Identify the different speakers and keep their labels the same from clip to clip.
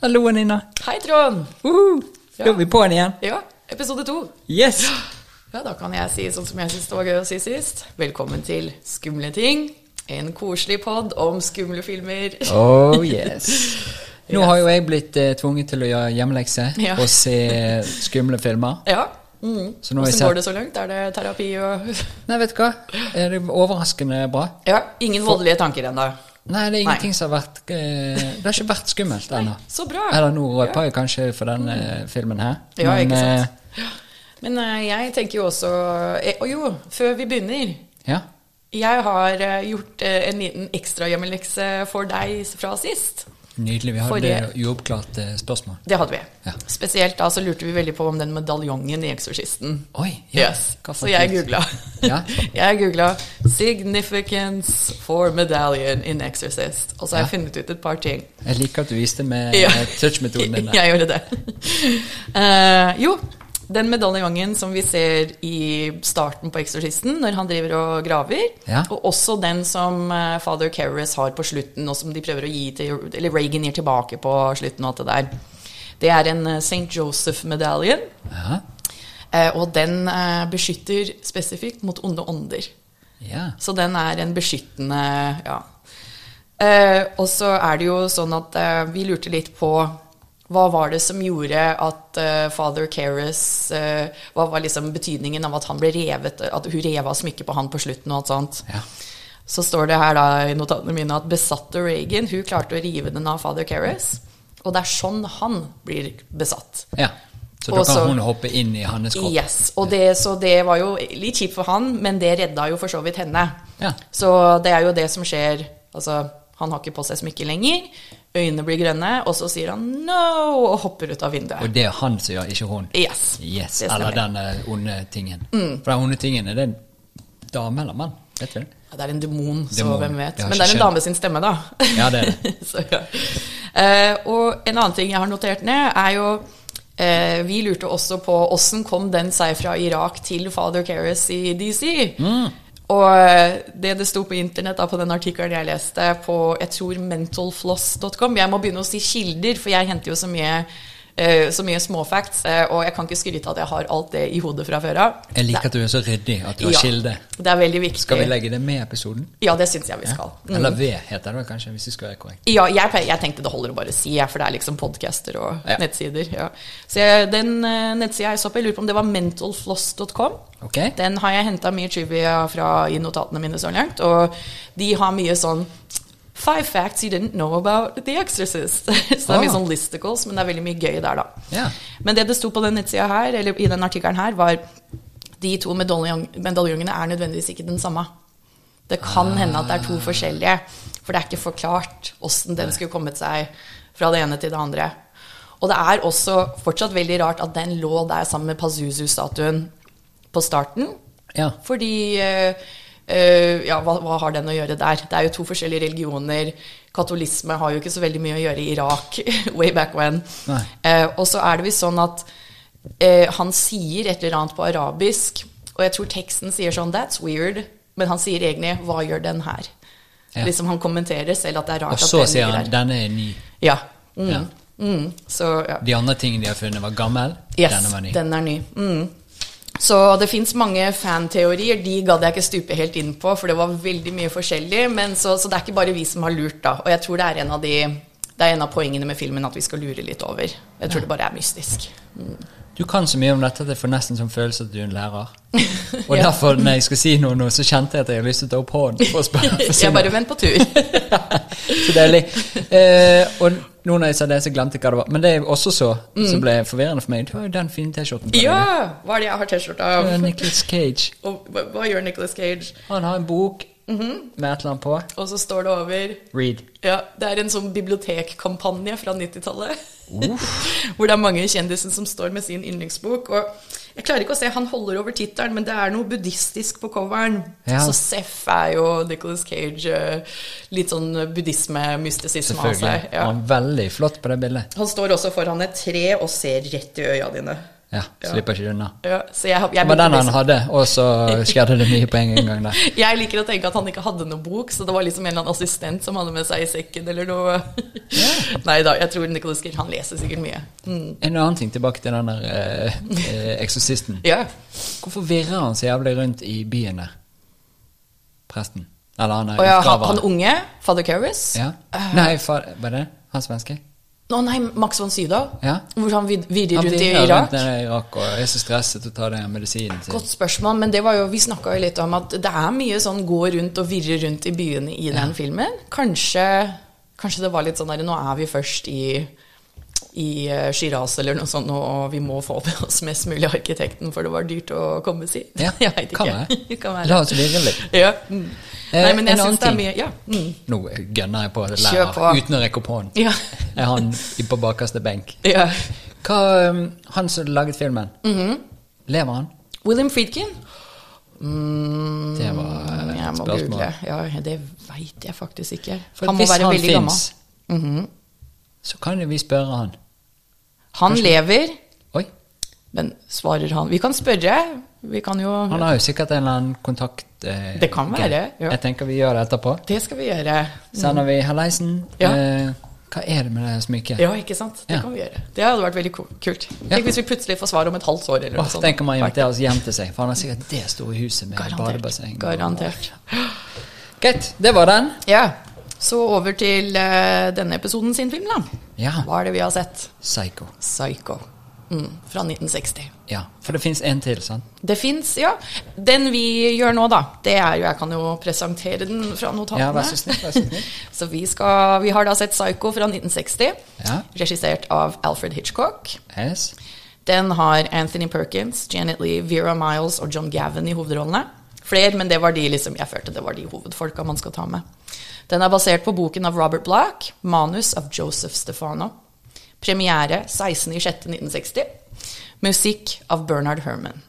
Speaker 1: Hallo, Nina.
Speaker 2: Hei, Trond!
Speaker 1: Uhu. Så
Speaker 2: Ja.
Speaker 1: er vi på'n igjen.
Speaker 2: Ja, episode to.
Speaker 1: Yes!
Speaker 2: Ja, da kan jeg si sånn som jeg syns det var gøy å si sist. Velkommen til Skumle ting. En koselig pod om skumle filmer.
Speaker 1: Oh yes. Nå har jo jeg blitt eh, tvunget til å gjøre hjemmelekse
Speaker 2: Ja.
Speaker 1: og se skumle filmer.
Speaker 2: Ja. Mm.
Speaker 1: Så nå har jeg
Speaker 2: Hvordan
Speaker 1: sett-
Speaker 2: går det så langt? Er det terapi og
Speaker 1: Nei, vet du hva? Er det overraskende bra?
Speaker 2: Ja, ingen voldelige tanker ennå.
Speaker 1: Nei, det er ingenting som har vært eh, Det har ikke vært skummelt ennå.
Speaker 2: Så bra.
Speaker 1: Eller nå røper jeg kanskje for den eh, filmen her.
Speaker 2: Mm. Ja,
Speaker 1: Men,
Speaker 2: ikke sant.
Speaker 1: eh,
Speaker 2: Men eh, jeg tenker jo også eh, Å jo, før vi begynner.
Speaker 1: eh, ja.
Speaker 2: Jeg har eh, gjort eh, en liten ekstra hjemmelekse for deg fra sist.
Speaker 1: Nydelig. Vi hadde
Speaker 2: Forrige-
Speaker 1: uoppklarte spørsmål.
Speaker 2: Det hadde vi.
Speaker 1: Ja.
Speaker 2: Spesielt da så lurte vi veldig på om den medaljongen i Eksorsisten.
Speaker 1: Oi. ja.
Speaker 2: Yes.
Speaker 1: Hva for
Speaker 2: Så jeg
Speaker 1: kult.
Speaker 2: googla.
Speaker 1: Ja.
Speaker 2: jeg googla 'Significance for medallion in Exorcist'. Og så har jeg funnet ut et par ting.
Speaker 1: Jeg liker at du viste med
Speaker 2: Ja.
Speaker 1: eh, touch-metoden din. der.
Speaker 2: Jeg gjorde det. Eh, jo, den medaljongen som vi ser i starten på Exorcisten, når han driver og graver,
Speaker 1: Ja.
Speaker 2: og også den som eh, Father Keres har på slutten, og som de prøver å gi til Eller Reagan gir tilbake på slutten og alt det der. Det er en eh, St. Joseph-medaljon,
Speaker 1: Ja.
Speaker 2: eh, og den eh, beskytter spesifikt mot onde ånder.
Speaker 1: ja.
Speaker 2: Så den er en beskyttende Ja. Eh, og så er det jo sånn at eh, vi lurte litt på hva var det som gjorde at eh, father Keres eh, Hva var liksom betydningen av at han ble revet At hun rev av smykket på han på slutten og alt sånt.
Speaker 1: Ja.
Speaker 2: Så står det her da i notatene mine at besatte Reagan hun klarte å rive den av father Keres. Og det er sånn han blir besatt.
Speaker 1: Ja. Så da
Speaker 2: Og så-
Speaker 1: kan hun hoppe inn i hans kropp.
Speaker 2: Yes, og det, så det var jo litt kjipt for han, men det redda jo for så vidt henne.
Speaker 1: Ja.
Speaker 2: Så det er jo det som skjer. Altså, han har ikke på seg smykke lenger, øynene blir grønne, og så sier han no og hopper ut av vinduet.
Speaker 1: Og det er han som gjør, ikke hun.
Speaker 2: Yes.
Speaker 1: Yes,
Speaker 2: det
Speaker 1: Eller
Speaker 2: stemmer. Mm.
Speaker 1: den eh, onde tingen. For den onde tingen, er det en dame eller mann? Vet du det?
Speaker 2: Ja, det er en demon, så
Speaker 1: Demon.
Speaker 2: hvem vet.
Speaker 1: Jeg har ikke
Speaker 2: Men det er en
Speaker 1: skjønt.
Speaker 2: dame sin stemme, da.
Speaker 1: Ja, det er det.
Speaker 2: så, ja. Eh, og en annen ting jeg har notert ned, er jo eh, Vi lurte også på åssen kom den seg fra Irak til Father Keres i DC?
Speaker 1: Mm.
Speaker 2: Og eh, det det sto på internett da, på den artikkelen jeg leste på jeg tror mentalfloss.com Jeg må begynne å si kilder, for jeg henter jo så mye, eh, så mye småfacts. eh, og jeg kan ikke skryte av at jeg har alt det i hodet fra før av.
Speaker 1: Jeg liker at du er så ryddig, at du har
Speaker 2: Ja.
Speaker 1: kilde.
Speaker 2: Det er veldig viktig.
Speaker 1: Skal vi legge det med i episoden?
Speaker 2: Ja, det syns jeg vi skal. Mm.
Speaker 1: Eller V heter det vel kanskje, hvis det skal være korrekt.
Speaker 2: Ja, jeg, pleier- jeg tenkte det holder å bare si, jeg, for det er liksom podcaster og
Speaker 1: Ja.
Speaker 2: nettsider. Ja. Så jeg, den eh, nettsida jeg så på, jeg lurer på om det var mentalfloss.com.
Speaker 1: Ok?
Speaker 2: Den har jeg henta mye trivia fra i notatene mine så langt, og de har mye sånn Five facts you didn't know about The Exorcist. Så det er mye
Speaker 1: Ah.
Speaker 2: sånn listicles, men det er veldig mye gøy der, da.
Speaker 1: Ja.
Speaker 2: Men det det sto på den nettsida her, eller i den artikkelen her, var de to medaljong- medaljongene er nødvendigvis ikke den samme. Det kan hende at det er to forskjellige, for det er ikke forklart åssen den skulle kommet seg fra det ene til det andre. Og det er også fortsatt veldig rart at den lå der sammen med Pazuzu-statuen på starten,
Speaker 1: ja.
Speaker 2: fordi eh, eh, Ja, hva, hva har den å gjøre der? Det er jo to forskjellige religioner. Katolisme har jo ikke så veldig mye å gjøre i Irak, way back when.
Speaker 1: Nei.
Speaker 2: Eh, og så er det visst sånn at eh, han sier et eller annet på arabisk, og jeg tror teksten sier sånn 'that's weird', men han sier egentlig 'hva gjør den her'?
Speaker 1: Ja.
Speaker 2: Liksom Han kommenterer selv at det er rart
Speaker 1: Og så
Speaker 2: at den
Speaker 1: sier
Speaker 2: ligger
Speaker 1: han
Speaker 2: der.
Speaker 1: denne er ny.
Speaker 2: Ja. Mm,
Speaker 1: Ja.
Speaker 2: mm, så, ja.
Speaker 1: De andre tingene de har funnet, var gammel.
Speaker 2: Yes,
Speaker 1: Denne var ny.
Speaker 2: den er ny. Mm. Så det fins mange fanteorier. De gadd jeg ikke stupe helt inn på, for det var veldig mye forskjellig. Men så, så det er ikke bare vi som har lurt, da. Og jeg tror det er en av de det er en av poengene med filmen at vi skal lure litt over. Jeg tror det bare er mystisk.
Speaker 1: Du kan så mye om dette at jeg får nesten som følelse at du er en lærer. Og
Speaker 2: Ja.
Speaker 1: derfor, når jeg skulle si noe nå, så kjente jeg at jeg hadde lyst til å ta opp hånden. For å spørre, for å si
Speaker 2: Jeg
Speaker 1: noe.
Speaker 2: bare vent på tur.
Speaker 1: Så deilig. Eh, og nå når jeg sa det, så glemte jeg hva det var. Men det jeg også så, som ble forvirrende for meg, det var jo den fine T-skjorten. på
Speaker 2: Mm. Ja!
Speaker 1: deg.
Speaker 2: Hva er det jeg har T-skjorte
Speaker 1: Det
Speaker 2: av?
Speaker 1: er Nicolas Cage.
Speaker 2: Og hva hva gjør Nicolas Cage?
Speaker 1: Han har en bok
Speaker 2: Mhm.
Speaker 1: med et eller annet på.
Speaker 2: Og så står det over
Speaker 1: Read.
Speaker 2: Ja, det er en sånn bibliotekkampanje fra 90-tallet.
Speaker 1: Uff.
Speaker 2: Hvor det er mange kjendiser som står med sin yndlingsbok. Og jeg klarer ikke å se, han holder over tittelen, men det er noe buddhistisk på coveren.
Speaker 1: Ja.
Speaker 2: Så Seff er jo Nicholas Cage. eh, Litt sånn buddhisme-mystisisme av
Speaker 1: Selvfølgelig.
Speaker 2: seg. Ja.
Speaker 1: Han er veldig flott på det bildet.
Speaker 2: Han står også foran et tre og ser rett i øya dine.
Speaker 1: Ja, slipper ikke unna.
Speaker 2: Ja, så jeg, jeg
Speaker 1: Det var
Speaker 2: begynte
Speaker 1: den han
Speaker 2: liksom-
Speaker 1: hadde, og så skjedde det mye på en gang der.
Speaker 2: Jeg liker å tenke at han ikke hadde noe bok, så det var liksom en eller annen assistent som hadde med seg i sekken eller noe. Nei da, jeg tror Nicholas Cage han leser sikkert mye. Mm.
Speaker 1: En annen ting tilbake til den der eh, eh, eksorsisten.
Speaker 2: Ja.
Speaker 1: Hvorfor virrer han så jævlig rundt i byen der? Presten. Eller han er
Speaker 2: Og ja, han,
Speaker 1: utgraveren.
Speaker 2: han unge, Father Carris
Speaker 1: Ja. Nei, fa var det han svenske?
Speaker 2: Nå, nei, Max von Sydow.
Speaker 1: Ja.
Speaker 2: Hvor han vid- virrer
Speaker 1: Han
Speaker 2: rundt i
Speaker 1: virrer rundt
Speaker 2: Irak.
Speaker 1: nede i Irak og er så stresset å ta den medisinen sin.
Speaker 2: Godt spørsmål, men det var jo, vi snakka jo litt om at det er mye sånn gå rundt og virre rundt i byene i den filmen. Kanskje, kanskje det var litt sånn der Nå er vi først i i eh, Shiraz eller noe sånt, og vi må få med oss mest mulig arkitekten, for det var dyrt å komme oss hit.
Speaker 1: Ja,
Speaker 2: Jeg vet
Speaker 1: kan
Speaker 2: ikke.
Speaker 1: være.
Speaker 2: Kan være.
Speaker 1: La oss virre litt.
Speaker 2: Ja. Mm.
Speaker 1: Eh,
Speaker 2: Nei, men
Speaker 1: en
Speaker 2: jeg
Speaker 1: annen
Speaker 2: syns det
Speaker 1: ting.
Speaker 2: er mye Ja. Mm.
Speaker 1: Nå gønner jeg på det
Speaker 2: Kjør på.
Speaker 1: lærer, uten å rekke opp hånden.
Speaker 2: Ja.
Speaker 1: Er han i- på bakerste benk?
Speaker 2: ja.
Speaker 1: Hva, um, Han som laget filmen,
Speaker 2: Mhm.
Speaker 1: lever han?
Speaker 2: William Friedkin. Mm,
Speaker 1: Det var eh,
Speaker 2: jeg
Speaker 1: et
Speaker 2: må
Speaker 1: spørsmål.
Speaker 2: google. Ja, det veit jeg faktisk ikke.
Speaker 1: For
Speaker 2: han må
Speaker 1: hvis
Speaker 2: være
Speaker 1: han
Speaker 2: veldig gammel. Mhm.
Speaker 1: finnes, så kan jo vi spørre han.
Speaker 2: Han lever.
Speaker 1: Oi,
Speaker 2: Men svarer han Vi kan spørre. Vi kan jo
Speaker 1: han har jo sikkert en eller annen kontakt. eh,
Speaker 2: Det kan
Speaker 1: greie.
Speaker 2: være, ja.
Speaker 1: Jeg tenker vi gjør det etterpå.
Speaker 2: Det skal vi gjøre.
Speaker 1: Sender vi Halleisen.
Speaker 2: Ja.
Speaker 1: Eh, hva er det med det smykket?
Speaker 2: Ja, ikke sant? Det
Speaker 1: Ja.
Speaker 2: kan vi gjøre. Det hadde vært veldig ko- kult.
Speaker 1: Ja.
Speaker 2: Tenk hvis vi plutselig får svar om et halvt år eller sånn, noe
Speaker 1: Åh,
Speaker 2: sånt.
Speaker 1: tenk om han inviterer oss hjem til seg, for han har sikkert det store huset med
Speaker 2: Garantert.
Speaker 1: badebasseng.
Speaker 2: Garantert.
Speaker 1: Greit, det var den.
Speaker 2: Ja. Så over til eh, denne episoden sin film, da.
Speaker 1: Ja.
Speaker 2: Hva er det vi har sett?
Speaker 1: Psycho.
Speaker 2: Psycho. Mm, fra 1960.
Speaker 1: Ja, for det fins en til, sant?
Speaker 2: Det fins, ja. Den vi gjør nå, da, det er jo Jeg kan jo presentere den fra notatene.
Speaker 1: Ja, vær så snill, vær så snill.
Speaker 2: Så vi, skal, vi har da sett Psycho fra 1960,
Speaker 1: Ja.
Speaker 2: regissert av Alfred Hitchcock.
Speaker 1: Yes.
Speaker 2: Den har Anthony Perkins, Janet Lee, Vera Miles og John Gavin i hovedrollene. Flere, men det var de liksom, jeg følte det var de hovedfolka man skal ta med. Den er basert på boken av Robert Black, manus av Joseph Stefano. Premiere 16.06.1960. Musikk av Bernard Herman.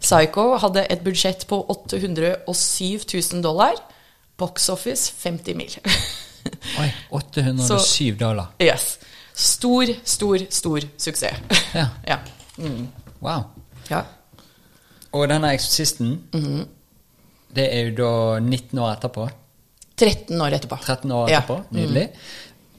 Speaker 2: Psycho hadde et budsjett på 807 000 dollar. Box office 50 mil.
Speaker 1: Oi, 807
Speaker 2: Så-
Speaker 1: dollar.
Speaker 2: yes. Stor, stor, stor suksess.
Speaker 1: Ja.
Speaker 2: ja.
Speaker 1: Wow.
Speaker 2: ja.
Speaker 1: Og denne eksorsisten,
Speaker 2: Mhm.
Speaker 1: det er jo da 19 år etterpå.
Speaker 2: 13 år etterpå.
Speaker 1: 13 år
Speaker 2: Ja. Mhm.
Speaker 1: etterpå. Nydelig.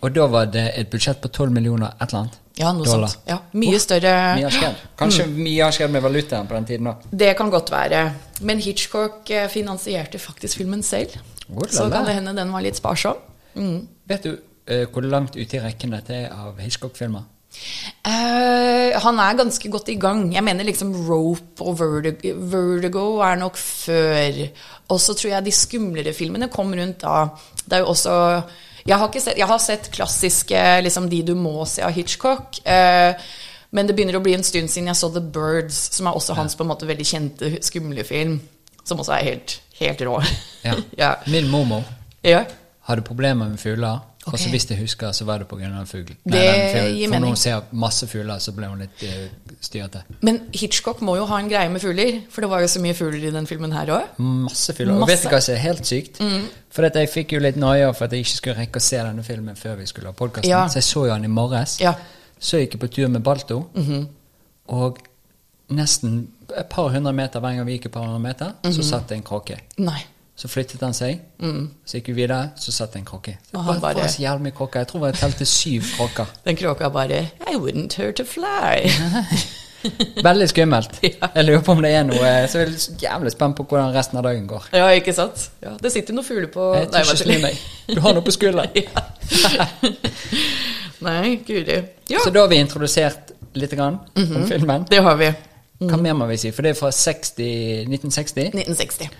Speaker 1: Og da var det et budsjett på 12 millioner et eller annet
Speaker 2: Ja, noe
Speaker 1: dollar.
Speaker 2: sånt. Ja, Mm. mye større
Speaker 1: Mye har skjedd. Kanskje mye har skjedd med valutaen på den tiden òg.
Speaker 2: Det kan godt være. Men Hitchcock eh, finansierte faktisk filmen selv.
Speaker 1: Olala.
Speaker 2: Så kan det hende den var litt sparsom. Mm.
Speaker 1: Vet du eh, hvor langt ute i rekken dette er av Hitchcock-filmer?
Speaker 2: Eh, han er ganske godt i gang. Jeg mener liksom Rope og Vertigo, Vertigo er nok før. Og så tror jeg de skumlere filmene kom rundt da. Det er jo også Jeg har, ikke sett, jeg har sett klassiske liksom de du må se av Hitchcock. eh, men det begynner å bli en stund siden jeg så The Birds, som er også hans på en måte veldig kjente skumle film. Som også er helt, helt rå.
Speaker 1: Ja.
Speaker 2: ja.
Speaker 1: Min mormor
Speaker 2: ja.
Speaker 1: hadde problemer med fugler. Og så
Speaker 2: Ok.
Speaker 1: hvis jeg husker, så var det pga. en fugl. Nei,
Speaker 2: Det
Speaker 1: den fuglen.
Speaker 2: gir
Speaker 1: For når
Speaker 2: mening.
Speaker 1: hun ser masse fugler, så ble hun litt eh, styrete.
Speaker 2: Men Hitchcock må jo ha en greie med fugler, for det var jo så mye fugler i den filmen her òg.
Speaker 1: Masse fugler. Og
Speaker 2: Masse. Mm.
Speaker 1: vet du hva som er helt sykt? For at jeg fikk jo litt noia for at jeg ikke skulle rekke å se denne filmen før vi skulle ha podkasten.
Speaker 2: Ja.
Speaker 1: Så jeg så jo han i morges.
Speaker 2: Ja. Mhm.
Speaker 1: Så gikk jeg på tur med Balto. Og nesten et par hundre meter hver gang vi gikk et par hundre meter, så
Speaker 2: Mhm.
Speaker 1: satt det en kråke.
Speaker 2: Nei.
Speaker 1: Så flyttet han seg, så gikk vi videre, så satt det en kråke. Så
Speaker 2: Mm. Og han
Speaker 1: det var
Speaker 2: bare-
Speaker 1: så jævlig mye kråker. Jeg tror jeg telte syv kråker.
Speaker 2: Den kråka bare I wouldn't hurt to fly.
Speaker 1: Veldig skummelt.
Speaker 2: Ja.
Speaker 1: Jeg lurer på om det er noe eh, Så jeg er så jævlig spent på hvordan resten av dagen går.
Speaker 2: ja, ikke sant? Ja, det sitter noen fugler på
Speaker 1: Jeg tør
Speaker 2: hva
Speaker 1: ikke
Speaker 2: tuller
Speaker 1: snu meg. Du har noe på skulderen.
Speaker 2: Ja. Nei, guri. Ja, Mhm.
Speaker 1: Så da har vi introdusert litt grann om filmen.
Speaker 2: det har vi. Mhm.
Speaker 1: Hva mer må vi si? For det er fra 60, 1960.
Speaker 2: 1960.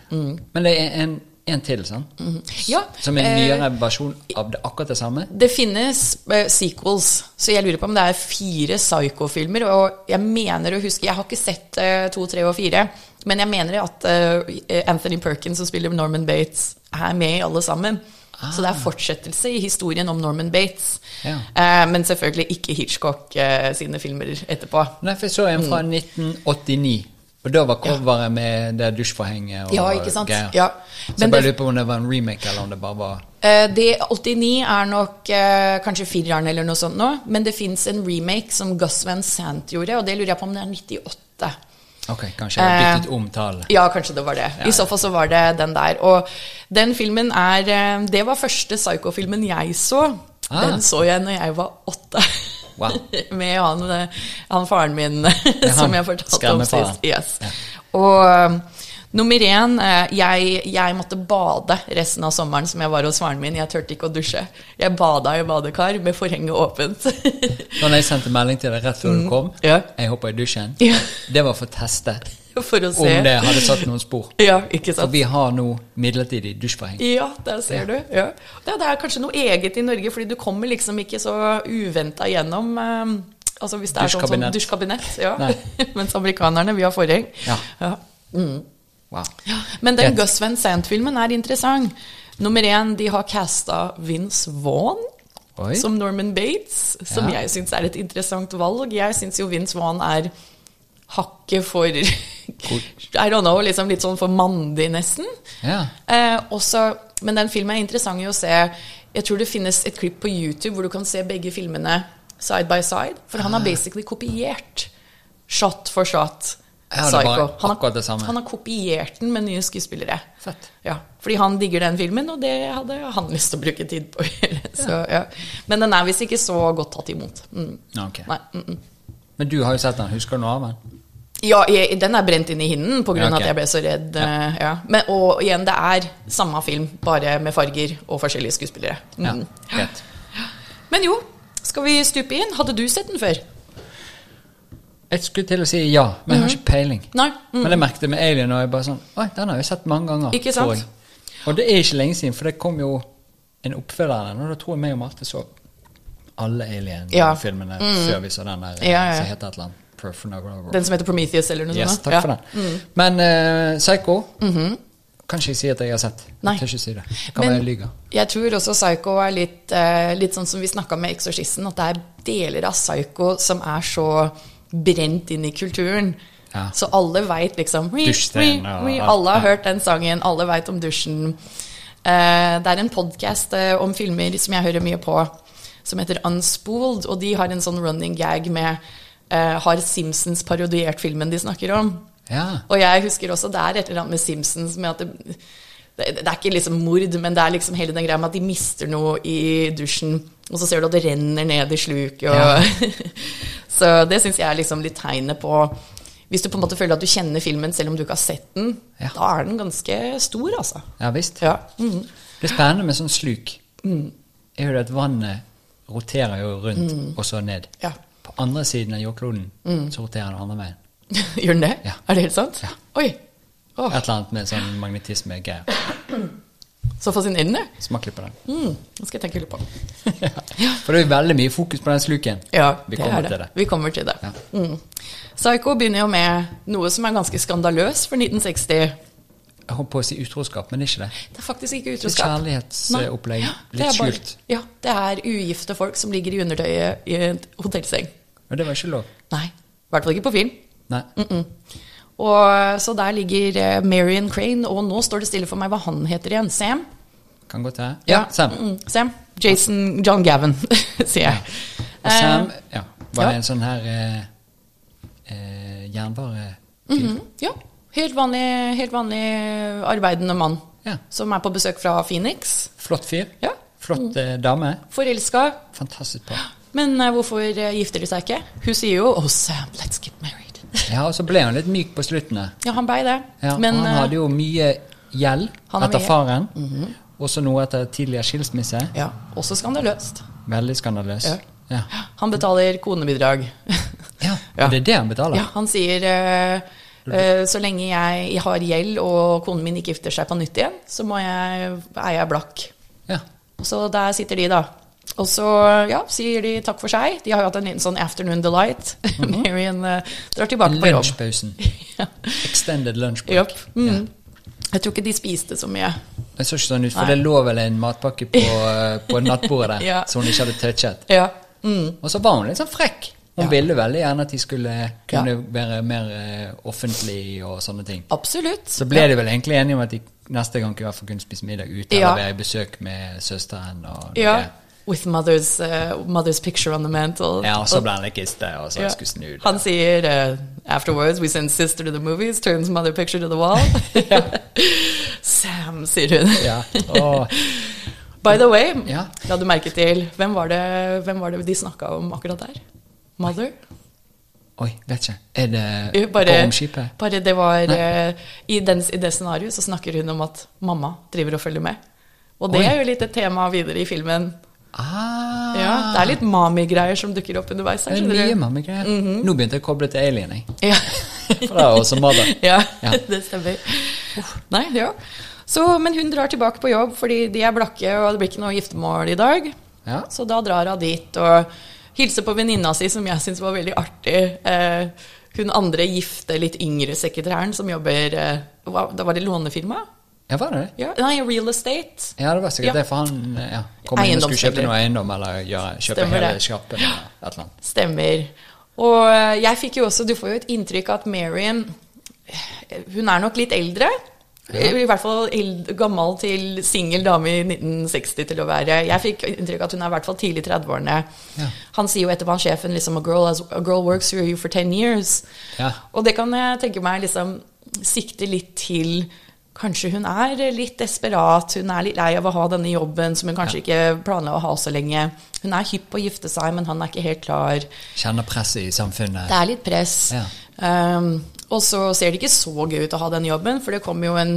Speaker 1: Men det er en, en til, sant?
Speaker 2: Mm. Ja,
Speaker 1: Som en
Speaker 2: Mm. eh,
Speaker 1: nyere versjon av det akkurat det samme?
Speaker 2: Det finnes eh, sequels, så jeg lurer på om det er fire Psycho-filmer. Og jeg mener å huske Jeg har ikke sett eh, to, tre og fire, men jeg mener at eh, Anthony Perkins, som spiller Norman Bates, er med i alle sammen. Så det er fortsettelse i historien om Norman Bates.
Speaker 1: Ah. Ja.
Speaker 2: Eh, men selvfølgelig ikke Hitchcock eh, sine filmer etterpå.
Speaker 1: Nei, for jeg så en fra 1989. Og da var coveret med det dusjforhenget og
Speaker 2: Ja, ikke sant?
Speaker 1: greier.
Speaker 2: Ja.
Speaker 1: Så
Speaker 2: Men
Speaker 1: jeg bare
Speaker 2: det-
Speaker 1: lurer på om det var en remake, eller om det bare var
Speaker 2: Eh, det 89 er nok eh, kanskje fireren eller noe sånt nå, men det fins en remake som Gus Van Sant gjorde, og det lurer jeg på om det er 98.
Speaker 1: Ok, kanskje jeg har
Speaker 2: Eh,
Speaker 1: byttet om tallet.
Speaker 2: Ja, kanskje det var det.
Speaker 1: ja.
Speaker 2: I så fall så var det den der. Og den filmen er eh, Det var første Psycho-filmen jeg så.
Speaker 1: Ah.
Speaker 2: Den så jeg når jeg var åtte.
Speaker 1: Wow.
Speaker 2: Med han, eh, han faren min som jeg fortalte om
Speaker 1: skremmefaren.
Speaker 2: sist. Yes. Og eh, nummer én eh, jeg, jeg måtte bade resten av sommeren som jeg var hos faren min. Jeg turte ikke å dusje. Jeg bada i badekar med forhenget åpent.
Speaker 1: Da jeg sendte melding til deg rett før du kom,
Speaker 2: Mm. Ja.
Speaker 1: jeg hoppa i dusjen.
Speaker 2: Ja.
Speaker 1: Det var for å teste
Speaker 2: For å se.
Speaker 1: om det hadde satt noen spor.
Speaker 2: Ja, ikke sant?
Speaker 1: Og vi har nå midlertidig dusjforheng.
Speaker 2: Ja, der ser du. Ja. Det, det er kanskje noe eget i Norge, fordi du kommer liksom ikke så uventa gjennom eh, altså hvis det er sånn som
Speaker 1: Dusjkabinett.
Speaker 2: dusjkabinett. Ja.
Speaker 1: Nei.
Speaker 2: Mens amerikanerne, vi har forheng.
Speaker 1: Ja.
Speaker 2: Ja.
Speaker 1: Wow.
Speaker 2: Men den
Speaker 1: Greit.
Speaker 2: Gus Van Sant-filmen er interessant. Nummer én, de har casta Vince Vaughn
Speaker 1: Oi.
Speaker 2: som Norman Bates, som
Speaker 1: Ja.
Speaker 2: jeg syns er et interessant valg. Jeg syns jo Vince Vaughn er hakket for I don't know, liksom litt sånn for mandig, nesten.
Speaker 1: Ja.
Speaker 2: Eh, også, men den filmen er interessant i å se. Jeg tror det finnes et klipp på YouTube hvor du kan se begge filmene side by side. For
Speaker 1: Ah.
Speaker 2: han har basically kopiert shot for shot
Speaker 1: Ja, det var
Speaker 2: Psycho. Han
Speaker 1: akkurat det samme.
Speaker 2: han har kopiert den med nye skuespillere.
Speaker 1: Fett.
Speaker 2: Ja, fordi han digger den filmen, og det hadde han lyst til å bruke tid på. å gjøre. Så, ja. Men den er visst ikke så godt tatt imot. Mm.
Speaker 1: Ja, ok.
Speaker 2: Nei, mm, mm.
Speaker 1: Men du har jo sett den. Husker du noe av den?
Speaker 2: Ja, jeg, den er brent inn i hinnen pga.
Speaker 1: Ja, ok.
Speaker 2: at jeg ble så redd. eh, Ja. Men, og igjen, det er samme film, bare med farger og forskjellige skuespillere.
Speaker 1: Ja.
Speaker 2: Mm.
Speaker 1: Greit.
Speaker 2: Men jo, skal vi stupe inn? Hadde du sett den før?
Speaker 1: Jeg skulle til å si ja, men jeg har ikke peiling.
Speaker 2: Nei. Mm-hmm. Mm.
Speaker 1: Men jeg merket det med Alien, og jeg bare sånn Oi, den har jeg sett mange ganger.
Speaker 2: Ikke sant?
Speaker 1: tror jeg. Og det er ikke lenge siden, for det kom jo en oppfølger av den, og da tror jeg meg og Marte så alle
Speaker 2: Ja. Mm.
Speaker 1: Alien-filmene før vi så den der eh,
Speaker 2: Ja, ja.
Speaker 1: som heter et eller annet Perfonagra-
Speaker 2: Den som heter Prometheus eller noe
Speaker 1: Yes,
Speaker 2: sånt?
Speaker 1: takk
Speaker 2: da?
Speaker 1: for den. Men eh, Psycho kan ikke jeg si at jeg har sett.
Speaker 2: Mhm. Nei.
Speaker 1: Jeg tør ikke si det. Det Kan
Speaker 2: Men-
Speaker 1: være jeg lyver.
Speaker 2: Jeg tror også Psycho er litt, eh, litt sånn som vi snakka med Eksorsisten, at det er deler av Psycho som er så brent inn i kulturen.
Speaker 1: Ja.
Speaker 2: Så alle veit liksom we, we,
Speaker 1: Dusjscenen og
Speaker 2: we,
Speaker 1: alt,
Speaker 2: Alle har
Speaker 1: ja.
Speaker 2: hørt den sangen, alle veit om dusjen. Eh, det er en podkast om filmer som jeg hører mye på, som heter Unspooled, og de har en sånn running gag med eh, Har Simpsons parodiert filmen de snakker om?
Speaker 1: Ja.
Speaker 2: Og jeg husker også det er et eller annet med Simpsons med at det, det, det er ikke liksom mord, men det er liksom hele den greia med at de mister noe i dusjen, og så ser du at det renner ned i sluket. Og så det syns jeg er liksom litt tegnet på Hvis du på en måte føler at du kjenner filmen selv om du ikke har sett den,
Speaker 1: Ja.
Speaker 2: da er den ganske stor, altså.
Speaker 1: ja visst.
Speaker 2: Ja. Mm.
Speaker 1: Det er spennende med sånn sluk. Er jo det at vannet roterer jo rundt
Speaker 2: Mm.
Speaker 1: og så ned.
Speaker 2: Ja.
Speaker 1: På andre siden av jordkloden
Speaker 2: Mm.
Speaker 1: så roterer det andre veien.
Speaker 2: Gjør den det?
Speaker 1: Ja.
Speaker 2: Er det helt sant?
Speaker 1: Ja.
Speaker 2: Oi. Åh,
Speaker 1: Et eller annet med sånn magnetisme-greier.
Speaker 2: så fascinerende.
Speaker 1: Smak litt på den.
Speaker 2: Mm. Det skal jeg tenke litt på.
Speaker 1: For det er jo veldig mye fokus på den sluken.
Speaker 2: Ja,
Speaker 1: Vi
Speaker 2: det
Speaker 1: kommer
Speaker 2: er det.
Speaker 1: til det.
Speaker 2: Vi kommer til det.
Speaker 1: Ja.
Speaker 2: Mm. Psycho begynner jo med noe som er ganske skandaløs for 1960.
Speaker 1: Jeg holdt på å si utroskap, men det er ikke det.
Speaker 2: Det er faktisk ikke
Speaker 1: Det er
Speaker 2: utroskap. Nei.
Speaker 1: kjærlighetsopplegg.
Speaker 2: Ja, det
Speaker 1: Litt
Speaker 2: er bare-
Speaker 1: skjult.
Speaker 2: Ja, det er ugifte folk som ligger i undertøyet i en hotellseng.
Speaker 1: Men det var ikke lov.
Speaker 2: Nei, i hvert fall ikke på film.
Speaker 1: Nei.
Speaker 2: Og, så der ligger eh, Marion Crane, og nå står det stille for meg hva han heter igjen. Sam?
Speaker 1: Kan godt være. Ja, Sam.
Speaker 2: Mm, Sam. Jason John Gavin, sier jeg.
Speaker 1: Og Sam
Speaker 2: Eh,
Speaker 1: ja, var
Speaker 2: ja.
Speaker 1: en sånn her eh, eh, jernbare
Speaker 2: mhm, ja. Helt vanlig, helt vanlig arbeidende mann
Speaker 1: Ja.
Speaker 2: som er på besøk fra Phoenix.
Speaker 1: Flott fyr.
Speaker 2: Ja. Mhm.
Speaker 1: Flott eh, dame.
Speaker 2: Forelska.
Speaker 1: Fantastisk par.
Speaker 2: Men eh, hvorfor eh, gifter de seg ikke? Hun sier jo 'Oh, Sam, let's get married'.
Speaker 1: Ja, og så ble han litt myk på slutten der.
Speaker 2: Ja, han blei det.
Speaker 1: Ja,
Speaker 2: Men
Speaker 1: og han
Speaker 2: eh,
Speaker 1: hadde jo mye gjeld
Speaker 2: han har
Speaker 1: etter
Speaker 2: mye. Mhm.
Speaker 1: faren. Og så noe etter tidligere skilsmisse.
Speaker 2: ja, også skandaløst.
Speaker 1: Veldig skandaløs.
Speaker 2: Ja.
Speaker 1: Ja.
Speaker 2: Han betaler konebidrag.
Speaker 1: Ja,
Speaker 2: Ja.
Speaker 1: og Det er det han betaler?
Speaker 2: ja, han sier eh, eh, så lenge jeg har gjeld og konen min ikke gifter seg på nytt igjen, så må jeg, er jeg blakk.
Speaker 1: Ja.
Speaker 2: Og så der sitter de, da. Og så ja, sier de takk for seg. De har jo hatt en liten sånn afternoon delight.
Speaker 1: Mhm.
Speaker 2: Marion eh, drar tilbake på jobb.
Speaker 1: Lunsjpausen.
Speaker 2: ja.
Speaker 1: Extended lunch break.
Speaker 2: Jobb. Mm. Jeg tror ikke de spiste så mye.
Speaker 1: Det så ikke sånn ut, for det lå vel en matpakke på, eh, på nattbordet der
Speaker 2: Ja.
Speaker 1: som hun ikke hadde touchet.
Speaker 2: Ja. Mm.
Speaker 1: Og så var hun litt sånn frekk. Hun
Speaker 2: Ja.
Speaker 1: ville veldig gjerne at de skulle kunne
Speaker 2: Ja.
Speaker 1: være mer eh, offentlig og sånne ting.
Speaker 2: Absolutt.
Speaker 1: Så ble de vel egentlig enige om at de neste gang i hvert fall kunne spise middag ute,
Speaker 2: Ja.
Speaker 1: eller være i besøk med søsteren og
Speaker 2: ja.
Speaker 1: noe.
Speaker 2: With mother's, eh, mother's picture on the mantle.
Speaker 1: Ja, og så ble han litt iste, og så
Speaker 2: Ja.
Speaker 1: skulle snu det.
Speaker 2: Han sier eh, Afterwards we send sister to the movies Turns mother picture to the wall Sam, sier hun
Speaker 1: Ja. Og,
Speaker 2: By the way,
Speaker 1: Ja.
Speaker 2: la du merke til Hvem var det, hvem var det de snakket om akkurat der? Mother?
Speaker 1: oi, vet ikke. Er det
Speaker 2: Jo,
Speaker 1: på
Speaker 2: Bare,
Speaker 1: romskipet?
Speaker 2: bare det var eh, i, den, I det scenarioet så snakker hun om at mamma driver og følger med Og det
Speaker 1: Oi.
Speaker 2: er jo litt et tema videre i filmen
Speaker 1: Ah,
Speaker 2: ja, Det er litt mami-greier som dukker opp underveis her,
Speaker 1: det er
Speaker 2: skjønner
Speaker 1: mye
Speaker 2: du? Mhm.
Speaker 1: mammegreier. Nå begynte jeg å koble til Alien, jeg.
Speaker 2: Ja.
Speaker 1: For det er også mother.
Speaker 2: ja,
Speaker 1: Ja.
Speaker 2: det stemmer. Nei, ja. Så, men hun drar tilbake på jobb fordi de er blakke, og det blir ikke noe giftermål i dag.
Speaker 1: Ja.
Speaker 2: Så da drar hun dit og hilser på venninna si, som jeg syns var veldig artig. Eh, hun andre gifte, litt yngre sekretæren som jobber eh, hva, Da var det lånefirma?
Speaker 1: ja, var det det?
Speaker 2: Ja. Nei, Real Estate.
Speaker 1: Ja, det var sikkert
Speaker 2: Ja.
Speaker 1: det, for han eh, ja, kom inn og skulle kjøpe
Speaker 2: Eiendomsselger.
Speaker 1: noe eiendom, eller gjøre, kjøpe
Speaker 2: Stemmer
Speaker 1: hele
Speaker 2: det.
Speaker 1: sjappen eller et eller annet.
Speaker 2: Stemmer. Og eh, jeg fikk jo også Du får jo et inntrykk av at Marion eh, Hun er nok litt eldre. I hvert fall eld- gammel til singel dame i 1960 til å være. Jeg fikk inntrykk av at hun er i hvert fall tidlig i 30-årene.
Speaker 1: Ja.
Speaker 2: Han sier jo etterpå, han sjefen, liksom A girl, has, a girl works for you for 10 years.
Speaker 1: Ja.
Speaker 2: Og det kan jeg tenke meg liksom sikte litt til Kanskje hun er litt desperat, hun er litt lei av å ha denne jobben som hun kanskje ikke planla å ha så lenge. Hun er hypp på å gifte seg, men han er ikke helt klar.
Speaker 1: Kjenner presset i samfunnet.
Speaker 2: Det er litt press.
Speaker 1: Ja.
Speaker 2: Um, og så ser det ikke så gøy ut å ha den jobben, for det kommer jo en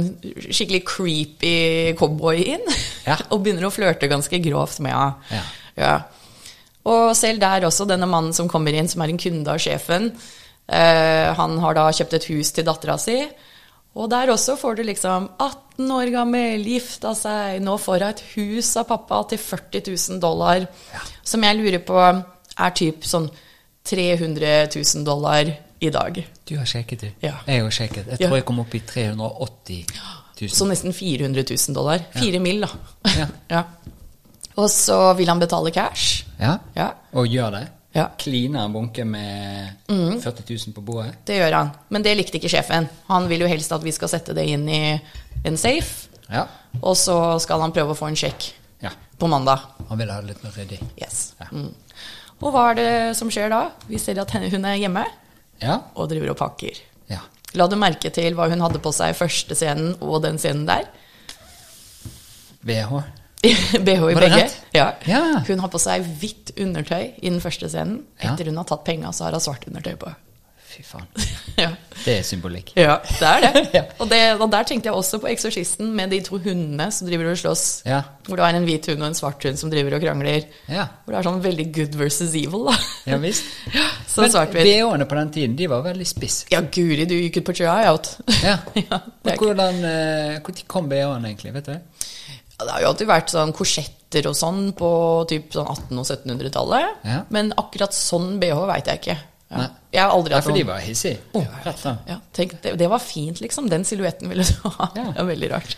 Speaker 2: skikkelig creepy cowboy inn
Speaker 1: Ja.
Speaker 2: og begynner å flørte ganske grovt med henne.
Speaker 1: Ja.
Speaker 2: Og selv der også, denne mannen som kommer inn, som er en kunde av sjefen, eh, han har da kjøpt et hus til dattera si. Og der også får du liksom 18 år gammel, gifta seg, nå får hun et hus av pappa til 40 000 dollar. Som jeg lurer på er typ sånn 300 000 dollar i dag.
Speaker 1: Du har sjekket, du.
Speaker 2: Ja.
Speaker 1: Jeg har sjekket. Jeg
Speaker 2: Ja.
Speaker 1: tror jeg kom opp i 380
Speaker 2: Så
Speaker 1: 000.
Speaker 2: nesten 400 000 dollar. Fire mill., da.
Speaker 1: Ja.
Speaker 2: ja. Og så vil han betale cash.
Speaker 1: Ja.
Speaker 2: Ja.
Speaker 1: Og gjør det.
Speaker 2: Ja.
Speaker 1: Kliner en bunke med 40 000 på bordet.
Speaker 2: Det gjør han. Men det likte ikke sjefen. Han vil jo helst at vi skal sette det inn i en safe,
Speaker 1: Ja.
Speaker 2: og så skal han prøve å få en sjekk
Speaker 1: ja.
Speaker 2: på mandag.
Speaker 1: Han vil ha det litt mer ryddig.
Speaker 2: Yes.
Speaker 1: Ja.
Speaker 2: Mm. Og hva er det som skjer da? Vi ser at henne- hun er hjemme
Speaker 1: Ja.
Speaker 2: og driver og pakker.
Speaker 1: ja.
Speaker 2: La du merke til hva hun hadde på seg i første scenen og den scenen der?
Speaker 1: BH.
Speaker 2: BH i
Speaker 1: Var det
Speaker 2: begge.
Speaker 1: rett?
Speaker 2: Ja.
Speaker 1: Ja.
Speaker 2: Hun har på seg hvitt undertøy i den første scenen.
Speaker 1: Ja.
Speaker 2: Etter hun har tatt penga, så har hun svart undertøy på.
Speaker 1: Fy faen.
Speaker 2: ja.
Speaker 1: Det er symbolikk.
Speaker 2: ja, det er det.
Speaker 1: Ja.
Speaker 2: Og det. Og der tenkte jeg også på Eksorsisten med de to hundene som driver og slåss.
Speaker 1: Ja.
Speaker 2: Hvor det er en hvit hund og en svart hund som driver og krangler.
Speaker 1: Ja.
Speaker 2: Hvor det er sånn veldig good versus evil, da.
Speaker 1: Ja visst.
Speaker 2: Så svart-hvitt.
Speaker 1: BH-ene på den tiden, de var veldig spiss.
Speaker 2: Ja, guri, du, you could put your eye out.
Speaker 1: Ja.
Speaker 2: ja, det, er
Speaker 1: Men
Speaker 2: ikke,
Speaker 1: hvordan eh, Når kom BH-en egentlig? Vet du det?
Speaker 2: Ja, det har jo alltid vært sånn korsetter og sånn på typ sånn 1800- og 1700-tallet.
Speaker 1: Ja.
Speaker 2: Men akkurat sånn bh veit jeg ikke. Ja.
Speaker 1: Nei.
Speaker 2: Jeg har aldri
Speaker 1: Ja,
Speaker 2: hatt
Speaker 1: for de
Speaker 2: noen-
Speaker 1: var hissige. Rett frem.
Speaker 2: ja, tenk, det, det var fint, liksom. Den silhuetten ville du ha.
Speaker 1: Ja.
Speaker 2: Det var veldig rart.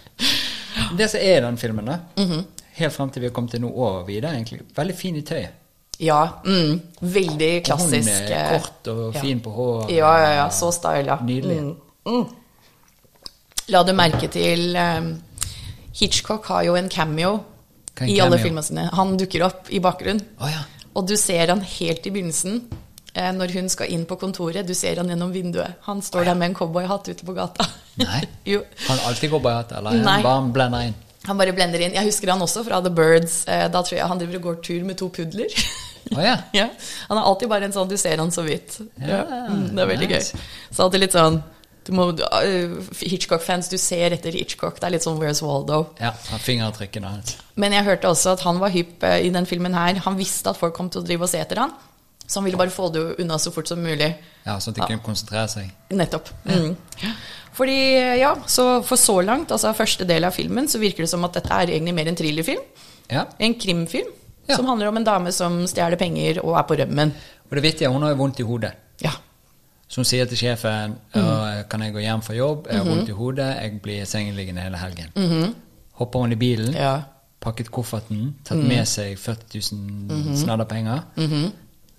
Speaker 1: Det som er i den filmen, da,
Speaker 2: Mhm.
Speaker 1: helt frem til vi har kommet til noe over videre, egentlig, veldig fin i tøyet.
Speaker 2: Ja. Mm, veldig
Speaker 1: Og Hun
Speaker 2: klassisk.
Speaker 1: er
Speaker 2: eh,
Speaker 1: kort og
Speaker 2: ja.
Speaker 1: fin på håret.
Speaker 2: Ja, ja, ja. Så styla.
Speaker 1: Nydelig.
Speaker 2: Mm. La du merke til eh, Hitchcock har jo en cameo
Speaker 1: Hva er en
Speaker 2: i alle
Speaker 1: cameo?
Speaker 2: filmene sine. Han dukker opp i bakgrunnen.
Speaker 1: Å ja.
Speaker 2: Og du ser han helt i begynnelsen, eh, når hun skal inn på kontoret. Du ser han gjennom vinduet. Han står der med en cowboyhatt ute på gata.
Speaker 1: Nei.
Speaker 2: jo.
Speaker 1: Kan alltid gå bare hatt, eller er
Speaker 2: Nei.
Speaker 1: han bare blender inn.
Speaker 2: Han bare blender inn. Jeg husker han også fra The Birds. Eh, Da tror jeg han driver og går tur med to pudler.
Speaker 1: Å ja.
Speaker 2: ja. Han er alltid bare en sånn Du ser han så vidt.
Speaker 1: Ja,
Speaker 2: Mm, det er veldig
Speaker 1: nice.
Speaker 2: gøy. Så alltid litt sånn du må, du- eh, Hitchcock-fans, du ser etter Hitchcock. Det er litt sånn Where's Waldo?
Speaker 1: Ja, han fingeravtrykkene hans.
Speaker 2: Men jeg hørte også at han var hypp eh, i den filmen her. Han visste at folk kom til å drive og se etter han. Så han ville bare få det unna så fort som mulig.
Speaker 1: Ja, sånn at de kunne konsentrere seg.
Speaker 2: Nettopp. Mm. Fordi, ja, så for så langt, altså første del av filmen, så virker det som at dette er egentlig mer en thrillerfilm.
Speaker 1: Ja.
Speaker 2: En krimfilm
Speaker 1: Ja.
Speaker 2: som handler om en dame som stjeler penger og er på rømmen.
Speaker 1: Og det vittige, hun har jo vondt i hodet.
Speaker 2: Ja.
Speaker 1: Så hun sier til sjefen
Speaker 2: Mhm.
Speaker 1: «Å, kan jeg gå hjem fra jobb, jeg har vondt i hodet, jeg blir sengeliggende hele helgen. Hopper hun i bilen,
Speaker 2: Mhm. ja. Mm. Mhm.
Speaker 1: pakket kofferten, tatt med seg 40 000 snadderpenger.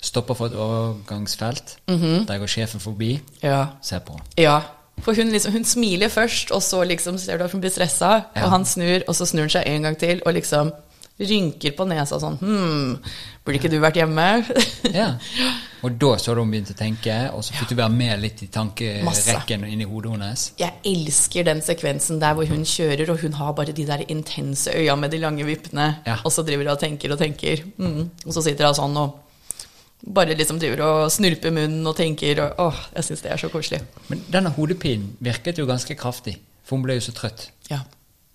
Speaker 1: stopper for et overgangsfelt.
Speaker 2: Mhm.
Speaker 1: Der går sjefen forbi,
Speaker 2: Ja.
Speaker 1: ser på.
Speaker 2: Ja. For hun, liksom, hun smiler først, og så liksom ser du at hun blir stressa.
Speaker 1: Ja.
Speaker 2: Og han snur, og så snur han seg en gang til og liksom rynker på nesa sånn Hm, burde ikke du vært hjemme?
Speaker 1: Ja. Og da så hadde hun begynt å tenke, og så fikk du være med litt i tankerekken inni hodet hennes.
Speaker 2: Jeg elsker den sekvensen der hvor hun kjører, og hun har bare de der intense øya med de lange vippene,
Speaker 1: Ja.
Speaker 2: og så driver hun og tenker og tenker. Mm. Og så sitter hun sånn og bare liksom driver og snurper munnen og tenker, og åh, jeg syns det er så koselig.
Speaker 1: Men denne hodepinen virket jo ganske kraftig, for hun ble jo så trøtt.
Speaker 2: Ja.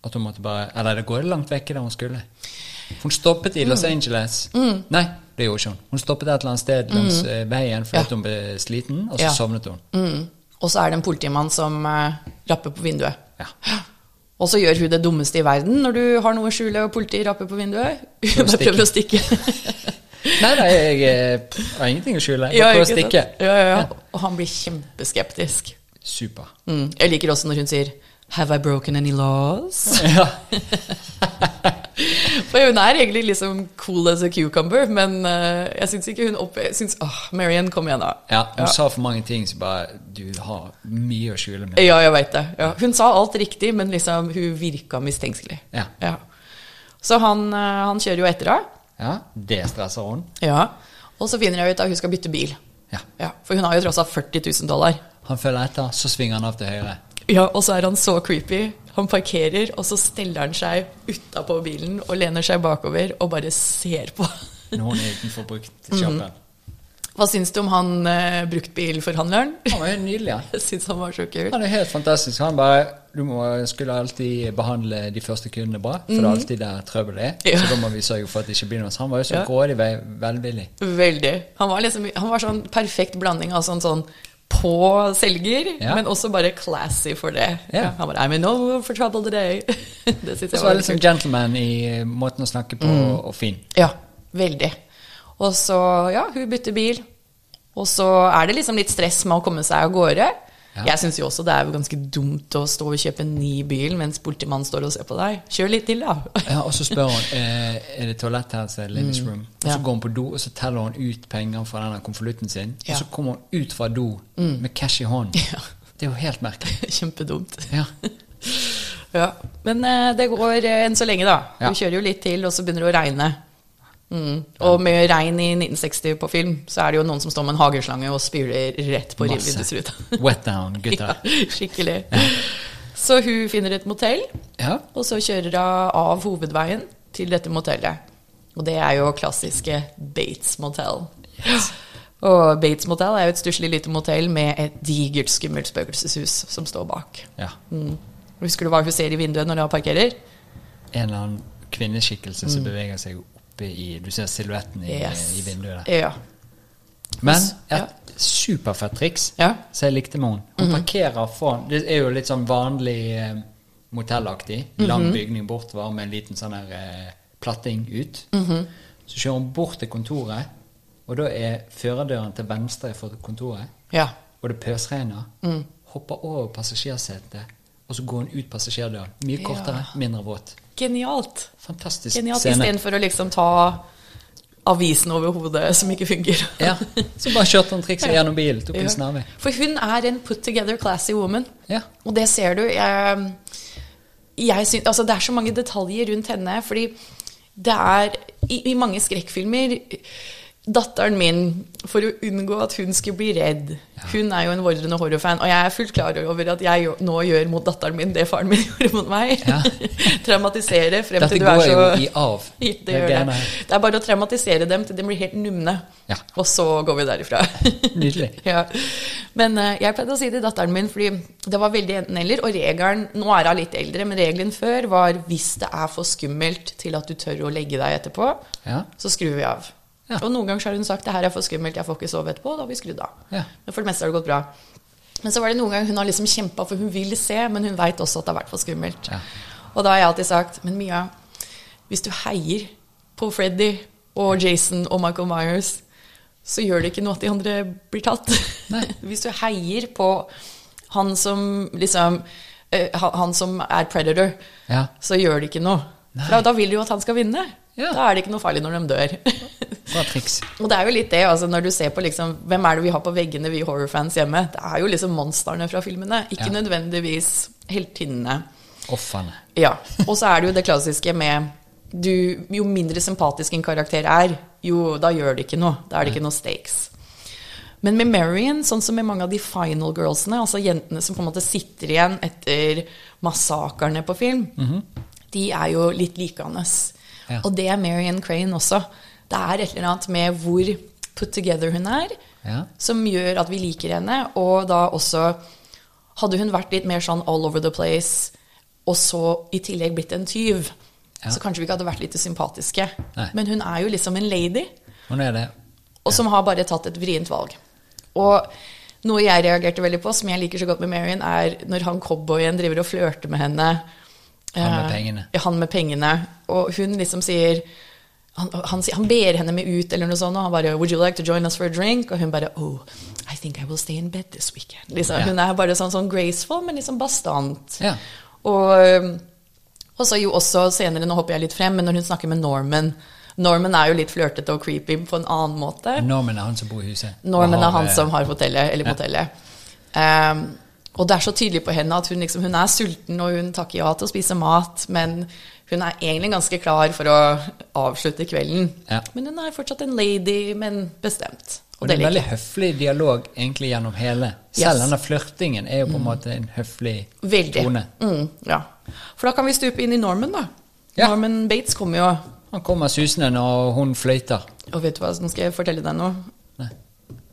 Speaker 1: At hun måtte bare Eller det går langt vekk der hun skulle. For hun stoppet i Los
Speaker 2: Mm.
Speaker 1: Angeles. Nei, det gjorde ikke hun. Hun stoppet et eller annet sted langs eh, veien fordi
Speaker 2: Mm. Ja.
Speaker 1: at hun ble sliten, og så
Speaker 2: Ja.
Speaker 1: sovnet hun.
Speaker 2: Mm. Og så er det en politimann som eh, rapper på vinduet.
Speaker 1: Ja.
Speaker 2: Og så gjør hun det dummeste i verden når du har noe å skjule og politiet rapper på vinduet. Hun
Speaker 1: å
Speaker 2: bare prøver å stikke.
Speaker 1: Nei, nei, jeg eh, pff, har ingenting å skjule. Jeg
Speaker 2: Ja,
Speaker 1: bare prøver å
Speaker 2: ikke sant?
Speaker 1: stikke.
Speaker 2: Ja, ja, ja. Og han blir kjempeskeptisk.
Speaker 1: Super.
Speaker 2: Mm. Jeg liker også når hun sier 'Have I broken any laws?'
Speaker 1: Ja.
Speaker 2: For hun er egentlig liksom cool as a cucumber, men eh, jeg syns ikke hun opp... Jeg syns Åh, Marianne, kom igjen, da.
Speaker 1: ja hun sa for mange ting som bare Du har mye å skjule med.
Speaker 2: Ja, jeg veit det. Ja. Hun sa alt riktig, men liksom, hun virka mistenkelig.
Speaker 1: Ja.
Speaker 2: Ja. Så han, eh, han kjører jo etter henne.
Speaker 1: ja. Det stresser hun.
Speaker 2: Ja. Og så finner jeg ut at hun skal bytte bil.
Speaker 1: Ja.
Speaker 2: Ja, For hun har jo tross alt 40 000 dollar.
Speaker 1: Han følger etter, så svinger han av til høyre.
Speaker 2: Ja, og så er han så creepy. Han parkerer, og så steller han seg utapå bilen og lener seg bakover og bare ser på.
Speaker 1: Når hun er utenfor
Speaker 2: Mhm.
Speaker 1: bruktsjappen.
Speaker 2: Hva syns du om han eh, bruktbilforhandleren?
Speaker 1: Han var helt nydelig. Ja.
Speaker 2: Jeg syns han var så kul.
Speaker 1: Han er helt fantastisk. Han bare Du må, skulle alltid behandle de første kundene bra, for det er alltid der trøbbel er.
Speaker 2: Mhm. Ja.
Speaker 1: Så da må vi sørge for at det ikke blir noe. Så Han var jo så
Speaker 2: Ja.
Speaker 1: grådig ve- velvillig.
Speaker 2: Veldig. Han var liksom han var sånn perfekt blanding av sånn sånn på selger,
Speaker 1: Ja.
Speaker 2: men også bare classy for det.
Speaker 1: Ja.
Speaker 2: Ja, han bare I'm in no for trouble today. det syns
Speaker 1: Og
Speaker 2: jeg
Speaker 1: så var
Speaker 2: var
Speaker 1: han
Speaker 2: litt
Speaker 1: liksom
Speaker 2: kult. Mhm.
Speaker 1: gentleman i eh, måten å snakke på, og fin.
Speaker 2: Ja, veldig. Og så, ja, hun bytter bil. Og så er det liksom litt stress med å komme seg av gårde.
Speaker 1: Ja.
Speaker 2: Jeg syns jo også det er jo ganske dumt å stå og kjøpe en ny bil mens politimannen står og ser på deg. Kjør litt til, da.
Speaker 1: Ja, og så spør hun eh, er det toalett her, så er det ladies room. Og så
Speaker 2: Mm. Ja.
Speaker 1: går hun på do, og så teller hun ut penger fra denne konvolutten sin.
Speaker 2: Ja. Mm.
Speaker 1: Og så kommer hun ut fra do med cash i hånden.
Speaker 2: Ja.
Speaker 1: Det er jo helt merkelig.
Speaker 2: Kjempedumt.
Speaker 1: Ja.
Speaker 2: Ja. Men eh, det går eh, enn så lenge, da.
Speaker 1: Ja.
Speaker 2: Hun kjører jo litt til, og så begynner det å regne. Mm. Og med regn i 1960 på film, så er det jo noen som står med en hageslange og spyler rett på
Speaker 1: Masse.
Speaker 2: rivvindesruta.
Speaker 1: Wet down,
Speaker 2: ja,
Speaker 1: gutter.
Speaker 2: skikkelig. Så hun finner et motell.
Speaker 1: Ja.
Speaker 2: Og så kjører hun av hovedveien til dette motellet. Og det er jo klassiske Bates Motel. Og Bates Motel er jo et stusslig lite motell med et digert, skummelt spøkelseshus som står bak.
Speaker 1: ja.
Speaker 2: Husker du hva hun ser i vinduet når hun parkerer?
Speaker 1: en eller annen kvinneskikkelse
Speaker 2: Mm.
Speaker 1: som beveger seg oppe i Du ser silhuetten i, i vinduet der.
Speaker 2: Ja.
Speaker 1: Men
Speaker 2: Ja.
Speaker 1: et superfett triks
Speaker 2: Ja.
Speaker 1: som jeg likte med henne. Hun
Speaker 2: Mhm.
Speaker 1: parkerer foran Det er jo litt sånn vanlig eh, motellaktig.
Speaker 2: Mhm.
Speaker 1: Lang bygning bortover med en liten sånn her eh, platting ut.
Speaker 2: Mhm.
Speaker 1: Så kjører hun bort til kontoret, og da er førerdøren til venstre for kontoret.
Speaker 2: ja.
Speaker 1: Og det pøsregner.
Speaker 2: Mhm.
Speaker 1: Hopper over passasjersetet, og så går hun ut passasjerdøren. Mye
Speaker 2: Ja.
Speaker 1: kortere, mindre våt.
Speaker 2: Genialt.
Speaker 1: Fantastisk
Speaker 2: Genialt
Speaker 1: scene.
Speaker 2: Istedenfor å liksom ta avisen over hodet som ikke fungerer.
Speaker 1: Ja, Så bare kjørte han trikset gjennom bilen, tok en snarvei.
Speaker 2: For hun er en put together classy woman.
Speaker 1: Ja.
Speaker 2: Og det ser du. Jeg, jeg syn- altså det er så mange detaljer rundt henne, fordi det er i, i mange skrekkfilmer Datteren min, for å unngå at hun skulle bli redd Hun er jo en vordrende horrorfan, og jeg er fullt klar over at jeg jo- nå gjør mot datteren min det faren min gjorde mot meg.
Speaker 1: Ja.
Speaker 2: Traumatisere frem
Speaker 1: Dette
Speaker 2: til du er
Speaker 1: går
Speaker 2: så
Speaker 1: jo i arv.
Speaker 2: Ja, det,
Speaker 1: er
Speaker 2: gjør
Speaker 1: det
Speaker 2: det.
Speaker 1: ene.
Speaker 2: det er bare å traumatisere dem til de blir helt numne.
Speaker 1: Ja.
Speaker 2: Og så går vi derifra.
Speaker 1: Nydelig.
Speaker 2: ja. Men eh, jeg pleide å si til datteren min, fordi det var veldig enten-eller, og regelen Nå er hun litt eldre, men regelen før var hvis det er for skummelt til at du tør å legge deg etterpå,
Speaker 1: Ja.
Speaker 2: så skrur vi av.
Speaker 1: Ja.
Speaker 2: Og noen ganger så har hun sagt det her er for skummelt, jeg får ikke sove etterpå, og da har vi skrudd av.
Speaker 1: Ja.
Speaker 2: Men for det meste har det gått bra. Men så var det noen ganger hun har liksom kjempa, for hun vil se, men hun veit også at det har vært for skummelt.
Speaker 1: Ja.
Speaker 2: Og da har jeg alltid sagt, men Mia, hvis du heier på Freddy og Jason og Michael Myers, så gjør det ikke noe at de andre blir tatt.
Speaker 1: Nei.
Speaker 2: Hvis du heier på han som liksom eh, han- Han som er predator,
Speaker 1: Ja.
Speaker 2: så gjør det ikke noe.
Speaker 1: Nei.
Speaker 2: For da, da vil du jo at han skal vinne.
Speaker 1: Ja.
Speaker 2: Da er det ikke noe farlig når de dør.
Speaker 1: Bra triks.
Speaker 2: Og det er jo litt det, altså, når du ser på liksom, hvem er det vi har på veggene, vi horrorfans hjemme. Det er jo liksom monstrene fra filmene, ikke
Speaker 1: Ja.
Speaker 2: nødvendigvis heltinnene.
Speaker 1: Ofrene.
Speaker 2: Ja. Og så er det jo det klassiske med du, Jo mindre sympatisk en karakter er, jo da gjør det ikke noe. Da er det ikke noe stakes. Men med Marion, sånn som med mange av de final girlsene, altså jentene som på en måte sitter igjen etter massakrene på film, de er jo litt likeandes.
Speaker 1: Ja.
Speaker 2: Og det er Marion Crane også. Det er et eller annet med hvor put together hun er,
Speaker 1: Ja.
Speaker 2: som gjør at vi liker henne. Og da også Hadde hun vært litt mer sånn all over the place, og så i tillegg blitt en tyv,
Speaker 1: Ja.
Speaker 2: så kanskje vi ikke hadde vært litt sympatiske.
Speaker 1: Nei.
Speaker 2: Men hun er jo liksom en lady
Speaker 1: Hun er det.
Speaker 2: og som har bare tatt et vrient valg. Og noe jeg reagerte veldig på, som jeg liker så godt med Marion, er når han cowboyen driver og flørter med henne.
Speaker 1: Han med
Speaker 2: Eh,
Speaker 1: pengene.
Speaker 2: Ja, han med pengene. Og hun liksom sier han, han, sier- han ber henne med ut eller noe sånt, og han bare 'Would you like to join us for a drink?' Og hun bare 'Oh, I think I will stay in bed this weekend'. Liksom,
Speaker 1: Ja.
Speaker 2: Hun er bare sånn, sånn graceful, men liksom bastant.
Speaker 1: Ja.
Speaker 2: Og, um, og så jo også senere, nå hopper jeg litt frem, men når hun snakker med Norman Norman er jo litt flørtete og creepy på en annen måte.
Speaker 1: Norman er han som bor i huset.
Speaker 2: Norman
Speaker 1: Og
Speaker 2: er han
Speaker 1: eh,
Speaker 2: som har hotellet, eller motellet. Ehm, og det er så tydelig på henne at hun, liksom, hun er sulten, og hun takker ja til å spise mat, men hun er egentlig ganske klar for å avslutte kvelden.
Speaker 1: Ja.
Speaker 2: Men hun er fortsatt en lady, men bestemt.
Speaker 1: Og det er en
Speaker 2: liker
Speaker 1: veldig høflig dialog egentlig gjennom hele. Selv
Speaker 2: Yes.
Speaker 1: denne flørtingen er jo på en måte en høflig
Speaker 2: jeg. Veldig.
Speaker 1: tone.
Speaker 2: Mm, ja. For da kan vi stupe inn i Norman, da.
Speaker 1: Ja.
Speaker 2: Norman Bates kommer jo,
Speaker 1: Han kommer susende når hun fløyter.
Speaker 2: og vet du hva, nå skal jeg fortelle deg noe.
Speaker 1: Nei.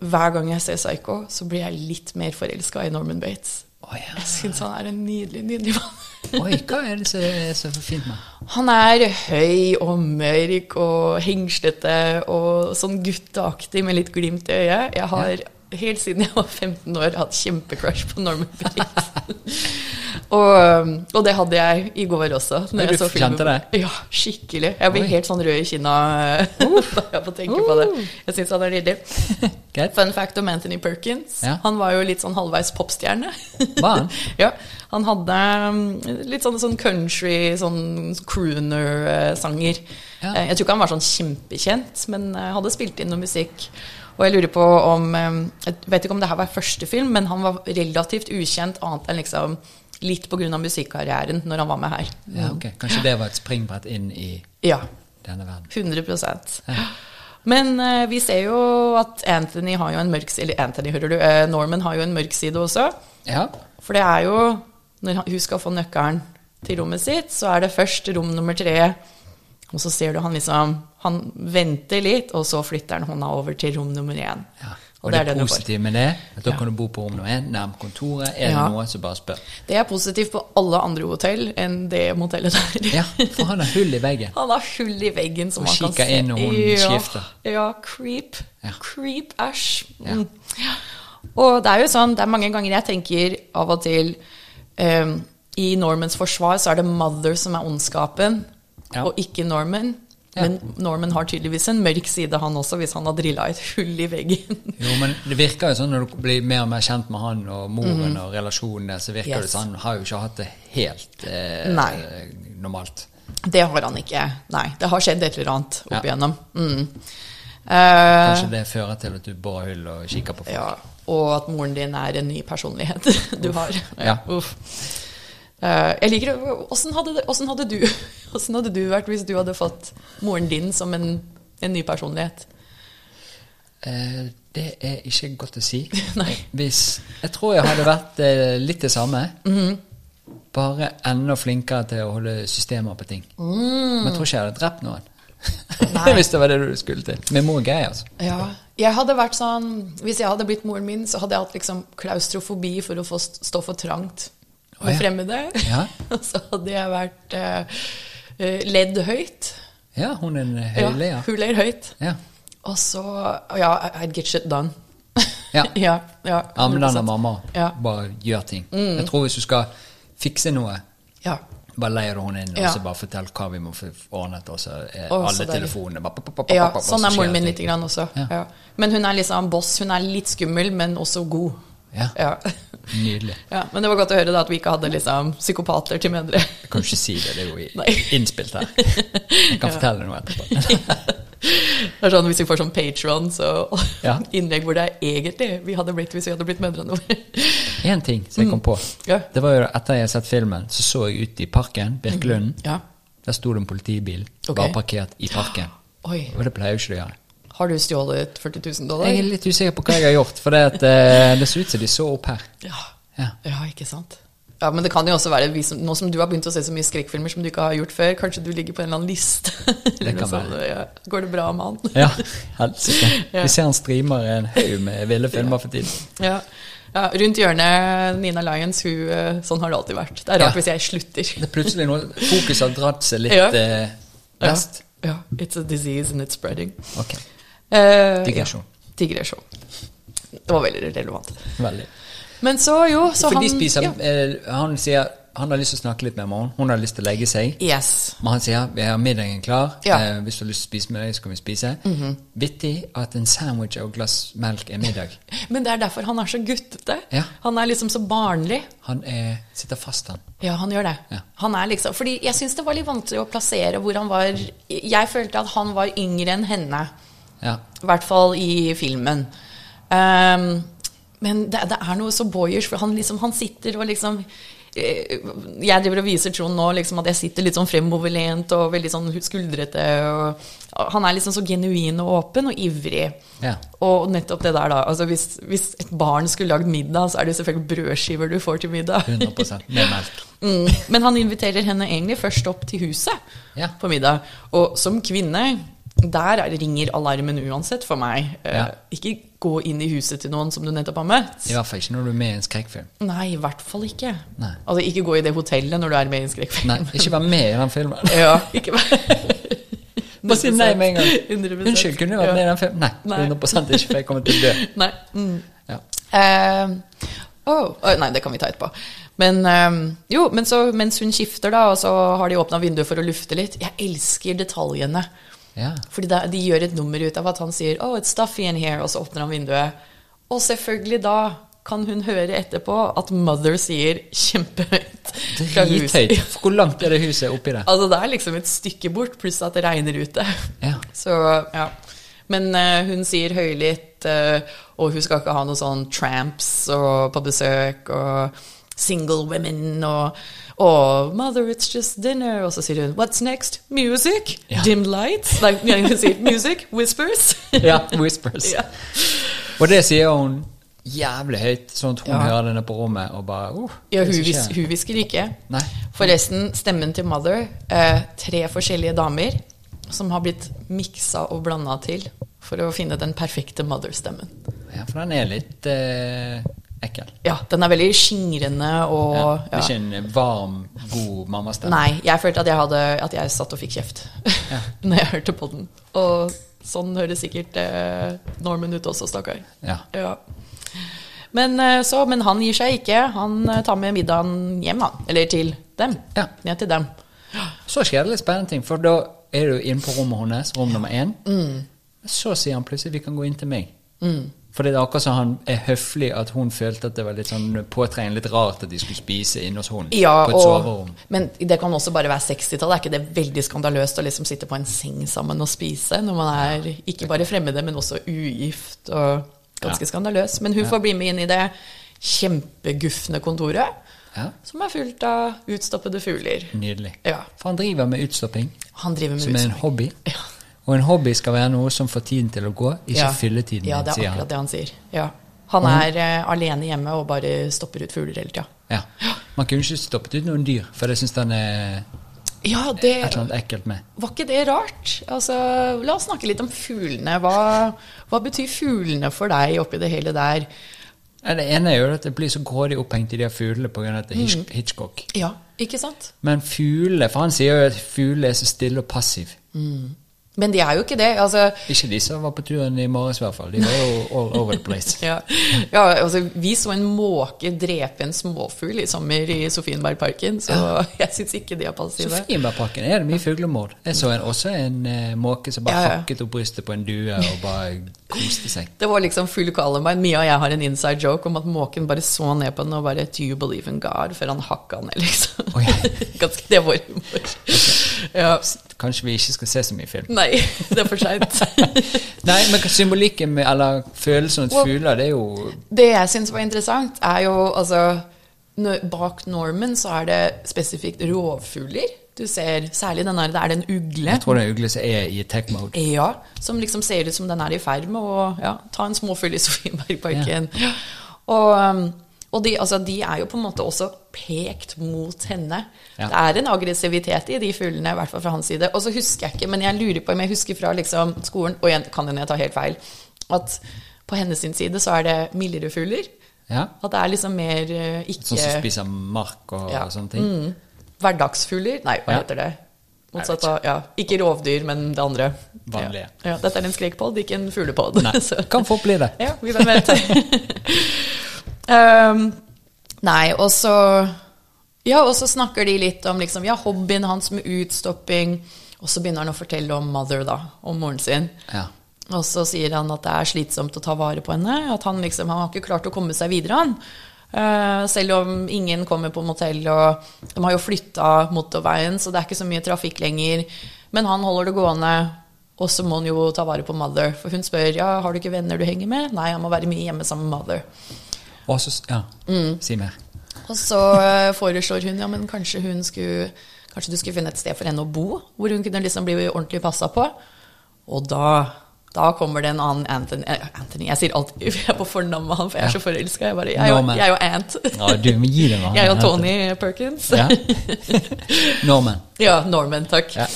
Speaker 2: Hver gang jeg ser Psycho, så blir jeg litt mer forelska i Norman Bates.
Speaker 1: Å, ja.
Speaker 2: Jeg syns han er en nydelig, nydelig mann.
Speaker 1: Oi, hva er det som er så fint med
Speaker 2: Han er høy og mørk og hengslete og sånn gutteaktig med litt glimt i øyet. Jeg har helt siden jeg var 15 år hatt kjempecrush på Norman Bates. og, um, og det hadde jeg i går også.
Speaker 1: Men
Speaker 2: jeg
Speaker 1: du
Speaker 2: filmen.
Speaker 1: kjente
Speaker 2: Ja, skikkelig. Jeg blir
Speaker 1: Oi.
Speaker 2: helt sånn rød i kinna da jeg får tenke på det. Jeg syns han er nydelig.
Speaker 1: Greit?
Speaker 2: Fun fact om Anthony Perkins.
Speaker 1: Ja.
Speaker 2: Han var jo litt sånn halvveis popstjerne.
Speaker 1: Var han?
Speaker 2: ja, han hadde um, litt sånn, sånn country, sånn crooner-sanger.
Speaker 1: Ja.
Speaker 2: Jeg tror ikke han var sånn kjempekjent, men eh, hadde spilt inn noe musikk. Og jeg lurer på om eh, Jeg vet ikke om det her var første film, men han var relativt ukjent annet enn liksom litt pga. musikkarrieren når han var med her.
Speaker 1: Ja, ok. Kanskje det var et springbrett inn i
Speaker 2: Ja.
Speaker 1: denne verden.
Speaker 2: 100
Speaker 1: Ja.
Speaker 2: Men eh, vi ser jo at Anthony har jo en mørk side Eller Anthony, hører du. eh, Norman har jo en mørk side også.
Speaker 1: Ja.
Speaker 2: For det er jo Når han- hun skal få nøkkelen til rommet sitt, så er det først rom nummer tre. Og så ser du han liksom Han venter litt, og så flytter han hånda over til rom nummer én.
Speaker 1: ja.
Speaker 2: Og, det, er det, du får.
Speaker 1: positive med det, at da
Speaker 2: Ja.
Speaker 1: kan du bo på rom nummer én, nærm kontoret. Er det
Speaker 2: Ja.
Speaker 1: noen som bare spør?
Speaker 2: det er positivt på alle andre hotell enn det motellet der.
Speaker 1: Ja, for han har hull i veggen.
Speaker 2: Han har hull i veggen som
Speaker 1: Og
Speaker 2: man
Speaker 1: kikker
Speaker 2: kan se.
Speaker 1: inn når hun
Speaker 2: ja,
Speaker 1: skifter.
Speaker 2: Ja, creep.
Speaker 1: Ja.
Speaker 2: Creep, æsj.
Speaker 1: Ja.
Speaker 2: Mm. Ja. Og det er jo sånn, det er mange ganger jeg tenker av og til ehm, I Normans forsvar så er det Mother som er ondskapen,
Speaker 1: Ja.
Speaker 2: og ikke Norman.
Speaker 1: Ja.
Speaker 2: Men Norman har tydeligvis en mørk side, han også, hvis han har drilla et hull i veggen.
Speaker 1: Jo, men det virker jo sånn når du blir mer og mer kjent med han og moren og relasjonene, så virker det
Speaker 2: Mhm. Yes.
Speaker 1: sånn. Han har jo ikke hatt det helt
Speaker 2: Nei.
Speaker 1: eh, normalt.
Speaker 2: Det har han ikke. Nei, det har skjedd et eller annet opp
Speaker 1: Ja.
Speaker 2: igjennom. Mm. Eh,
Speaker 1: Kanskje det fører til at du borer hull og kikker på folk.
Speaker 2: Ja, og at moren din er en ny personlighet du har.
Speaker 1: Ja.
Speaker 2: Uff. Eh, jeg liker det. Åssen hadde, det- hvordan hadde, du- hvordan hadde du vært hvis du hadde fått moren din som en, en ny personlighet?
Speaker 1: Eh, det er ikke godt å si.
Speaker 2: Nei.
Speaker 1: Hvis, jeg tror jeg hadde vært eh, litt det samme.
Speaker 2: Mhm.
Speaker 1: Bare enda flinkere til å holde systemer på ting. Men jeg tror ikke jeg hadde drept noen.
Speaker 2: Mm. Nei.
Speaker 1: Hvis det var det du skulle til. Med mor greier, altså.
Speaker 2: Ja. Jeg hadde vært sånn, Hvis jeg hadde blitt moren min, så hadde jeg hatt liksom klaustrofobi for å få st- stå for trangt
Speaker 1: Å,
Speaker 2: med
Speaker 1: ja.
Speaker 2: fremmede.
Speaker 1: Ja.
Speaker 2: Og så hadde jeg vært eh, eh, ledd høyt.
Speaker 1: Ja, hun er en
Speaker 2: Ja,
Speaker 1: høyleia.
Speaker 2: Hun ler høyt.
Speaker 1: Ja.
Speaker 2: Og så Ja, I- I'd get shit done.
Speaker 1: Ja.
Speaker 2: ja, ja,
Speaker 1: Armene
Speaker 2: 100%.
Speaker 1: og mamma.
Speaker 2: Ja. Mm.
Speaker 1: Bare gjør ting. Jeg tror hvis du skal fikse noe,
Speaker 2: ja.
Speaker 1: bare leier du henne inn
Speaker 2: Ja.
Speaker 1: og så bare fortell hva vi må få ordnet, og så er
Speaker 2: Å, så
Speaker 1: alle
Speaker 2: deilig.
Speaker 1: telefonene bare pop, pop, pop,
Speaker 2: ja
Speaker 1: pop, pop, og
Speaker 2: sånn
Speaker 1: så
Speaker 2: er moren
Speaker 1: skjer
Speaker 2: min
Speaker 1: ting.
Speaker 2: litt grann også.
Speaker 1: Ja.
Speaker 2: Ja. Men hun er liksom boss. Hun er litt skummel, men også god.
Speaker 1: Ja.
Speaker 2: Ja.
Speaker 1: Nydelig.
Speaker 2: Ja, men det var godt å høre da at vi ikke hadde liksom psykopater til mødre.
Speaker 1: Jeg kan jo ikke si det, det er jo i-
Speaker 2: Nei.
Speaker 1: innspilt her. Jeg kan fortelle noe etterpå.
Speaker 2: Det er sånn Hvis vi får sånn patron, så
Speaker 1: Ja.
Speaker 2: innlegg hvor det er egentlig vi hadde blitt hvis vi hadde blitt mødrene våre.
Speaker 1: Én ting som jeg kom på.
Speaker 2: Mm. Ja.
Speaker 1: Det var jo etter jeg hadde sett filmen, så så jeg ut i parken, Birkelunden.
Speaker 2: Ja.
Speaker 1: Der sto det en politibil
Speaker 2: Mm. Ok.
Speaker 1: bare parkert i parken.
Speaker 2: Oi.
Speaker 1: Og det pleier jo ikke de å gjøre.
Speaker 2: Har du stjålet 40 000 dollar?
Speaker 1: Jeg er litt usikker på hva jeg har gjort, for det, at, eh, det så ut som de så opp her.
Speaker 2: Ja.
Speaker 1: Ja.
Speaker 2: ja, ikke sant? Ja, Men det kan jo også være, vi som, nå som du har begynt å se så mye skrekkfilmer som du ikke har gjort før, kanskje du ligger på en eller annen liste? Eller
Speaker 1: kan
Speaker 2: noe sånt,
Speaker 1: være.
Speaker 2: ja. Går det bra med han?
Speaker 1: Ja, helsike.
Speaker 2: Ja.
Speaker 1: Vi ser han streamer en haug med ville filmer for tiden.
Speaker 2: Ja. ja. Rundt hjørnet, Nina Lyons, hun, eh, sånn har det alltid vært. Det er
Speaker 1: Ja.
Speaker 2: rart hvis jeg slutter.
Speaker 1: Det er plutselig noe Fokus har dratt seg litt
Speaker 2: Ja.
Speaker 1: eh, vest.
Speaker 2: Ja. ja. It's a disease and it's spreading.
Speaker 1: Ok,
Speaker 2: Eh,
Speaker 1: Digresjon.
Speaker 2: Ja. Digresjon. Det var veldig relevant.
Speaker 1: veldig.
Speaker 2: Men så, jo, så
Speaker 1: For
Speaker 2: han
Speaker 1: de spiser
Speaker 2: ja.
Speaker 1: eh, Han sier han har lyst til å snakke litt med mamma, hun har lyst til å legge seg.
Speaker 2: Yes.
Speaker 1: Men han sier vi har middagen klar.
Speaker 2: Ja. Mhm.
Speaker 1: Eh, hvis du har lyst til å spise med deg, så kan vi spise. Vittig at en sandwich og et glass melk er middag.
Speaker 2: Men det er derfor han er så guttete.
Speaker 1: Ja.
Speaker 2: Han er liksom så barnlig.
Speaker 1: Han er, sitter fast, han.
Speaker 2: Ja, han gjør det.
Speaker 1: Ja.
Speaker 2: Han er liksom, fordi jeg syns det var litt vanskelig å plassere hvor han var Jeg følte at han var yngre enn henne.
Speaker 1: Ja.
Speaker 2: I hvert fall i filmen. Ehm, men det, det er noe så boyish, for han, liksom, han sitter og liksom eh, Jeg driver og viser Trond nå liksom, at jeg sitter litt sånn fremoverlent og veldig sånn skuldrete. Og, og han er liksom så genuin og åpen og ivrig.
Speaker 1: Ja.
Speaker 2: Og nettopp det der, da. Altså, hvis, hvis et barn skulle lagd middag, så er det jo selvfølgelig brødskiver du får til middag.
Speaker 1: 100 med melk.
Speaker 2: Mm. Men han inviterer henne egentlig først opp til huset
Speaker 1: Ja.
Speaker 2: på middag. Og som kvinne, der er- ringer alarmen uansett for meg. Eh,
Speaker 1: Ja.
Speaker 2: Ikke gå inn i huset til noen som du nettopp har møtt.
Speaker 1: I hvert fall ikke når du er med i en skrekkfilm.
Speaker 2: Nei, i hvert fall ikke.
Speaker 1: Nei.
Speaker 2: Altså, ikke gå i det hotellet når du er med i en skrekkfilm.
Speaker 1: Nei, ikke vær med i den filmen.
Speaker 2: ja, ikke vær-
Speaker 1: Bare si nei med en gang.
Speaker 2: 100%.
Speaker 1: Unnskyld, kunne du vært med i den filmen? Nei,
Speaker 2: Nei.
Speaker 1: 100 ikke, for jeg kommer til å dø.
Speaker 2: Nei. Mm.
Speaker 1: Ja.
Speaker 2: Eh, å, å, nei, det kan vi ta etterpå. Men eh, jo, men så, mens hun skifter, da, og så har de åpna vinduet for å lufte litt Jeg elsker detaljene.
Speaker 1: Ja.
Speaker 2: Fordi da, de gjør et nummer ut av at han sier «Oh, it's stuffy in here», og så åpner han vinduet. Og selvfølgelig da kan hun høre etterpå at mother sier kjempehøyt fra
Speaker 1: Drithøyt.
Speaker 2: huset.
Speaker 1: Hvor langt er det huset oppi der?
Speaker 2: Altså, det er liksom et stykke bort, pluss at det regner ute.
Speaker 1: Ja.
Speaker 2: Så, ja. Men eh, hun sier høylytt, eh, og hun skal ikke ha noe sånn tramps og, på besøk, og single women, og, og mother, it's just dinner. Og så sier hun, what's next? Music?
Speaker 1: Ja.
Speaker 2: Dim lights? Nei, hun sier music, whispers.
Speaker 1: Ja, whispers.
Speaker 2: Ja.
Speaker 1: Og det sier hun jævlig høyt, sånn at hun
Speaker 2: Ja.
Speaker 1: hører det nede på rommet og bare uh, det
Speaker 2: Ja,
Speaker 1: er
Speaker 2: hun,
Speaker 1: så
Speaker 2: vis,
Speaker 1: skjer.
Speaker 2: hun hvisker ikke.
Speaker 1: Nei.
Speaker 2: Forresten, stemmen til Mother, eh, tre forskjellige damer som har blitt miksa og blanda til for å finne den perfekte Mother-stemmen.
Speaker 1: Ja, for den er litt eh, ekkel.
Speaker 2: Ja, den er veldig skingrende og
Speaker 1: Ja. Det
Speaker 2: ja.
Speaker 1: er ikke en varm, god mammastemme.
Speaker 2: Nei, jeg følte at jeg, hadde, at jeg satt og fikk kjeft når jeg hørte på den. Og sånn høres sikkert eh, Norman ut også, stakkar.
Speaker 1: Ja.
Speaker 2: Ja. Men, eh, så, men han gir seg ikke. Han eh, tar med middagen hjem, han. Eller til dem.
Speaker 1: Ja.
Speaker 2: Ned til dem.
Speaker 1: Så skjer det litt spennende ting, for da er du inne på rommet hennes, rom nummer én.
Speaker 2: Mm.
Speaker 1: Så sier han plutselig 'vi kan gå inn til meg'. For det er akkurat som han er høflig at hun følte at det var litt sånn påtrengende, litt rart at de skulle spise inne hos hun
Speaker 2: Ja,
Speaker 1: på et
Speaker 2: og,
Speaker 1: soverom.
Speaker 2: men det kan også bare være 60-tallet. Er ikke det veldig skandaløst å liksom sitte på en seng sammen og spise når man er ikke bare fremmede, men også ugift og ganske
Speaker 1: Ja.
Speaker 2: skandaløs? Men hun får bli med inn i det kjempegufne kontoret,
Speaker 1: Ja,
Speaker 2: som er fullt av utstoppede fugler.
Speaker 1: Nydelig.
Speaker 2: Ja.
Speaker 1: For han driver med utstopping,
Speaker 2: Han driver med
Speaker 1: Mm. som er en
Speaker 2: utstopping.
Speaker 1: hobby.
Speaker 2: Ja.
Speaker 1: Og en hobby skal være noe som får tiden til å gå, ikke
Speaker 2: Ja.
Speaker 1: fylletiden
Speaker 2: Ja,
Speaker 1: din,
Speaker 2: det er
Speaker 1: sier han. Mm.
Speaker 2: akkurat det han sier. Ja. Han er eh, alene hjemme og bare stopper ut fugler hele tida.
Speaker 1: Ja. Man kunne ikke stoppet ut noen dyr, for det syns han er
Speaker 2: Ja,
Speaker 1: et
Speaker 2: det
Speaker 1: eller annet ekkelt med.
Speaker 2: Var ikke det rart? Altså, la oss snakke litt om fuglene. Hva, hva betyr fuglene for deg oppi det hele der?
Speaker 1: Ja, Det ene er jo at det blir så grådig opphengt i de her fuglene pga.
Speaker 2: Mm.
Speaker 1: Hitchcock.
Speaker 2: Ja, ikke sant?
Speaker 1: Men fuglene For han sier jo at fuglene er så stille og passiv.
Speaker 2: Men de er jo ikke det. Altså,
Speaker 1: Ikke de som var på turen i morges, i hvert fall. De var jo all over the place.
Speaker 2: ja, ja, altså, vi så en måke drepe en småfugl i sommer i Sofienbergparken, så jeg syns ikke de er passive.
Speaker 1: Sofienbergparken er det mye fuglemord. Jeg så en, også en eh, måke som bare
Speaker 2: Ja, ja.
Speaker 1: hakket opp brystet på en due og bare koste seg.
Speaker 2: Det var liksom full Columbine. Mia og jeg har en inside joke om at måken bare så ned på den og bare Do you believe in God? før han hakka ned, liksom.
Speaker 1: Oi.
Speaker 2: Ganske, det var humor. Ja.
Speaker 1: Kanskje vi ikke skal se så mye film.
Speaker 2: Nei, det er for seint.
Speaker 1: Nei, men symbolikken med, eller følelsen rundt
Speaker 2: Well-
Speaker 1: fugler, det er jo
Speaker 2: Det jeg syns var interessant, er jo altså når- Bak normen så er det spesifikt rovfugler. Du ser særlig den der det er det en ugle.
Speaker 1: Jeg tror det er ugle som er i attack mode.
Speaker 2: Ja, som liksom ser ut som den er i ferd med å ja, ta en småfugl i Sofienbergparken. Og, um, og de, altså, de er jo på en måte også pekt mot henne.
Speaker 1: Ja.
Speaker 2: Det er en aggressivitet i de fuglene, i hvert fall fra hans side. Og så husker jeg ikke, men jeg lurer på om jeg husker fra liksom, skolen, og igjen kan hende jeg tar helt feil, at på hennes sin side så er det mildere fugler.
Speaker 1: Ja.
Speaker 2: At det er liksom mer eh,
Speaker 1: Sånn som
Speaker 2: ikke
Speaker 1: spiser mark og,
Speaker 2: Ja. Mm.
Speaker 1: og sånne ting.
Speaker 2: hverdagsfugler. Nei, hva
Speaker 1: Ja.
Speaker 2: heter det?
Speaker 1: Jeg vet
Speaker 2: Motsatt av ja, Ikke rovdyr, men det andre.
Speaker 1: Vanlige.
Speaker 2: Ja. Ja, dette er en skrekpod, ikke en fuglepod.
Speaker 1: Nei,
Speaker 2: Så-
Speaker 1: kan fort bli det.
Speaker 2: Ja, vi hvem vet. um, nei, og så Ja, og så snakker de litt om liksom, ja, hobbyen hans med utstopping. Og så begynner han å fortelle om mother, da. Om moren sin.
Speaker 1: Ja.
Speaker 2: Og så sier han at det er slitsomt å ta vare på henne. At han liksom, han har ikke klart å komme seg videre, han. Eh, selv om ingen kommer på motell, og de har jo flytta motorveien, så det er ikke så mye trafikk lenger. Men han holder det gående, og så må han jo ta vare på mother. For hun spør ja, har du ikke venner du henger med. Nei, han må være mye hjemme sammen med mother.
Speaker 1: Og så s- Ja,
Speaker 2: Mm.
Speaker 1: si mer.
Speaker 2: Og så eh, foreslår hun ja, men kanskje hun skulle Kanskje du skulle finne et sted for henne å bo, hvor hun kunne liksom bli ordentlig passa på. Og da, da kommer det en annen Anthony, eh, Anthony Jeg sier alltid jeg er på fornavn med han, for jeg er så forelska. Jeg, bare, jeg, er jo-
Speaker 1: Norman.
Speaker 2: jeg er jo Ant.
Speaker 1: Ja, du må gi det hva han
Speaker 2: Jeg er jo
Speaker 1: heter.
Speaker 2: Tony Perkins.
Speaker 1: Ja. Norman.
Speaker 2: Ja, Norman, takk.
Speaker 1: Ja.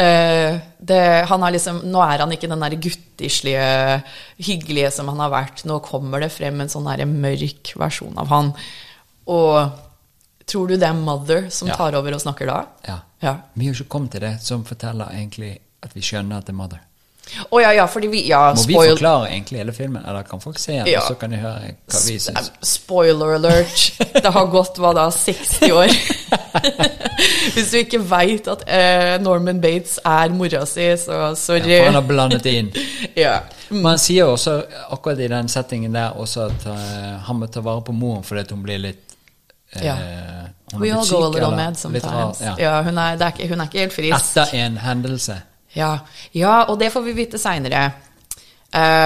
Speaker 2: Eh, det, han er liksom, nå er han ikke den der guttislige, hyggelige som han har vært. Nå kommer det frem en sånn der mørk versjon av han. Og tror du det er Mother som
Speaker 1: Ja.
Speaker 2: tar over og snakker da?
Speaker 1: Ja.
Speaker 2: Ja.
Speaker 1: Vi har ikke kommet til det som forteller egentlig at vi skjønner at det er mother.
Speaker 2: Å ja, ja, fordi vi ja,
Speaker 1: Må vi
Speaker 2: spoil-
Speaker 1: forklare egentlig hele filmen, eller kan folk se den,
Speaker 2: Ja.
Speaker 1: og så kan de høre hva vi syns?
Speaker 2: eh, Spoiler alert. Det har gått hva da, 60 år. Hvis du ikke veit at eh, Norman Bates er mora si, så sorry.
Speaker 1: Ja, for han har blandet det inn.
Speaker 2: Ja.
Speaker 1: Man sier jo også akkurat i den settingen der også at eh, han må ta vare på moren fordi at hun blir litt eh,
Speaker 2: Ja.
Speaker 1: hun har
Speaker 2: We
Speaker 1: blitt
Speaker 2: all go a
Speaker 1: syk,
Speaker 2: little
Speaker 1: eller
Speaker 2: mad
Speaker 1: litt rar,
Speaker 2: sometimes.
Speaker 1: ja.
Speaker 2: Ja, hun, er, det er ikke, hun er ikke helt frisk.
Speaker 1: Etter en hendelse.
Speaker 2: Ja. ja, og det får vi vite seinere.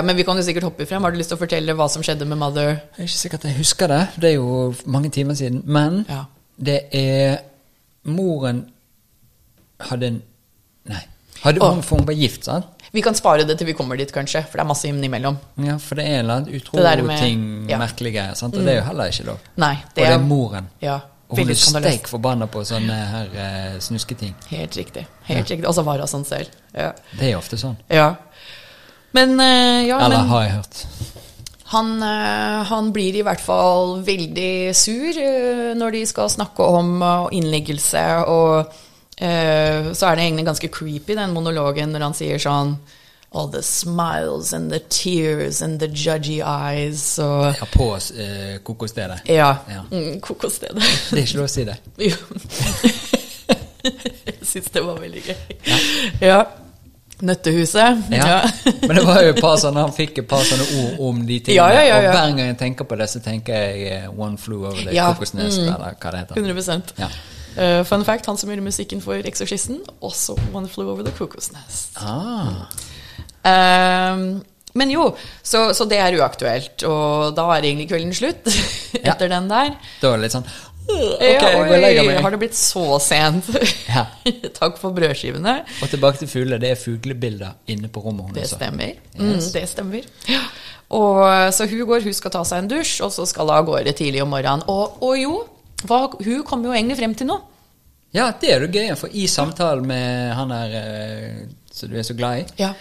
Speaker 2: men vi kan jo sikkert hoppe frem. Har du lyst til å fortelle hva som skjedde med Mother?
Speaker 1: Jeg er ikke sikker at jeg husker det, det er jo mange timer siden. Men
Speaker 2: Ja.
Speaker 1: det er Moren hadde en Nei. Hadde,
Speaker 2: Å.
Speaker 1: hun, for hun var gift, sant?
Speaker 2: Vi kan spare det til vi kommer dit, kanskje, for det er masse innimellom.
Speaker 1: Ja, for det er en eller annen utro
Speaker 2: Det der med-
Speaker 1: ting,
Speaker 2: ja. Mm.
Speaker 1: merkelige greier. Sant? Og det er jo heller ikke lov.
Speaker 2: Nei,
Speaker 1: og det er moren.
Speaker 2: Ja,
Speaker 1: Og hun
Speaker 2: veldig
Speaker 1: er
Speaker 2: skandaløst.
Speaker 1: steik forbanna på sånne her eh, snusketing.
Speaker 2: Helt riktig. helt riktig. Og så var hun sånn selv. Ja.
Speaker 1: Det er jo ofte sånn.
Speaker 2: ja. Men eh, ja,
Speaker 1: Eller
Speaker 2: men
Speaker 1: har jeg hørt.
Speaker 2: Han, eh, han blir i hvert fall veldig sur eh, når de skal snakke om eh, innleggelse, og eh, så er det egentlig ganske creepy, den monologen, når han sier sånn All the smiles and the tears and the judgy eyes og
Speaker 1: Ja, på eh, kokosstedet.
Speaker 2: Ja.
Speaker 1: Ja.
Speaker 2: Mm, Kokosstedet.
Speaker 1: Det er ikke lov å si det.
Speaker 2: Jo. Jeg syns det var veldig gøy. Ja. Nøttehuset.
Speaker 1: Ja. Men det var jo et par sånne han fikk et par sånne ord om de tingene.
Speaker 2: Ja, ja, ja,
Speaker 1: Og
Speaker 2: ja.
Speaker 1: hver gang jeg tenker på det, så tenker jeg eh, One flew over the
Speaker 2: Ja, Mm.
Speaker 1: kokosnest, eller hva det heter.
Speaker 2: 100
Speaker 1: Ja.
Speaker 2: Eh, fun fact, han som gjorde musikken for Exorcisten, også One Flew Over The Cuckoo's Nest.
Speaker 1: Ah,
Speaker 2: Ehm, men jo, så, så det er uaktuelt, og da er egentlig kvelden slutt etter den der.
Speaker 1: da er det litt sånn Ok,
Speaker 2: Ja,
Speaker 1: jeg går og legger
Speaker 2: oi, har
Speaker 1: meg.
Speaker 2: det blitt så sent?
Speaker 1: Ja.
Speaker 2: Takk for brødskivene.
Speaker 1: Og tilbake til fugler. Det er fuglebilder inne på rommet
Speaker 2: Det
Speaker 1: hennes. også.
Speaker 2: stemmer. Mm, det stemmer. Ja. Og, så hun går, hun skal ta seg en dusj, og så skal hun av gårde tidlig om morgenen. Og, og jo, hva, hun kommer jo egentlig frem til noe.
Speaker 1: Ja, det er jo gøy, for i samtalen med han her eh, som du er så glad i,
Speaker 2: Ja.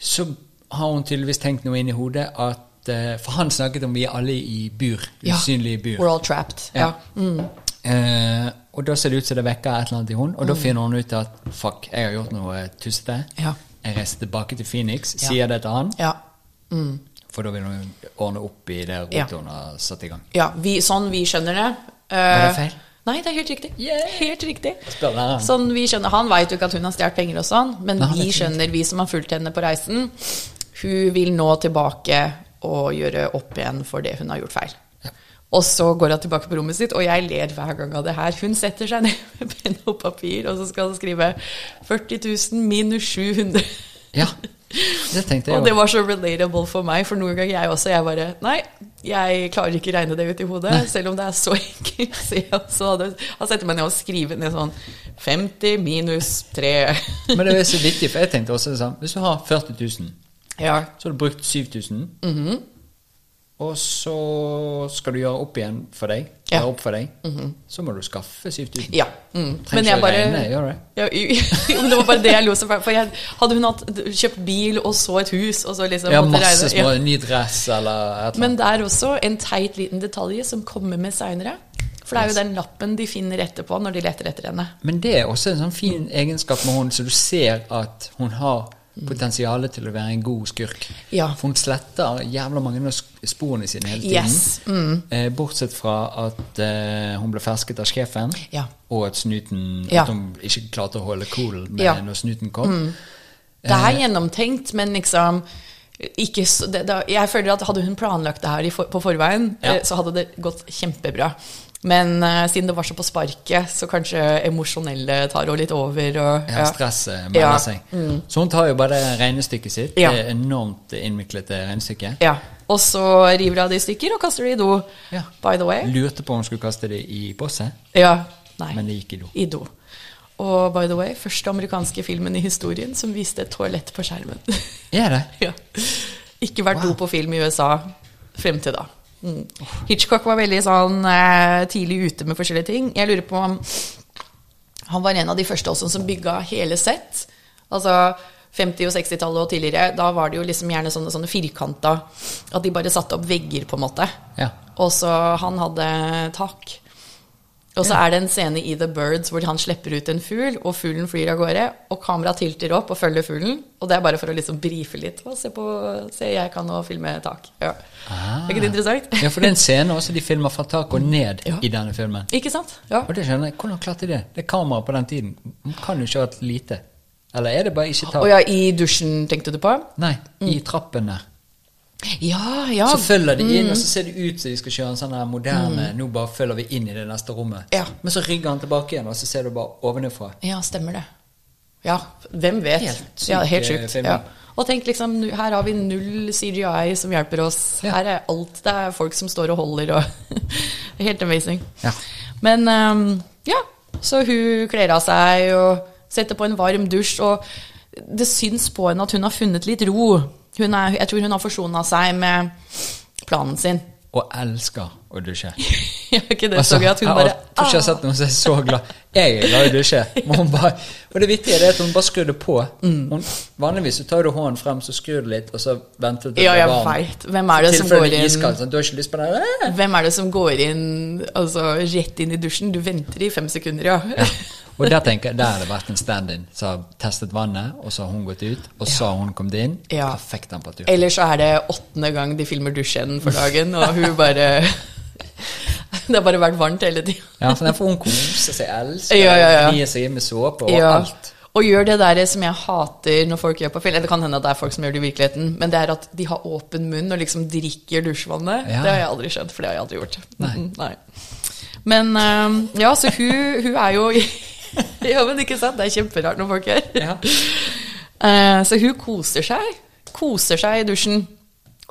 Speaker 1: så har hun tydeligvis tenkt noe inn i hodet at eh, For han snakket om vi er alle i bur.
Speaker 2: Ja.
Speaker 1: Usynlige bur.
Speaker 2: We're all trapped. Ja. Mm.
Speaker 1: Eh, og da ser det ut som det vekker et eller annet i henne, og da finner hun ut at fuck, jeg har gjort noe tussete.
Speaker 2: Mm. Ja.
Speaker 1: Jeg reiser tilbake til Phoenix,
Speaker 2: Ja.
Speaker 1: sier det til han,
Speaker 2: ja. Mm.
Speaker 1: for da vil hun ordne opp i det rotet
Speaker 2: Ja.
Speaker 1: hun har satt i gang.
Speaker 2: Ja, vi, sånn vi skjønner det. Eh,
Speaker 1: Var det feil?
Speaker 2: Nei, det er helt riktig.
Speaker 1: Yeah!
Speaker 2: Helt riktig.
Speaker 1: Spør læreren.
Speaker 2: Sånn vi skjønner, Han vet jo ikke at hun har stjålet penger og sånn, men
Speaker 1: Nei, han
Speaker 2: vi
Speaker 1: vet ikke.
Speaker 2: skjønner, vi som har fulgt henne på reisen, hun vil nå tilbake og gjøre opp igjen for det hun har gjort feil. Og så går hun tilbake på rommet sitt, og jeg ler hver gang av det her. Hun setter seg ned med penn og papir, og så skal hun skrive 40 000 minus 700.
Speaker 1: Ja, det tenkte
Speaker 2: Og det
Speaker 1: jeg òg.
Speaker 2: var så relatable for meg, for noen ganger jeg også. Jeg bare Nei, jeg klarer ikke regne det ut i hodet, selv om det er så enkelt. Så jeg også hadde, da setter jeg meg ned og skriver ned sånn 50 minus 3.
Speaker 1: Men det er så vittig, for jeg tenkte også det samme. Hvis du har 40 000,
Speaker 2: ja.
Speaker 1: så har du brukt 7000,
Speaker 2: Mhm.
Speaker 1: og så skal du gjøre opp igjen for deg,
Speaker 2: Ja. Mhm.
Speaker 1: gjøre opp for deg, så må du skaffe 7000.
Speaker 2: ja. Mm.
Speaker 1: Trenger ikke å regne, gjør det.
Speaker 2: Ja, i- jo, men det var bare det jeg lo så fælt. For jeg, hadde hun hatt, kjøpt bil og så et hus, og så liksom
Speaker 1: Ja,
Speaker 2: måtte
Speaker 1: masse
Speaker 2: regne- ja.
Speaker 1: små ny dress eller et eller
Speaker 2: Men
Speaker 1: annet.
Speaker 2: der også en teit liten detalj som kommer med seinere. For det er jo den lappen de finner etterpå når de leter etter henne.
Speaker 1: Men det er også en sånn fin egenskap med henne, så du ser at hun har potensialet til å være en god skurk.
Speaker 2: Mm. Ja.
Speaker 1: For hun sletter jævla mange av sk- sporene sine hele tiden.
Speaker 2: Yes, Mm.
Speaker 1: Eh, Bortsett fra at eh, hun ble fersket av sjefen,
Speaker 2: Ja.
Speaker 1: og at snuten
Speaker 2: Ja.
Speaker 1: At hun ikke klarte å holde cool med
Speaker 2: Ja. Mm.
Speaker 1: når snuten kom.
Speaker 2: Det
Speaker 1: Eh.
Speaker 2: er gjennomtenkt, men liksom ikke så, det, det, Jeg føler at hadde hun planlagt det her i for, på forveien,
Speaker 1: Ja.
Speaker 2: eh, så hadde det gått kjempebra. Men eh, siden det var så på sparket, så kanskje emosjonelle tar henne litt over. Og,
Speaker 1: Ja, stresset melder
Speaker 2: Ja. Mm.
Speaker 1: seg. Så hun tar jo bare det regnestykket sitt,
Speaker 2: Ja.
Speaker 1: det enormt innviklete regnestykket.
Speaker 2: Ja. Og så river hun det i stykker og kaster det i do.
Speaker 1: Ja.
Speaker 2: By the way.
Speaker 1: Lurte på om hun skulle kaste det i bosset,
Speaker 2: Ja. Nei.
Speaker 1: men det gikk i do.
Speaker 2: I do. Og by the way, første amerikanske filmen i historien som viste et toalett på skjermen.
Speaker 1: Er det?
Speaker 2: ja. Ikke vært
Speaker 1: Wow.
Speaker 2: god på film i USA frem til da. Mm. Hitchcock var veldig sånn eh, tidlig ute med forskjellige ting. Jeg lurer på om han var en av de første også som bygga hele sett. Altså 50- og 60-tallet og tidligere, da var det jo liksom gjerne sånne, sånne firkanta At de bare satte opp vegger, på en måte.
Speaker 1: Ja.
Speaker 2: Og så han hadde tak. Og så er det en scene i The Birds hvor han slipper ut en fugl, og fuglen flyr av gårde, og kameraet tilter opp og følger fuglen. Og det er bare for å liksom brife litt. Og se, på, se, jeg kan nå filme tak. Ja.
Speaker 1: Ah.
Speaker 2: Er ikke det interessant?
Speaker 1: Ja, for det er en scene også de filmer fra taket og ned
Speaker 2: Ja.
Speaker 1: i denne filmen.
Speaker 2: Ikke sant? Ja.
Speaker 1: Og det skjønner jeg, Hvordan klarte de det? Det er kamera på den tiden. Man kan jo ikke ha hatt lite. Eller er det bare ikke tak?
Speaker 2: Og ja, Mm. i dusjen, tenkte du på?
Speaker 1: Nei, i trappen der.
Speaker 2: Ja, ja.
Speaker 1: Så følger de inn, og
Speaker 2: Mm.
Speaker 1: så ser det ut som de skal kjøre en sånn her moderne Nå bare følger vi inn i det neste rommet.
Speaker 2: Ja.
Speaker 1: Men så rygger han tilbake igjen, og så ser du bare ovenifra.
Speaker 2: Ja, stemmer det. Ja, hvem vet?
Speaker 1: Helt sykt,
Speaker 2: ja, helt
Speaker 1: eh,
Speaker 2: sjukt.
Speaker 1: filming.
Speaker 2: Ja. Og tenk liksom, nu- her har vi null CGI som hjelper oss.
Speaker 1: Ja.
Speaker 2: Her er alt. Det er folk som står og holder og Helt amazing.
Speaker 1: Ja.
Speaker 2: Men ehm, ja, så hun kler av seg og setter på en varm dusj, og det syns på henne at hun har funnet litt ro. Hun er, jeg tror hun har forsona seg med planen sin.
Speaker 1: Og elsker å dusje.
Speaker 2: Gjør ikke det
Speaker 1: Altså,
Speaker 2: så gøy at hun
Speaker 1: jeg
Speaker 2: bare «Ah!»
Speaker 1: har- tror ikke jeg har sett noen som er så glad. Jeg er glad i å dusje. Men hun bare, og det vittige er at hun bare skrur det på.
Speaker 2: Mm.
Speaker 1: Hun, vanligvis så tar du hånden frem, så skrur du litt, og så venter du til
Speaker 2: Ah. Ja,
Speaker 1: det
Speaker 2: jeg
Speaker 1: blir varm.
Speaker 2: veit. Hvem er det som
Speaker 1: Tilfelle
Speaker 2: går
Speaker 1: det er
Speaker 2: inn
Speaker 1: iskaldt, sånn, du har ikke lyst på det? Æ!
Speaker 2: Hvem er det som går inn altså, rett inn i dusjen? Du venter i fem sekunder, ja.
Speaker 1: Og der tenker jeg, der har det vært en stand-in som har testet vannet, og så har hun gått ut, og så har hun kommet inn.
Speaker 2: Ja.
Speaker 1: Perfekt temperatur.
Speaker 2: Eller så er det åttende gang de filmer dusjen for dagen, og hun bare Det har bare vært varmt hele tida.
Speaker 1: Ja, for der får hun kose seg, elsker,
Speaker 2: Ja, ja, ja.
Speaker 1: gni seg inn med såpe og
Speaker 2: Ja.
Speaker 1: alt.
Speaker 2: Og gjør det der som jeg hater når folk gjør på film. Det kan hende at det er folk som gjør det i virkeligheten, men det er at de har åpen munn og liksom drikker dusjvannet.
Speaker 1: Ja.
Speaker 2: Det har jeg aldri skjønt, for det har jeg aldri gjort.
Speaker 1: Nei.
Speaker 2: Mm, Nei. Men øhm, ja, så hun, hun er jo Ja, men ikke sant? Det er kjemperart når folk gjør.
Speaker 1: Ja.
Speaker 2: Eh, Så hun koser seg. Koser seg i dusjen.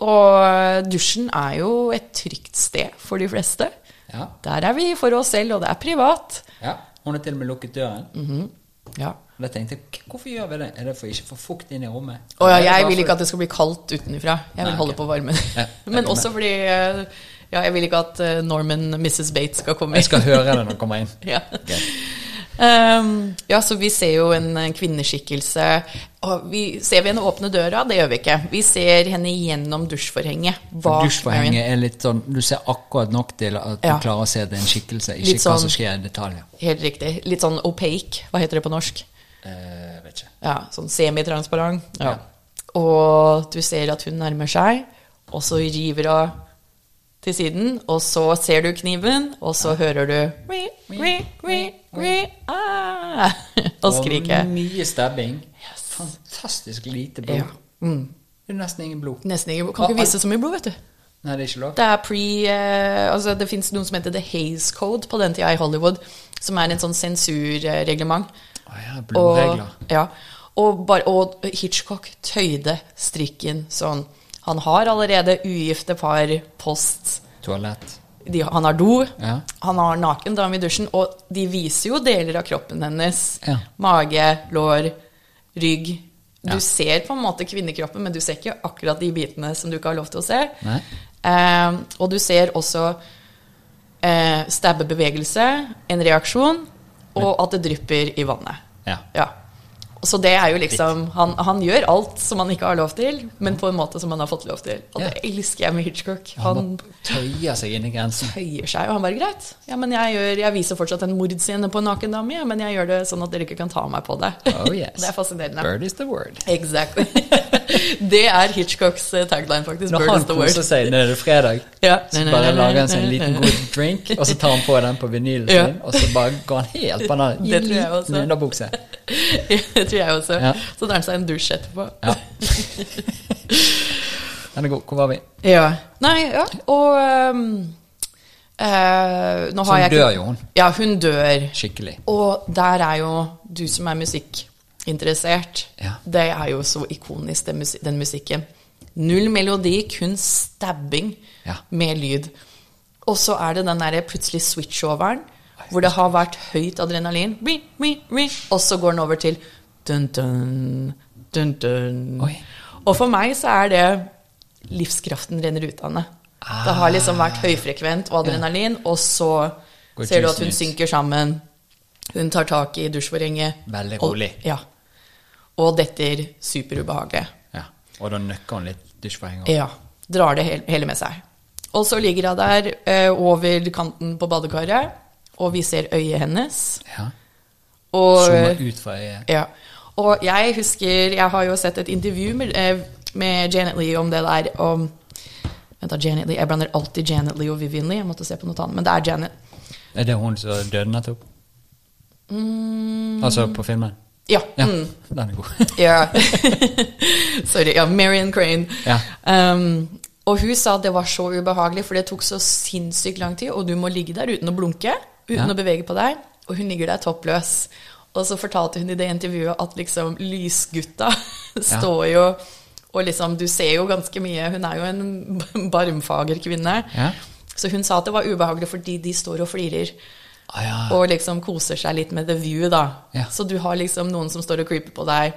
Speaker 2: Og eh, dusjen er jo et trygt sted for de fleste.
Speaker 1: Ja.
Speaker 2: Der er vi for oss selv, og det er privat.
Speaker 1: ja. Hun har til og med lukket døren.
Speaker 2: Mm. Ja.
Speaker 1: Og da tenkte jeg, "K- hvorfor gjør vi det? Er det for ikke å få fukt inn i rommet?
Speaker 2: Og ja,
Speaker 1: Er det
Speaker 2: jeg
Speaker 1: bare
Speaker 2: vil
Speaker 1: for-
Speaker 2: ikke at det skal bli kaldt utenfra.
Speaker 1: Nei,
Speaker 2: Jeg vil
Speaker 1: ok.
Speaker 2: holde på varmen.
Speaker 1: Ja, jeg
Speaker 2: Men
Speaker 1: er
Speaker 2: også
Speaker 1: med.
Speaker 2: fordi eh, ja, jeg vil ikke at eh, Norman Mrs. Bates skal komme
Speaker 1: Jeg skal høre det når han kommer inn.
Speaker 2: Ja.
Speaker 1: Ok.
Speaker 2: Ehm, ja, så vi ser jo en en kvinneskikkelse. Og vi, ser vi henne åpne døra? Det gjør vi ikke. Vi ser henne gjennom dusjforhenget. bak Marion.
Speaker 1: Dusjforhenget er litt sånn Du ser akkurat nok til at du
Speaker 2: Ja.
Speaker 1: klarer å se at det er en skikkelse, ikke
Speaker 2: Litt
Speaker 1: hva
Speaker 2: sånn-
Speaker 1: som skjer i detaljer.
Speaker 2: Helt riktig. Litt sånn opaque. Hva heter det på norsk?
Speaker 1: Eh, vet ikke.
Speaker 2: Ja, sånn semitransparent. Ja. Og du ser at hun nærmer seg, og så river hun til siden, og så ser du kniven, og så hører du «Ri, ri, ri, ri, ah!» Og skriket.
Speaker 1: mye stabbing. Fantastisk lite blod.
Speaker 2: Ja. Mm.
Speaker 1: Det er nesten ingen blod.
Speaker 2: Nesten ikke Kan ikke vise så mye blod, vet du.
Speaker 1: Nei, det er ikke lov.
Speaker 2: Det er pre... Eh, altså det fins noe som heter The Haze Code på den tida i Hollywood, som er en sånn sensurreglement.
Speaker 1: Å ja, blodregler.
Speaker 2: Og, ja. Og, bare, og Hitchcock tøyde strikken sånn. Han har allerede ugifte par, post
Speaker 1: Toalett.
Speaker 2: de, Han har do,
Speaker 1: Ja.
Speaker 2: han har naken dame i dusjen, og de viser jo deler av kroppen hennes.
Speaker 1: Ja.
Speaker 2: Mage, lår, rygg. Du
Speaker 1: Ja.
Speaker 2: ser på en måte kvinnekroppen, men du ser ikke akkurat de bitene som du ikke har lov til å se.
Speaker 1: Nei.
Speaker 2: Eh, og du ser også eh, stabbebevegelse, en reaksjon, og at det drypper i vannet.
Speaker 1: Ja.
Speaker 2: Ja. Så det er jo liksom han, han gjør alt som han ikke har lov til, men på en måte som han har fått lov til. Og det
Speaker 1: Ja.
Speaker 2: elsker jeg med Hitchcock.
Speaker 1: Han
Speaker 2: Han
Speaker 1: bare tøyer seg inn i grensen.
Speaker 2: høyer seg, og han bare greit. Ja, men jeg, gjør, jeg viser fortsatt en mordscene på en naken dame, ja, men jeg gjør det sånn at dere ikke kan ta meg på det.
Speaker 1: Oh yes.
Speaker 2: Det er fascinerende.
Speaker 1: Bird is the word.
Speaker 2: Exactly. det er Hitchcocks eh, tagline, faktisk.
Speaker 1: Når
Speaker 2: Bird
Speaker 1: han
Speaker 2: is the word.
Speaker 1: koser seg når det er fredag,
Speaker 2: Ja.
Speaker 1: så bare lager han seg en sånn liten god drink, og så tar han på den på vinylen
Speaker 2: Ja.
Speaker 1: sin, og så bare går han helt banan i
Speaker 2: Det tror jeg
Speaker 1: liten
Speaker 2: også.
Speaker 1: underbukse.
Speaker 2: Det tror jeg også.
Speaker 1: Ja.
Speaker 2: Så tar han seg altså en dusj etterpå.
Speaker 1: Ja. Den er god. Hvor var vi?
Speaker 2: Ja. Nei, ja, og ehm, eh, nå har
Speaker 1: Så
Speaker 2: jeg
Speaker 1: hun
Speaker 2: ikke-
Speaker 1: dør jo, hun.
Speaker 2: Ja, hun dør.
Speaker 1: Skikkelig.
Speaker 2: Og der er jo du som er musikkinteressert.
Speaker 1: Ja.
Speaker 2: Det er jo så ikonisk, den, musi den musikken. Null melodi, kun stabbing
Speaker 1: Ja.
Speaker 2: med lyd. Og så er det den derre plutselig switch-overen, hvor det har vært høyt adrenalin, ri, ri, ri, og så går den over til dun-dun, dun-dun.
Speaker 1: Oi.
Speaker 2: Og for meg så er det livskraften renner ut av henne. Det
Speaker 1: Ah.
Speaker 2: har liksom vært høyfrekvent og adrenalin, og så
Speaker 1: Går
Speaker 2: ser du at
Speaker 1: tusen
Speaker 2: hun
Speaker 1: ut.
Speaker 2: synker sammen. Hun tar tak i dusjforhenget.
Speaker 1: Veldig
Speaker 2: og-
Speaker 1: rolig.
Speaker 2: Ja. Og detter superubehagelig.
Speaker 1: Ja. Og da nøkker hun litt dusjforhenger.
Speaker 2: Ja. Drar det hele, hele med seg. Og så ligger hun der eh, over kanten på badekaret, og vi ser øyet hennes.
Speaker 1: Ja.
Speaker 2: Og, eh,
Speaker 1: Zoomer ut fra øyet.
Speaker 2: ja. Og jeg husker Jeg har jo sett et intervju med, eh, med Janet Lee om det der om Vent da, Janet Lee. Jeg blander alltid Janet Lee og Vivian Lee. Jeg måtte se på noe annet, men det er Janet.
Speaker 1: Er det hun som døde nettopp? Altså på filmen?
Speaker 2: Ja.
Speaker 1: Ja.
Speaker 2: Mm,
Speaker 1: Den er god.
Speaker 2: ja. Sorry. Ja, Marion Crane.
Speaker 1: Ja.
Speaker 2: Um, og hun sa at det var så ubehagelig, for det tok så sinnssykt lang tid, og du må ligge der uten å blunke, uten
Speaker 1: Ja.
Speaker 2: å bevege på deg, og hun ligger der toppløs. Og så fortalte hun i det intervjuet at liksom lysgutta står jo Og liksom, du ser jo ganske mye Hun er jo en barmfager kvinne.
Speaker 1: Ja.
Speaker 2: Så hun sa at det var ubehagelig fordi de står og flirer.
Speaker 1: Ah, ja.
Speaker 2: Og liksom koser seg litt med the view, da.
Speaker 1: Ja.
Speaker 2: Så du har liksom noen som står og creeper på deg,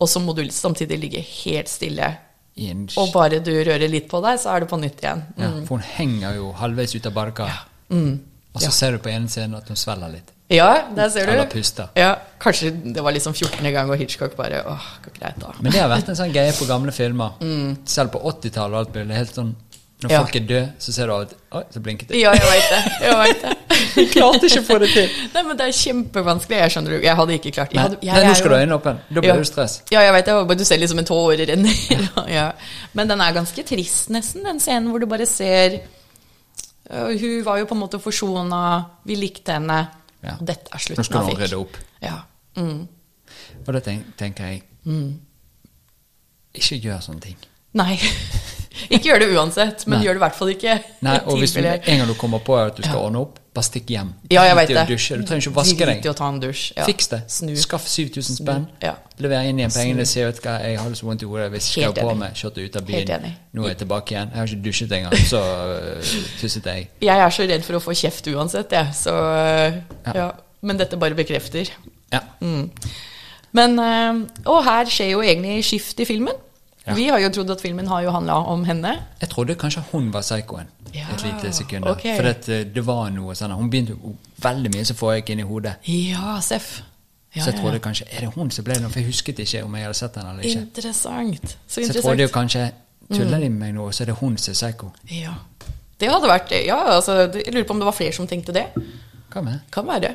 Speaker 2: og så må du samtidig ligge helt stille.
Speaker 1: I en
Speaker 2: Og bare du rører litt på deg, så er du på nytt igjen.
Speaker 1: Ja, for hun henger jo halvveis ut av badekaret. Og så
Speaker 2: Mm. Ja.
Speaker 1: ser du på ene siden at hun svelger litt.
Speaker 2: Ja, der ser du.
Speaker 1: Eller puster.
Speaker 2: Ja, kanskje det var liksom 14. gang, og Hitchcock bare åh, går greit, da.
Speaker 1: Men det har vært en sånn greie på gamle filmer. Selv på 80-tallet og alt mulig. Helt sånn når
Speaker 2: Mm. Ja.
Speaker 1: folk er døde, så ser du av og til Oi, så blinket det.
Speaker 2: Ja, jeg veit det. Jeg vet det.
Speaker 1: Vi klarte ikke å få det til.
Speaker 2: Nei, men det er kjempevanskelig. Jeg skjønner det. Jeg hadde ikke klart jeg
Speaker 1: Nei,
Speaker 2: hadde, jeg,
Speaker 1: nei,
Speaker 2: er
Speaker 1: nå skal du
Speaker 2: jo-
Speaker 1: ha øynene åpne. Da blir
Speaker 2: Ja.
Speaker 1: du stress.
Speaker 2: Ja, jeg vet det. og bare Du ser liksom en tåre renner. Ja. Men den er ganske trist, nesten, den scenen hvor du bare ser øh, Hun var jo på en måte forsona, vi likte henne.
Speaker 1: Ja.
Speaker 2: Og dette er
Speaker 1: Nå
Speaker 2: slutten
Speaker 1: skal
Speaker 2: av
Speaker 1: hun
Speaker 2: fikk.
Speaker 1: rydde opp.
Speaker 2: Ja. Mm.
Speaker 1: Og da tenk, tenker jeg Ikke gjør sånne ting.
Speaker 2: Nei. ikke gjør det uansett, men
Speaker 1: Nei.
Speaker 2: gjør det i hvert fall ikke.
Speaker 1: Nei, og hvis du,
Speaker 2: Tilfelle-
Speaker 1: en gang du kommer på at du skal
Speaker 2: Ja.
Speaker 1: ordne opp, bare stikk hjem.
Speaker 2: ja, jeg
Speaker 1: Drit
Speaker 2: vet
Speaker 1: i å
Speaker 2: det.
Speaker 1: dusje. Du trenger ikke å vaske
Speaker 2: Drit
Speaker 1: deg.
Speaker 2: i å ta en dusj. Ja.
Speaker 1: Fiks det.
Speaker 2: Snu.
Speaker 1: Skaff 7000 spenn.
Speaker 2: Ja.
Speaker 1: Lever inn igjen pengene. Se ut hva jeg hadde så vondt i hodet hvis jeg
Speaker 2: Helt
Speaker 1: ikke har på
Speaker 2: enig.
Speaker 1: meg. Kjørte ut av
Speaker 2: Helt
Speaker 1: byen.
Speaker 2: enig.
Speaker 1: Nå er jeg tilbake igjen. Jeg har ikke dusjet engang, så øh, tusset jeg.
Speaker 2: Jeg er så redd for å få kjeft uansett, jeg. Så øh,
Speaker 1: Ja.
Speaker 2: ja. Men dette bare bekrefter.
Speaker 1: Ja.
Speaker 2: Mm. Men, eh, og her skjer jo egentlig skift i filmen.
Speaker 1: Ja.
Speaker 2: Vi har jo trodd at filmen har jo handla om henne.
Speaker 1: Jeg trodde kanskje hun var psykoen
Speaker 2: Ja,
Speaker 1: et lite sekund.
Speaker 2: ok.
Speaker 1: For det var noe sånn Hun begynte jo veldig mye som foregikk inni hodet.
Speaker 2: Ja, Seff. Ja,
Speaker 1: Så jeg
Speaker 2: ja,
Speaker 1: trodde kanskje Er det hun som ble den? For jeg husket ikke om jeg hadde sett den eller
Speaker 2: ja.
Speaker 1: ikke.
Speaker 2: Interessant.
Speaker 1: Så
Speaker 2: Så
Speaker 1: jeg trodde jo
Speaker 2: interessant.
Speaker 1: kanskje
Speaker 2: Mm.
Speaker 1: Tuller de med meg nå, så er det hun som er psyko?
Speaker 2: Ja. Det hadde vært Ja, altså, jeg lurer på om det var flere som tenkte det.
Speaker 1: Hva med?
Speaker 2: Kan være.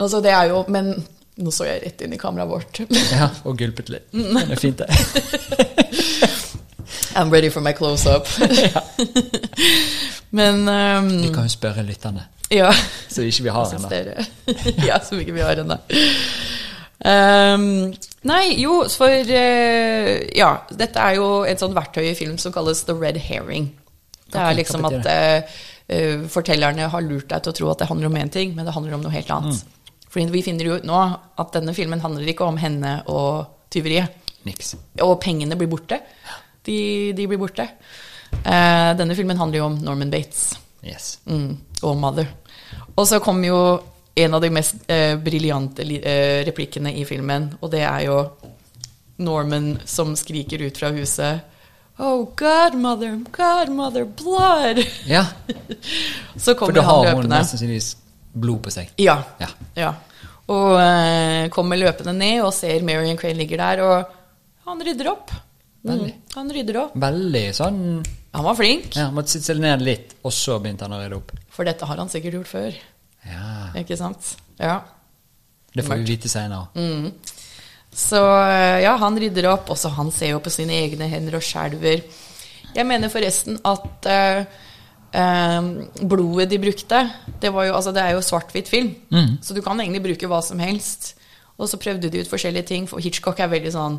Speaker 2: Altså, det er jo Men nå så jeg rett inn i kameraet vårt.
Speaker 1: Ja, og gulpet litt.
Speaker 2: Mm.
Speaker 1: Det er fint, det.
Speaker 2: I'm ready for my close-up. men
Speaker 1: Vi
Speaker 2: ehm,
Speaker 1: kan jo spørre lytterne,
Speaker 2: Ja.
Speaker 1: så ikke vi har
Speaker 2: Syns
Speaker 1: henne.
Speaker 2: dere? ja, som ikke vi har ennå. Ehm, Nei, jo, for eh, Ja, dette er jo et sånt verktøy i film som kalles the red herring.
Speaker 1: Ok,
Speaker 2: Det er
Speaker 1: hva
Speaker 2: liksom
Speaker 1: betyr
Speaker 2: at eh, eh, fortellerne har lurt deg til å tro at det handler om én ting, men det handler om noe helt annet. Fordi vi finner jo ut nå at denne filmen handler ikke om henne og tyveriet.
Speaker 1: Niks.
Speaker 2: Og pengene blir borte. De, de blir borte. Eh, denne filmen handler jo om Norman Bates
Speaker 1: Yes.
Speaker 2: mm, og Mother. Og så kom jo en av de mest eh, briljante li- eh, replikkene i filmen, og det er jo Norman som skriker ut fra huset Oh, godmother, godmother, blood!
Speaker 1: Ja,
Speaker 2: Så
Speaker 1: for
Speaker 2: kommer
Speaker 1: da
Speaker 2: han
Speaker 1: har hun
Speaker 2: løpende.
Speaker 1: mest sannsynligvis blod på seg.
Speaker 2: Ja.
Speaker 1: Ja.
Speaker 2: ja. Og eh, kommer løpende ned og ser Marion Crane ligger der, og han rydder opp. Mm,
Speaker 1: Veldig.
Speaker 2: han rydder opp.
Speaker 1: Veldig sånn
Speaker 2: Han var flink,
Speaker 1: ja, Måtte sitte seg ned litt, og så begynte han å rydde opp.
Speaker 2: for dette har han sikkert gjort før.
Speaker 1: Ja,
Speaker 2: Ikke sant? Ja.
Speaker 1: Det får vi vite
Speaker 2: Mm.
Speaker 1: seinere.
Speaker 2: Så eh, ja, han rydder opp. Også han ser jo på sine egne hender og skjelver. Jeg mener forresten at eh, eh, blodet de brukte Det, var jo, altså, det er jo svart-hvitt film, så du kan egentlig bruke hva som helst. Og så prøvde de ut forskjellige ting, for Hitchcock er veldig sånn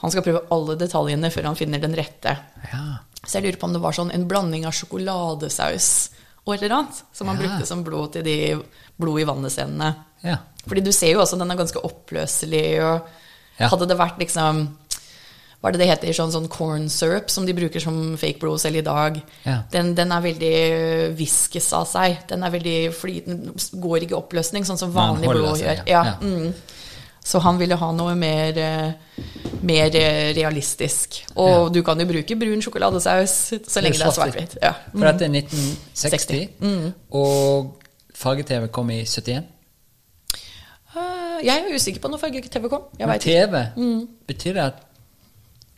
Speaker 2: Han skal prøve alle detaljene før han finner den rette.
Speaker 1: Ja.
Speaker 2: Så jeg lurer på om det var sånn en blanding av sjokoladesaus og et eller annet som
Speaker 1: Ja.
Speaker 2: han brukte som blod til de blod i vannet-scenene.
Speaker 1: ja.
Speaker 2: Fordi du ser jo også den er ganske oppløselig. Og
Speaker 1: Ja.
Speaker 2: Hadde det vært liksom Hva er det det heter? Sånn, sånn corn syrup som de bruker som fake bro selv i dag.
Speaker 1: Ja.
Speaker 2: Den, den er veldig viskes av seg. Den er veldig flytende, går ikke i oppløsning, sånn som
Speaker 1: Men
Speaker 2: vanlig
Speaker 1: holder
Speaker 2: blod
Speaker 1: seg,
Speaker 2: gjør.
Speaker 1: ja.
Speaker 2: Ja.
Speaker 1: Ja.
Speaker 2: Mm. Så han ville ha noe mer, eh, mer eh, realistisk. Og du kan jo bruke brun sjokoladesaus så lenge det er svart-hvitt. Ja.
Speaker 1: For dette er
Speaker 2: Mm.
Speaker 1: 1960, og farge-TV kom i 71.
Speaker 2: Eh, Jeg er usikker på når farge-TV kom. Jeg
Speaker 1: Men
Speaker 2: vet ikke.
Speaker 1: TV,
Speaker 2: Mm.
Speaker 1: betyr det at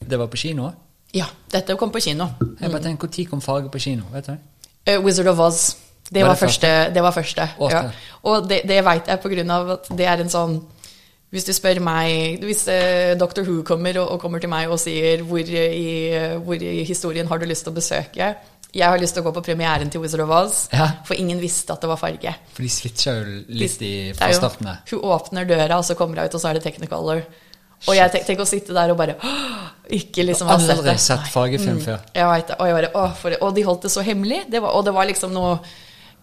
Speaker 1: det var på kino?
Speaker 2: Ja, dette kom på kino.
Speaker 1: Jeg bare tenker, Når kom farge på kino? vet du? det?
Speaker 2: Eh, Wizard of Oz. Det
Speaker 1: Var
Speaker 2: var,
Speaker 1: det første?
Speaker 2: første. Det var første
Speaker 1: Å,
Speaker 2: ja.
Speaker 1: det.
Speaker 2: Og det, det veit jeg på grunn av at det er en sånn Hvis du spør meg Hvis eh, Dr. Who kommer og, og kommer til meg og sier hvor i, hvor i historien har du lyst til å besøke Jeg har lyst til å gå på premieren til Wizard of Oz,
Speaker 1: Ja.
Speaker 2: for ingen visste at det var farge.
Speaker 1: For de switcha jo litt i,
Speaker 2: Det
Speaker 1: fra
Speaker 2: er jo-
Speaker 1: starten av.
Speaker 2: Hun åpner døra, og så kommer hun ut, og så er det Technicolor. Og jeg tenk, tenk å sitte der og bare «Åh!» Ikke liksom ha sett
Speaker 1: Aldri
Speaker 2: det. Mm.
Speaker 1: sett fargefilm før.
Speaker 2: Jeg vet det. Og, jeg bare, «Åh, for, det- og de holdt det så hemmelig. Det var, og det var liksom noe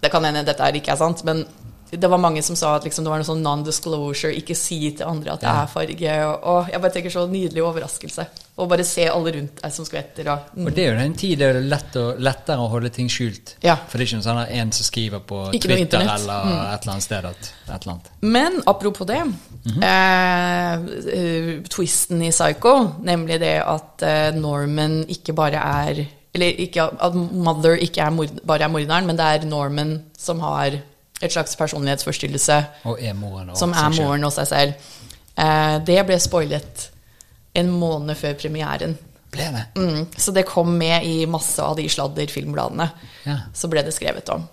Speaker 2: Det kan hende dette er ikke er sant, men det var mange som sa at liksom, det var noe sånn non-disclosure, ikke si til andre at det er farge. Og, og jeg bare tenker så nydelig overraskelse. Og bare se alle rundt deg som skvetter. Og, mm.
Speaker 1: Og det er jo den tid det er lett å, lettere å holde ting skjult.
Speaker 2: Ja.
Speaker 1: For det er ikke noe sånn at en som skriver på
Speaker 2: Ikke noe
Speaker 1: Twitter
Speaker 2: internett. Mm.
Speaker 1: eller et eller annet sted at et eller annet.
Speaker 2: Men apropos det, eh, eh, twisten i Psycho, nemlig det at eh, Norman ikke bare er Eller ikke, at Mother ikke er mord, bare er morderen, men det er Norman som har et slags personlighetsforstyrrelse
Speaker 1: Og er moren og
Speaker 2: som er
Speaker 1: seg selv.
Speaker 2: moren og seg selv. Eh, det ble spoilet en måned før premieren.
Speaker 1: Ble det?
Speaker 2: Mm, så det kom med i masse av de sladderfilmbladene.
Speaker 1: Ja. Ah.
Speaker 2: Så ble det skrevet om.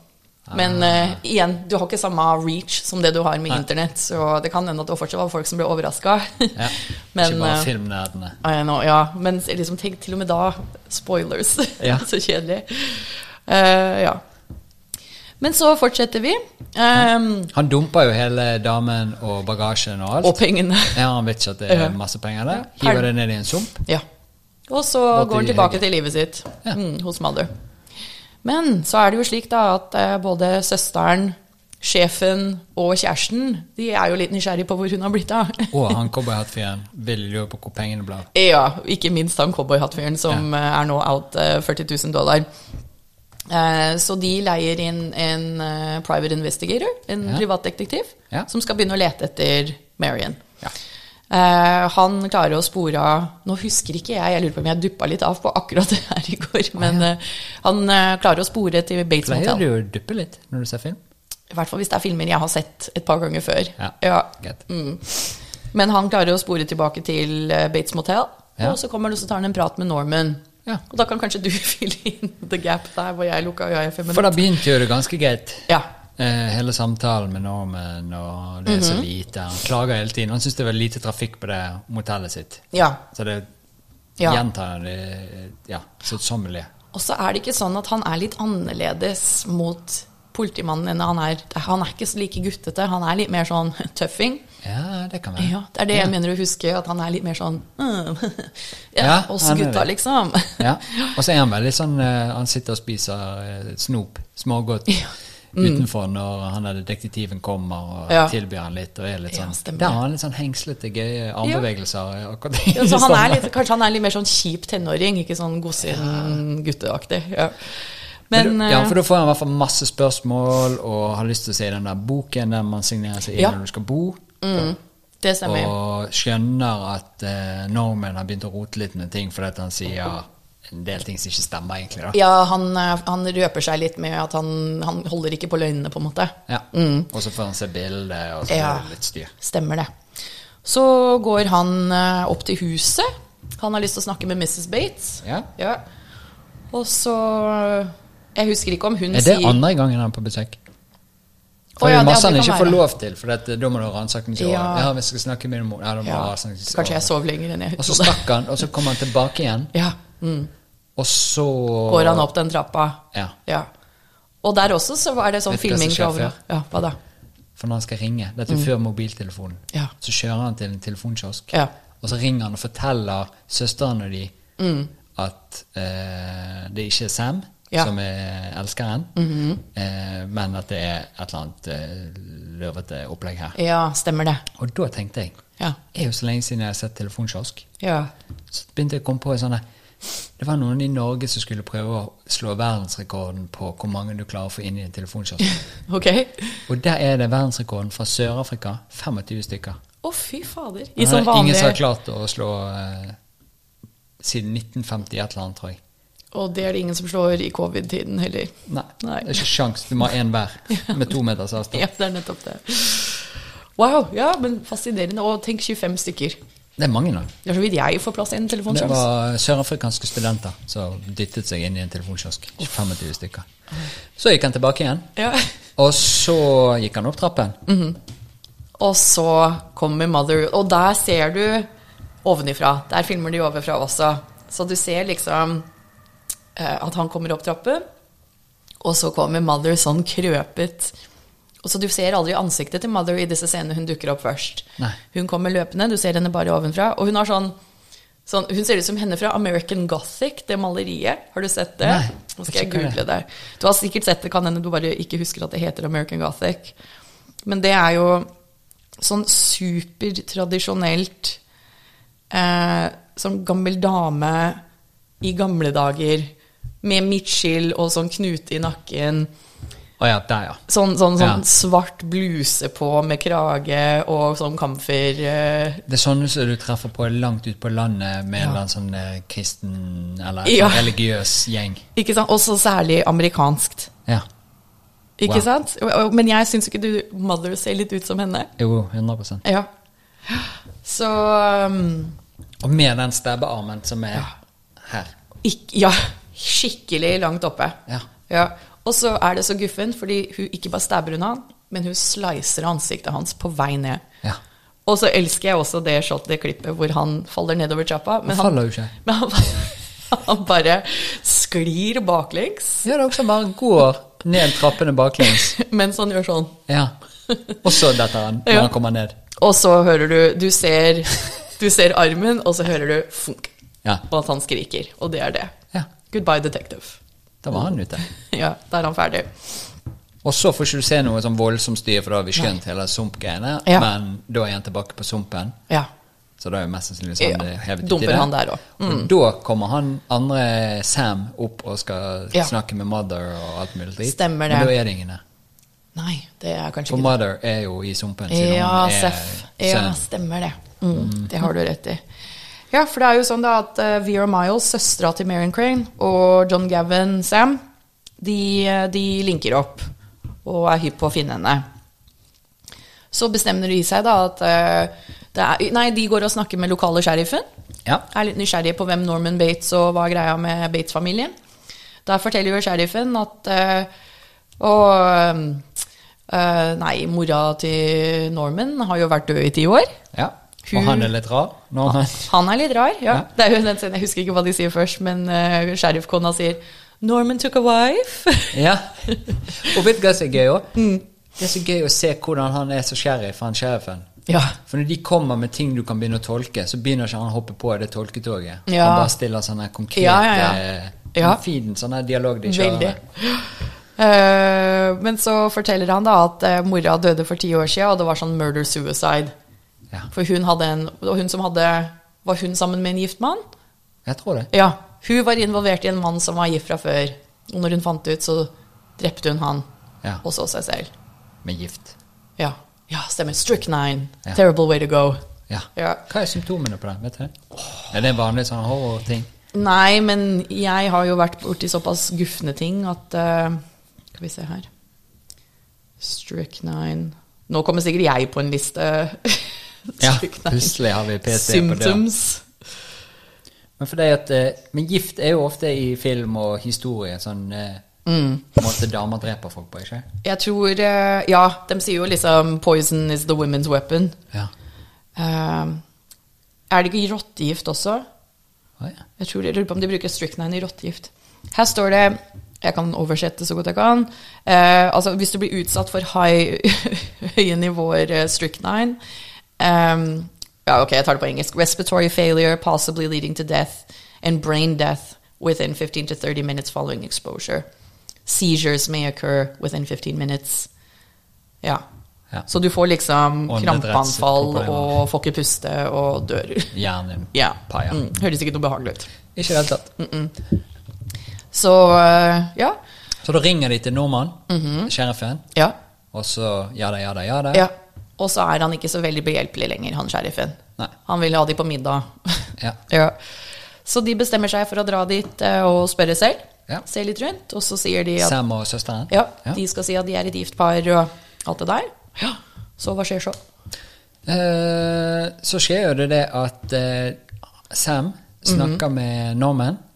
Speaker 2: Men eh, igjen, du har ikke samme reach som det du har med internett, så det kan hende at det fortsatt var folk som ble overraska.
Speaker 1: Ja.
Speaker 2: Men,
Speaker 1: ikke bare
Speaker 2: eh,
Speaker 1: filmnerdene.
Speaker 2: I know, ja. Men liksom, tenk til og med da spoilers.
Speaker 1: Ja.
Speaker 2: så kjedelig. Eh, ja. Men så fortsetter vi. ehm,
Speaker 1: Han dumper jo hele damen og bagasjen og alt.
Speaker 2: Og pengene.
Speaker 1: Ja, Han vet ikke at det
Speaker 2: Ja.
Speaker 1: er masse penger der.
Speaker 2: Ja.
Speaker 1: Hiver det ned i en sump.
Speaker 2: Ja. Og så
Speaker 1: Gå til
Speaker 2: går han tilbake
Speaker 1: Helge.
Speaker 2: til livet sitt
Speaker 1: Ja.
Speaker 2: mm, hos Mother. Men så er det jo slik da at eh, både søsteren, sjefen og kjæresten de er jo litt nysgjerrig på hvor hun har blitt av.
Speaker 1: Og han cowboyhattfyren vil lure på hvor pengene ble av.
Speaker 2: ja, ikke minst han cowboyhattfyren som eh, er nå out eh, 40 000 dollar. Eh, Så de leier inn en eh, private investigator, en
Speaker 1: Ja.
Speaker 2: privatdetektiv,
Speaker 1: Ja.
Speaker 2: som skal begynne å lete etter Marion.
Speaker 1: Ja.
Speaker 2: Eh, han klarer å spore av Nå husker ikke jeg, jeg lurer på om jeg duppa litt av på akkurat det her i går. Men eh, han eh, klarer å spore til Bates
Speaker 1: Pleier
Speaker 2: Motel.
Speaker 1: du å duppe litt når du ser film?
Speaker 2: I hvert fall hvis det er filmer jeg har sett et par ganger før.
Speaker 1: Ja.
Speaker 2: Ja. Mm.
Speaker 1: Greit.
Speaker 2: Men han klarer å spore tilbake til eh, Bates Motel,
Speaker 1: Ja.
Speaker 2: og så kommer han og så tar han en prat med Norman.
Speaker 1: Ja.
Speaker 2: Og da kan kanskje du fylle inn the gap der hvor jeg lukka øya i fem
Speaker 1: For da
Speaker 2: minutter.
Speaker 1: begynte jo det ganske greit.
Speaker 2: Ja.
Speaker 1: Eh, hele samtalen med Norman, og det er
Speaker 2: Mhm.
Speaker 1: så lite. Han klager hele tiden. Han syns det er veldig lite trafikk på det motellet sitt.
Speaker 2: ja.
Speaker 1: Så det
Speaker 2: Ja.
Speaker 1: gjentar han det ja, søtsommelig.
Speaker 2: Og så er det ikke sånn at han er litt annerledes mot politimannen enn han er. Han er ikke så like guttete, han er litt mer sånn tøffing.
Speaker 1: Ja, det kan være.
Speaker 2: Ja, Det er det jeg mener å huske, at han er litt mer sånn mm, Ja,
Speaker 1: Ja,
Speaker 2: oss
Speaker 1: han er
Speaker 2: gutta,
Speaker 1: det.
Speaker 2: liksom.
Speaker 1: Ja. Og så er han veldig sånn eh, Han sitter og spiser eh, snop, smågodt, utenfor når han der detektiven kommer og
Speaker 2: Mm. Ja.
Speaker 1: tilbyr han litt. og er litt
Speaker 2: Ja,
Speaker 1: sånn,
Speaker 2: stemmer
Speaker 1: Der
Speaker 2: det.
Speaker 1: har han litt sånn hengslete, gøye armbevegelser. eh, akkurat
Speaker 2: Ja, så han
Speaker 1: sånn.
Speaker 2: er litt, kanskje han er litt mer sånn kjip tenåring, ikke sånn godsinn-gutteaktig. Ja.
Speaker 1: Men
Speaker 2: Men
Speaker 1: du- ja,
Speaker 2: eh,
Speaker 1: for da får han i hvert fall masse spørsmål og har lyst til å se den der boken der man signerer seg inn
Speaker 2: Ja.
Speaker 1: når du skal bo.
Speaker 2: mm, det stemmer.
Speaker 1: Og skjønner at eh, nordmenn har begynt å rote litt med ting fordi at han sier en del ting som ikke stemmer, egentlig. da.
Speaker 2: Ja, han, eh, han røper seg litt med at han, han holder ikke på løgnene, på en måte.
Speaker 1: Ja. Og så får han se bildet, og så
Speaker 2: Mm. Ja.
Speaker 1: blir det litt styr.
Speaker 2: Stemmer det. Så går han eh, opp til huset. Han har lyst til å snakke med Mrs. Bates.
Speaker 1: Ja.
Speaker 2: Ja. Og så eh, Jeg husker ikke om hun
Speaker 1: Er det
Speaker 2: sier
Speaker 1: andre gangen han er på besøk? For
Speaker 2: Å
Speaker 1: det
Speaker 2: ja,
Speaker 1: er
Speaker 2: det-
Speaker 1: masse han
Speaker 2: det
Speaker 1: ikke
Speaker 2: kan
Speaker 1: får
Speaker 2: være.
Speaker 1: lov til, for at, eh, da må du ransake museet. Ja.
Speaker 2: Ja.
Speaker 1: vi skal snakke med din mor. Ja, da må du
Speaker 2: ja,
Speaker 1: ransake-
Speaker 2: Kanskje jeg sov lenger enn jeg
Speaker 1: Og så stakk han, og så kom han tilbake igjen,
Speaker 2: Ja. Mm.
Speaker 1: og så
Speaker 2: Går han opp den trappa.
Speaker 1: Ja.
Speaker 2: Ja. Og der også så er det sånn
Speaker 1: Vet du hva som
Speaker 2: filming
Speaker 1: skjer
Speaker 2: over
Speaker 1: før?
Speaker 2: Ja, hva da?
Speaker 1: For når han skal ringe, dette er før mobiltelefonen,
Speaker 2: Mm. Ja.
Speaker 1: så kjører han til en telefonkiosk,
Speaker 2: Ja.
Speaker 1: og så ringer han og forteller søsteren og de at eh, det ikke er Sam
Speaker 2: Mm. Ja. Mm-hmm.
Speaker 1: som er elskeren, eh, men at det er et eller annet eh, løvete opplegg her.
Speaker 2: Ja, stemmer det.
Speaker 1: Og da tenkte jeg,
Speaker 2: Ja.
Speaker 1: er jo så lenge siden jeg har sett telefonkiosk,
Speaker 2: Ja.
Speaker 1: så begynte jeg å komme på en sånn der, det var noen i Norge som skulle prøve å slå verdensrekorden på hvor mange du klarer å få inn i en telefonkiosk.
Speaker 2: Ok.
Speaker 1: Og der er det verdensrekorden fra Sør-Afrika. 25 stykker.
Speaker 2: Å, fy fader. I
Speaker 1: Det
Speaker 2: sånn
Speaker 1: er ingen som har
Speaker 2: vanlig
Speaker 1: klart å slå eh, siden 1950 et eller annet, tror jeg.
Speaker 2: Og det er det ingen som slår i covid-tiden heller.
Speaker 1: Nei,
Speaker 2: Nei.
Speaker 1: Det er ikke sjans. Du må ha én hver med to meters avstand.
Speaker 2: Ja, det er nettopp det. Wow, ja, men fascinerende. Og tenk 25 stykker.
Speaker 1: Det er mange nå.
Speaker 2: Det er så vidt jeg får plass i en
Speaker 1: Det
Speaker 2: telefonkiosk.
Speaker 1: var sørafrikanske studenter som dyttet seg inn i en telefonkiosk. 25 stykker. Så gikk han tilbake igjen.
Speaker 2: Ja.
Speaker 1: Og så gikk han opp trappen.
Speaker 2: Og så kommer Mother Og der ser du ovenifra. Der filmer de ovenfra også. Så du ser liksom eh, at han kommer opp trappen, og så kommer Mother sånn krøpet. Og så Du ser aldri ansiktet til Mother i disse scenene hun dukker opp først.
Speaker 1: Nei.
Speaker 2: Hun kommer løpende, du ser henne bare ovenfra. Og hun har sånn, sånn Hun ser ut som henne fra American Gothic, det maleriet. Har du sett det?
Speaker 1: Nei,
Speaker 2: Nå
Speaker 1: jeg
Speaker 2: skal jeg
Speaker 1: sjekker det.
Speaker 2: google det. Du har sikkert sett det, kan hende du bare ikke husker at det heter American Gothic. Men det er jo sånn supertradisjonelt eh, Sånn gammel dame i gamle dager med midtskill og sånn knute i nakken.
Speaker 1: Å ja, der, ja.
Speaker 2: Sånn, sånn,
Speaker 1: Ja.
Speaker 2: sånn svart bluse på med krage og sånn kamfer eh,
Speaker 1: Det er sånne som du treffer på langt ut på landet med en eller annen sånn eh, kristen eller
Speaker 2: Ja.
Speaker 1: religiøs gjeng.
Speaker 2: Ikke sant? Og så særlig amerikanskt.
Speaker 1: Ja.
Speaker 2: Ikke
Speaker 1: Wow.
Speaker 2: sant? Og- og- Men jeg syns ikke du Mother ser litt ut som henne.
Speaker 1: Jo, 100
Speaker 2: Ja. Så um,
Speaker 1: Og med den stabbearmen som er her.
Speaker 2: ikk- Ja, skikkelig langt oppe.
Speaker 1: Ja.
Speaker 2: Og så er det så guffen, fordi hun ikke bare stabber hun han, men hun slicer ansiktet hans på vei ned.
Speaker 1: Ja.
Speaker 2: Og så elsker jeg også det shot, det klippet hvor han faller nedover trappa. Men
Speaker 1: Han
Speaker 2: han,
Speaker 1: faller jo ikke.
Speaker 2: men han, han bare sklir baklengs
Speaker 1: Ja, det er også bare går ned trappene baklengs.
Speaker 2: mens han gjør sånn.
Speaker 1: Ja. Og så detter han når
Speaker 2: Ja.
Speaker 1: han kommer ned.
Speaker 2: Og så hører du Du ser, du ser armen, og så hører du funk.
Speaker 1: Ja.
Speaker 2: Og at han skriker. Og det er det.
Speaker 1: Ja.
Speaker 2: Goodbye, detective.
Speaker 1: Da var han ute.
Speaker 2: Ja, da er han ferdig.
Speaker 1: Og så får ikke du se noe sånn voldsomt styr, for da har vi skjønt hele sumpgreiene.
Speaker 2: Ja.
Speaker 1: Men da er han tilbake på sumpen,
Speaker 2: Ja.
Speaker 1: så da er jo mest sannsynlig sånn
Speaker 2: Ja,
Speaker 1: det er hevet
Speaker 2: dumper
Speaker 1: uti det.
Speaker 2: han der Mm. også.
Speaker 1: Og da kommer han andre Sam opp og skal
Speaker 2: Ja.
Speaker 1: snakke med Mother og alt mulig dritt.
Speaker 2: Stemmer
Speaker 1: Men
Speaker 2: det.
Speaker 1: da er det ingen der.
Speaker 2: Nei, det er kanskje
Speaker 1: For
Speaker 2: ikke
Speaker 1: Mother er jo i sumpen, siden
Speaker 2: det. Ja,
Speaker 1: hun er
Speaker 2: Seff. Ja,
Speaker 1: sønnen.
Speaker 2: stemmer det. Mm, det har du rett i. Ja, for det er jo sånn da at eh, Vera Miles, søstera til Marion Crane, og John Gavin Sam, de, eh, de linker opp og er hypp på å finne henne. Så bestemmer de seg da at eh, det er, Nei, de går og snakker med lokale sheriffen.
Speaker 1: Ja.
Speaker 2: er litt nysgjerrige på hvem Norman Bates og hva er greia med Bates-familien. Da forteller jo sheriffen at eh, Og eh, Nei, mora til Norman har jo vært død i ti år.
Speaker 1: Ja.
Speaker 2: Hun-
Speaker 1: Og
Speaker 2: Ah.
Speaker 1: han er litt rar. Når han,
Speaker 2: Han er litt rar, ja.
Speaker 1: Ja.
Speaker 2: Det er jo den scenen, Jeg husker ikke hva de sier først, men uh, sheriffkona sier 'Norman took a wife'.
Speaker 1: ja.
Speaker 2: Mm.
Speaker 1: Og vet du hva som er gøy òg? Det er så gøy å se hvordan han er som sheriff, han sheriffen.
Speaker 2: Ja.
Speaker 1: For når de kommer med ting du kan begynne å tolke, så begynner ikke han å hoppe på det tolketoget.
Speaker 2: Ja.
Speaker 1: Han bare stiller sånne konkrete
Speaker 2: Ja, ja, ja. Ja.
Speaker 1: Fin sånn her dialog de
Speaker 2: Veldig.
Speaker 1: kjører.
Speaker 2: Eh, men så forteller han da at eh, mora døde for ti år siden, og det var sånn murder-suicide.
Speaker 1: Ja.
Speaker 2: For hun hadde en Og hun som hadde Var hun sammen med en gift mann?
Speaker 1: Jeg tror det.
Speaker 2: Ja. Hun var involvert i en mann som var gift fra før. Og når hun fant det ut, så drepte hun han.
Speaker 1: Ja.
Speaker 2: Og så seg selv.
Speaker 1: Med gift.
Speaker 2: Ja. ja, stemmer. Strychnine.
Speaker 1: Ja.
Speaker 2: Terrible way to go.
Speaker 1: Ja.
Speaker 2: Ja.
Speaker 1: Hva er symptomene på det? Vet du det? Er det en vanlig sånn horror-ting?
Speaker 2: Nei, men jeg har jo vært borti såpass gufne ting at eh, Skal vi se her Strychnine Nå kommer sikkert jeg på en liste.
Speaker 1: Ja,
Speaker 2: Strychnine.
Speaker 1: plutselig har vi PTSD på det.
Speaker 2: Symptoms.
Speaker 1: Men, fordi at, eh, men gift er jo ofte i film og historie sånn eh,
Speaker 2: Mm.
Speaker 1: måte damer dreper folk på, ikke
Speaker 2: Jeg tror eh, Ja, de sier jo liksom 'poison is the women's weapon'.
Speaker 1: Ja.
Speaker 2: Eh, er det ikke rottegift også?
Speaker 1: Å, ja.
Speaker 2: Jeg tror jeg lurer på om de bruker strychnine i rottegift. Her står det Jeg kan oversette så godt jeg kan. Eh, altså, hvis du blir utsatt for high, høye nivåer eh, strychnine ehm, Ja, ok, jeg tar det på engelsk. Respiratory failure possibly leading to death and brain death within 15 to 30 minutes following exposure. Seizures may occur within 15 minutes. Ja.
Speaker 1: Ja.
Speaker 2: Så du får liksom krampeanfall
Speaker 1: Åndedrettsproblemer.
Speaker 2: og får ikke puste og dør.
Speaker 1: Hjernen din.
Speaker 2: Ja.
Speaker 1: Paia.
Speaker 2: Mm, høres ikke noe behagelig ut.
Speaker 1: Ikke i det hele tatt.
Speaker 2: Så øh, ja.
Speaker 1: Så da ringer de til nordmannen, sheriffen,
Speaker 2: ja.
Speaker 1: og så ja da, ja da, ja da.
Speaker 2: Mhm. ja. Og så er han ikke så veldig behjelpelig lenger, han sheriffen.
Speaker 1: Nei.
Speaker 2: Han vil ha de på middag.
Speaker 1: Ja.
Speaker 2: ja. Så de bestemmer seg for å dra dit øh, og spørre selv.
Speaker 1: Ja.
Speaker 2: Se litt rundt. Og så sier de at
Speaker 1: Sam og søsteren?
Speaker 2: ja, de skal si at de er et gift par og alt det der. Ja. Så hva skjer så?
Speaker 1: Eh, så skjer jo det det at eh, Sam snakker med Norman
Speaker 2: Mhm.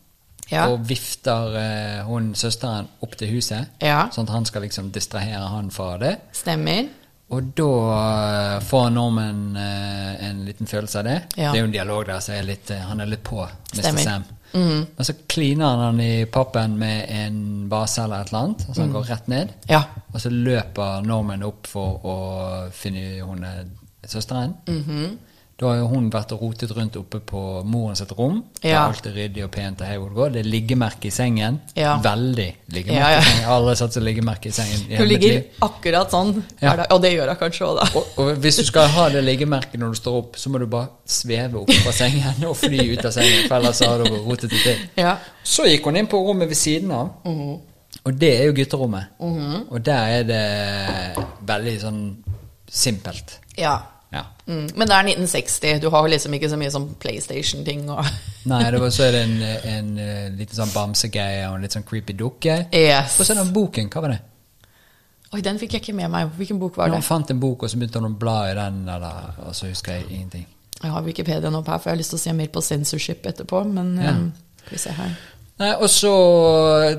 Speaker 2: Ja.
Speaker 1: og vifter eh, hun søsteren opp til huset,
Speaker 2: Ja.
Speaker 1: sånn at han skal liksom distrahere han fra det.
Speaker 2: Stemmer.
Speaker 1: Og da eh, får Norman eh, en liten følelse av det.
Speaker 2: Ja.
Speaker 1: Det er jo en dialog der, så er litt, eh, han er litt på Mr.
Speaker 2: Stemmer. Mm.
Speaker 1: Sam. Men så kliner han han i pappen med en base eller et eller annet, så
Speaker 2: Mm.
Speaker 1: han går rett ned.
Speaker 2: Ja.
Speaker 1: Og så løper Norman opp for å finne hun eh, søsteren.
Speaker 2: Mm-hmm.
Speaker 1: Da har jo hun vært og rotet rundt oppe på morens et rom. Det er
Speaker 2: Ja.
Speaker 1: alltid ryddig og pent. og hei hvor det går. Det er liggemerke i sengen.
Speaker 2: Ja.
Speaker 1: Veldig liggemerke.
Speaker 2: Ja, ja.
Speaker 1: i sengen. Jeg har aldri satt så liggemerke i sengen. i hele
Speaker 2: Hun
Speaker 1: mitt
Speaker 2: ligger
Speaker 1: liv.
Speaker 2: akkurat sånn.
Speaker 1: Ja.
Speaker 2: Er det- Og det gjør hun kanskje òg, da.
Speaker 1: Og, og hvis du skal ha det liggemerket når du står opp, så må du bare sveve opp fra sengen og fly ut av sengen, for ellers har du rotet det til.
Speaker 2: Ja.
Speaker 1: Så gikk hun inn på rommet ved siden av, og det er jo gutterommet. Og der er det veldig sånn simpelt.
Speaker 2: ja.
Speaker 1: Ja.
Speaker 2: Mm. Men det er 1960. Du har liksom ikke så mye sånn PlayStation-ting og
Speaker 1: Nei, det var, så er det en, en eh, liten sånn bamsegreie og en litt sånn creepy dukke.
Speaker 2: Yes.
Speaker 1: Og så er den boken, hva var det?
Speaker 2: E Oi, den fikk jeg ikke med meg. Hvilken bok var
Speaker 1: Når
Speaker 2: det?
Speaker 1: hun fant en bok, og så begynte hun å bla i den, eller, og så husker jeg ingenting.
Speaker 2: Jeg har Wikipedia nå på her, for jeg har lyst til å se mer på censorship etterpå. Men
Speaker 1: Ja.
Speaker 2: eh, skal vi se her.
Speaker 1: Nei, og så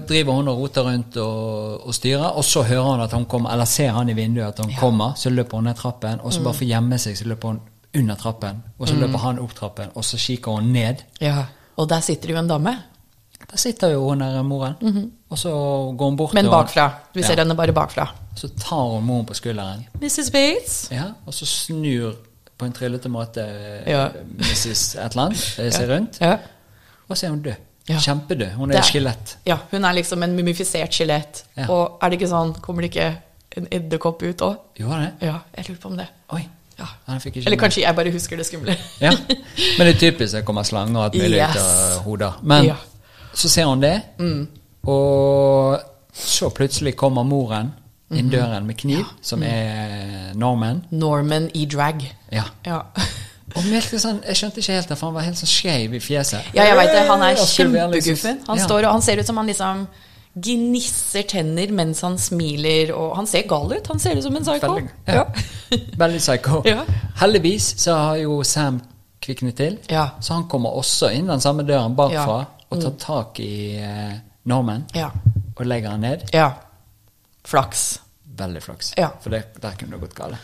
Speaker 1: driver hun og roter rundt og, og styrer, og så hører hun at hun kommer, eller ser han i vinduet at hun kommer, så løper hun ned trappen, og så
Speaker 2: Mm.
Speaker 1: bare for å gjemme seg, så løper hun under trappen, og så løper han opp trappen, og så kikker hun ned.
Speaker 2: Ja. Og der sitter jo en dame.
Speaker 1: Der sitter jo hun der moren, og så går hun bort
Speaker 2: Mhm. Men
Speaker 1: til hun-
Speaker 2: bakfra. Vi ser
Speaker 1: ja.
Speaker 2: henne bare bakfra.
Speaker 1: Så tar hun moren på skulderen,
Speaker 2: Mrs. Bates.
Speaker 1: ja, og så snur på en tryllete måte
Speaker 2: Ja.
Speaker 1: Mrs. et eller annet, eh, seg rundt,
Speaker 2: Ja.
Speaker 1: og så er hun død.
Speaker 2: Ja.
Speaker 1: Kjempedød. Hun er
Speaker 2: Der.
Speaker 1: et skjelett.
Speaker 2: ja. Hun er liksom en mumifisert skjelett.
Speaker 1: Ja.
Speaker 2: Og er det ikke sånn, kommer det ikke en edderkopp ut òg?
Speaker 1: Gjorde det?
Speaker 2: Ja, jeg lurer på om det.
Speaker 1: Oi.
Speaker 2: Ja.
Speaker 1: Ja, den fikk jeg ikke
Speaker 2: Eller
Speaker 1: med.
Speaker 2: kanskje jeg bare husker det skumle.
Speaker 1: Ja, men det er typisk det kommer slanger og alt mulig ut
Speaker 2: Yes. Mm.
Speaker 1: av hoder. Men
Speaker 2: Ja.
Speaker 1: så ser hun det, og så plutselig kommer moren
Speaker 2: Mhm.
Speaker 1: inn døren med kniv, som
Speaker 2: Mm.
Speaker 1: er normen.
Speaker 2: Norman i drag.
Speaker 1: Ja.
Speaker 2: Ja.
Speaker 1: Og hun virket sånn, Jeg skjønte ikke helt det, for han var helt sånn skeiv i fjeset.
Speaker 2: Ja, jeg veit det. Han er
Speaker 1: Og skulle være liksom-
Speaker 2: kjempeguffen. Han
Speaker 1: Ja.
Speaker 2: står og han ser ut som han liksom gnisser tenner mens han smiler, og han ser gal ut. Han ser ut som en psyko.
Speaker 1: Veldig.
Speaker 2: Ja.
Speaker 1: Ja. Veldig psycho.
Speaker 2: Ja.
Speaker 1: Heldigvis så har jo Sam kviknet til,
Speaker 2: Ja. Mm.
Speaker 1: så han kommer også inn den samme døren bakfra og tar tak i eh, normen
Speaker 2: Ja.
Speaker 1: og legger han ned.
Speaker 2: ja. Flaks.
Speaker 1: Veldig flaks.
Speaker 2: Ja.
Speaker 1: For det, der kunne det gått galt.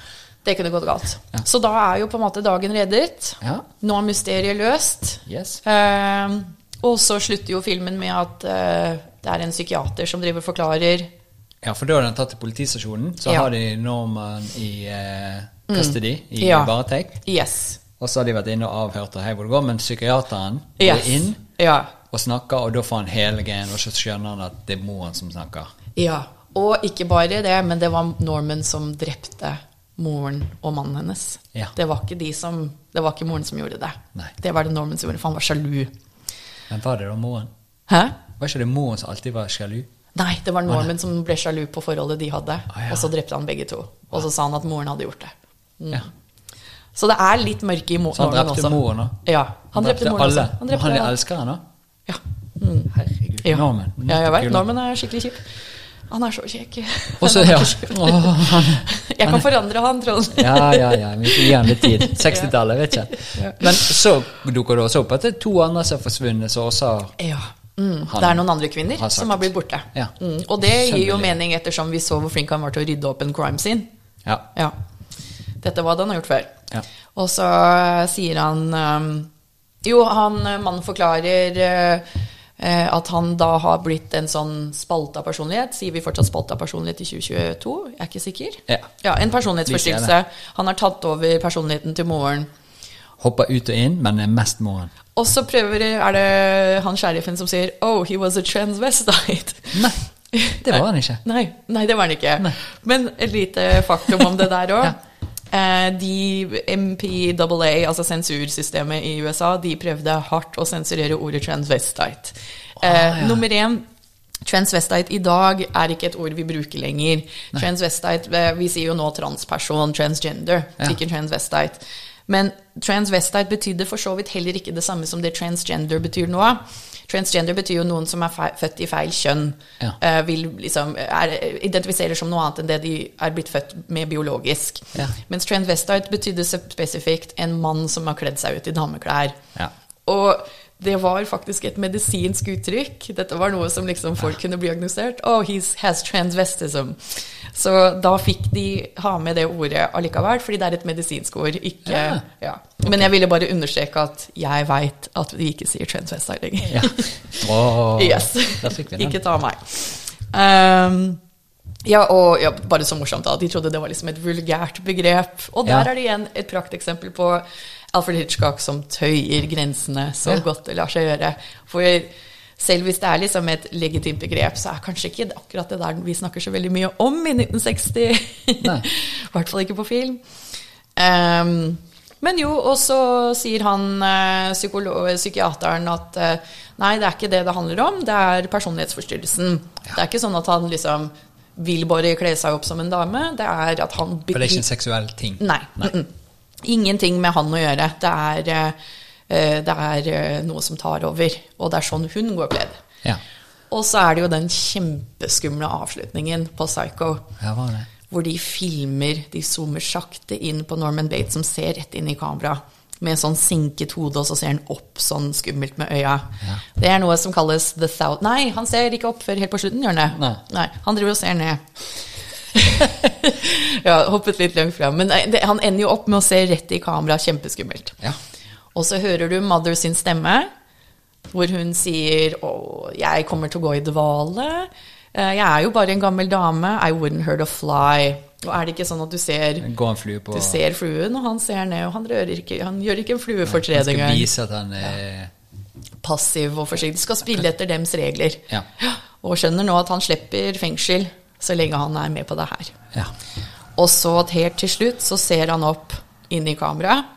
Speaker 2: Det kunne gått galt. Så da er jo på en måte dagen reddet.
Speaker 1: Ja.
Speaker 2: Nå er mysteriet løst.
Speaker 1: Yes.
Speaker 2: Eh, og så slutter jo filmen med at eh, det er en psykiater som driver og forklarer
Speaker 1: Ja, for da har den tatt til politistasjonen. Så
Speaker 2: Ja. Mm.
Speaker 1: har de nordmenn i eh, custody i
Speaker 2: Ja.
Speaker 1: varetekt.
Speaker 2: Yes.
Speaker 1: Og så har de vært inne og avhørt, og hei hvor det går, men psykiateren
Speaker 2: yes.
Speaker 1: går inn
Speaker 2: Ja.
Speaker 1: og snakker, og da får han hele greien, og så skjønner han at det er moren som snakker.
Speaker 2: ja. Og ikke bare det, men det var Norman som drepte moren og mannen hennes.
Speaker 1: Ja.
Speaker 2: Det, var ikke de som, det var ikke moren som gjorde det.
Speaker 1: Nei.
Speaker 2: Det var det Norman som gjorde, for han var sjalu.
Speaker 1: Men var det da moren?
Speaker 2: Hæ?
Speaker 1: Var ikke det moren som alltid var sjalu?
Speaker 2: Nei, det var Norman som ble sjalu på forholdet de hadde.
Speaker 1: ja.
Speaker 2: Og så drepte han begge to. Og så sa han at moren hadde gjort det.
Speaker 1: Ja.
Speaker 2: Så det er litt mørke i mo-
Speaker 1: Så han
Speaker 2: Norman
Speaker 1: drepte
Speaker 2: Mm. også.
Speaker 1: moren da?
Speaker 2: Ja, han drepte moren
Speaker 1: alle.
Speaker 2: også. Han drepte
Speaker 1: han er
Speaker 2: alle.
Speaker 1: elskeren, da?
Speaker 2: Ja.
Speaker 1: Herregud.
Speaker 2: ja.
Speaker 1: Norman.
Speaker 2: Ja, jeg vet.
Speaker 1: Kul.
Speaker 2: Norman er skikkelig kjip. Han er så kjekk.
Speaker 1: Og så,
Speaker 2: Han er
Speaker 1: ja.
Speaker 2: så kjip.
Speaker 1: Åh, han-
Speaker 2: Jeg kan forandre han, Trond.
Speaker 1: Ja, ja, ja. Vi får gi han litt tid. 60-tallet, vet ikke. Men så dukker det også opp at det er to andre som har forsvunnet, som også har
Speaker 2: Ja. Mm.
Speaker 1: Han
Speaker 2: det er noen andre kvinner
Speaker 1: har sagt.
Speaker 2: som har blitt borte.
Speaker 1: Ja.
Speaker 2: Mm. Og det gir jo
Speaker 1: Skjønnelig.
Speaker 2: mening ettersom vi så hvor flink han var til å rydde opp en crime scene.
Speaker 1: Ja.
Speaker 2: Ja. Dette var det han har gjort før.
Speaker 1: Ja.
Speaker 2: Og så eh, sier han ehm, Jo, han eh, mannen forklarer eh, eh, at han da har blitt en sånn spalta personlighet. Sier vi fortsatt spalta personlighet i 2022? Jeg er ikke sikker.
Speaker 1: Ja.
Speaker 2: en
Speaker 1: Vi
Speaker 2: personlighetsforstyrrelse.
Speaker 1: sier
Speaker 2: Han har tatt over personligheten til moren.
Speaker 1: Hopper ut og inn, men er mest moren.
Speaker 2: Og så prøver, er det han sheriffen som sier Oh, he was a transvestite.
Speaker 1: Nei, det var han ikke.
Speaker 2: Nei, nei det var han ikke. Men et lite faktum om det der òg. De MPAA, altså sensursystemet i USA, de prøvde hardt å sensurere ordet transvestite. Eh,
Speaker 1: ja.
Speaker 2: Nummer én Transvestite i dag er ikke et ord vi bruker lenger. Transvestite, eh, Vi sier jo nå transperson, transgender,
Speaker 1: Ja.
Speaker 2: ikke transvestite. Men transvestite betydde for så vidt heller ikke det samme som det transgender betyr nå. Transgender betyr jo noen som er fe- født i feil kjønn.
Speaker 1: Ja.
Speaker 2: eh, Vil liksom er, identifiserer som noe annet enn det de er blitt født med biologisk.
Speaker 1: Ja.
Speaker 2: Mens transvestite betydde spesifikt en mann som har kledd seg ut i dameklær.
Speaker 1: Ja.
Speaker 2: Og det var faktisk et medisinsk uttrykk. Dette var noe som liksom folk kunne bli agnosert. Oh, he has transvestism. Så da fikk de ha med det ordet allikevel, fordi det er et medisinsk ord. Ikke,
Speaker 1: Ja.
Speaker 2: ja. Men jeg ville bare understreke at jeg veit at vi ikke sier transvestite lenger.
Speaker 1: Ja. Åh,
Speaker 2: Yes.
Speaker 1: Der fikk vi den.
Speaker 2: Ikke ta meg. Ehm, ja, og ja, bare så morsomt, da. De trodde det var liksom et vulgært begrep. Og der
Speaker 1: Ja.
Speaker 2: er det igjen et prakteksempel på Alfred Hitchcock som tøyer grensene så
Speaker 1: Ja.
Speaker 2: godt det lar seg gjøre. For selv hvis det er liksom et legitimt begrep, så er kanskje ikke det akkurat det der vi snakker så veldig mye om i 1960.
Speaker 1: Nei.
Speaker 2: I hvert fall ikke på film. Ehm, men jo, og så sier han eh, psykolo- psykiateren at eh, nei, det er ikke det det handler om, det er personlighetsforstyrrelsen. Det er ikke sånn at han liksom vil bare kle seg opp som en dame, det er at han
Speaker 1: For det er ikke en seksuell ting.
Speaker 2: Nei. mm-mm. Ingenting med han å gjøre. Det er, eh, eh, det er eh, noe som tar over, og det er sånn hun går kledd.
Speaker 1: Ja.
Speaker 2: Og så er det jo den kjempeskumle avslutningen på Psycho
Speaker 1: Ja, var det.
Speaker 2: hvor de filmer, de zoomer sakte inn på Norman Bates som ser rett inn i kamera med sånn sinket hode, og så ser han opp sånn skummelt med øya. Det er noe som kalles the thou... Nei, han ser ikke opp før helt på slutten, gjør han det?
Speaker 1: Nei.
Speaker 2: han driver og ser ned. ja, hoppet litt langt fram. Men nei, det, han ender jo opp med å se rett i kamera, kjempeskummelt.
Speaker 1: Ja.
Speaker 2: Og så hører du Mother sin stemme, hvor hun sier Å, jeg kommer til å gå i dvale. Eh, Jeg er jo bare en gammel dame. I wouldn't hurt a fly. Og er det ikke sånn at du ser,
Speaker 1: Gå en flue på
Speaker 2: du ser fluen, og han ser ned, og han, rører ikke, han gjør ikke en flue for
Speaker 1: Han
Speaker 2: tredje
Speaker 1: skal
Speaker 2: gang.
Speaker 1: vise at han er
Speaker 2: Passiv og forsiktig. Skal spille etter dems regler.
Speaker 1: Ja.
Speaker 2: Og skjønner nå at han slipper fengsel så lenge han er med på det her.
Speaker 1: Ja.
Speaker 2: Og så helt til slutt så ser han opp inn i kameraet.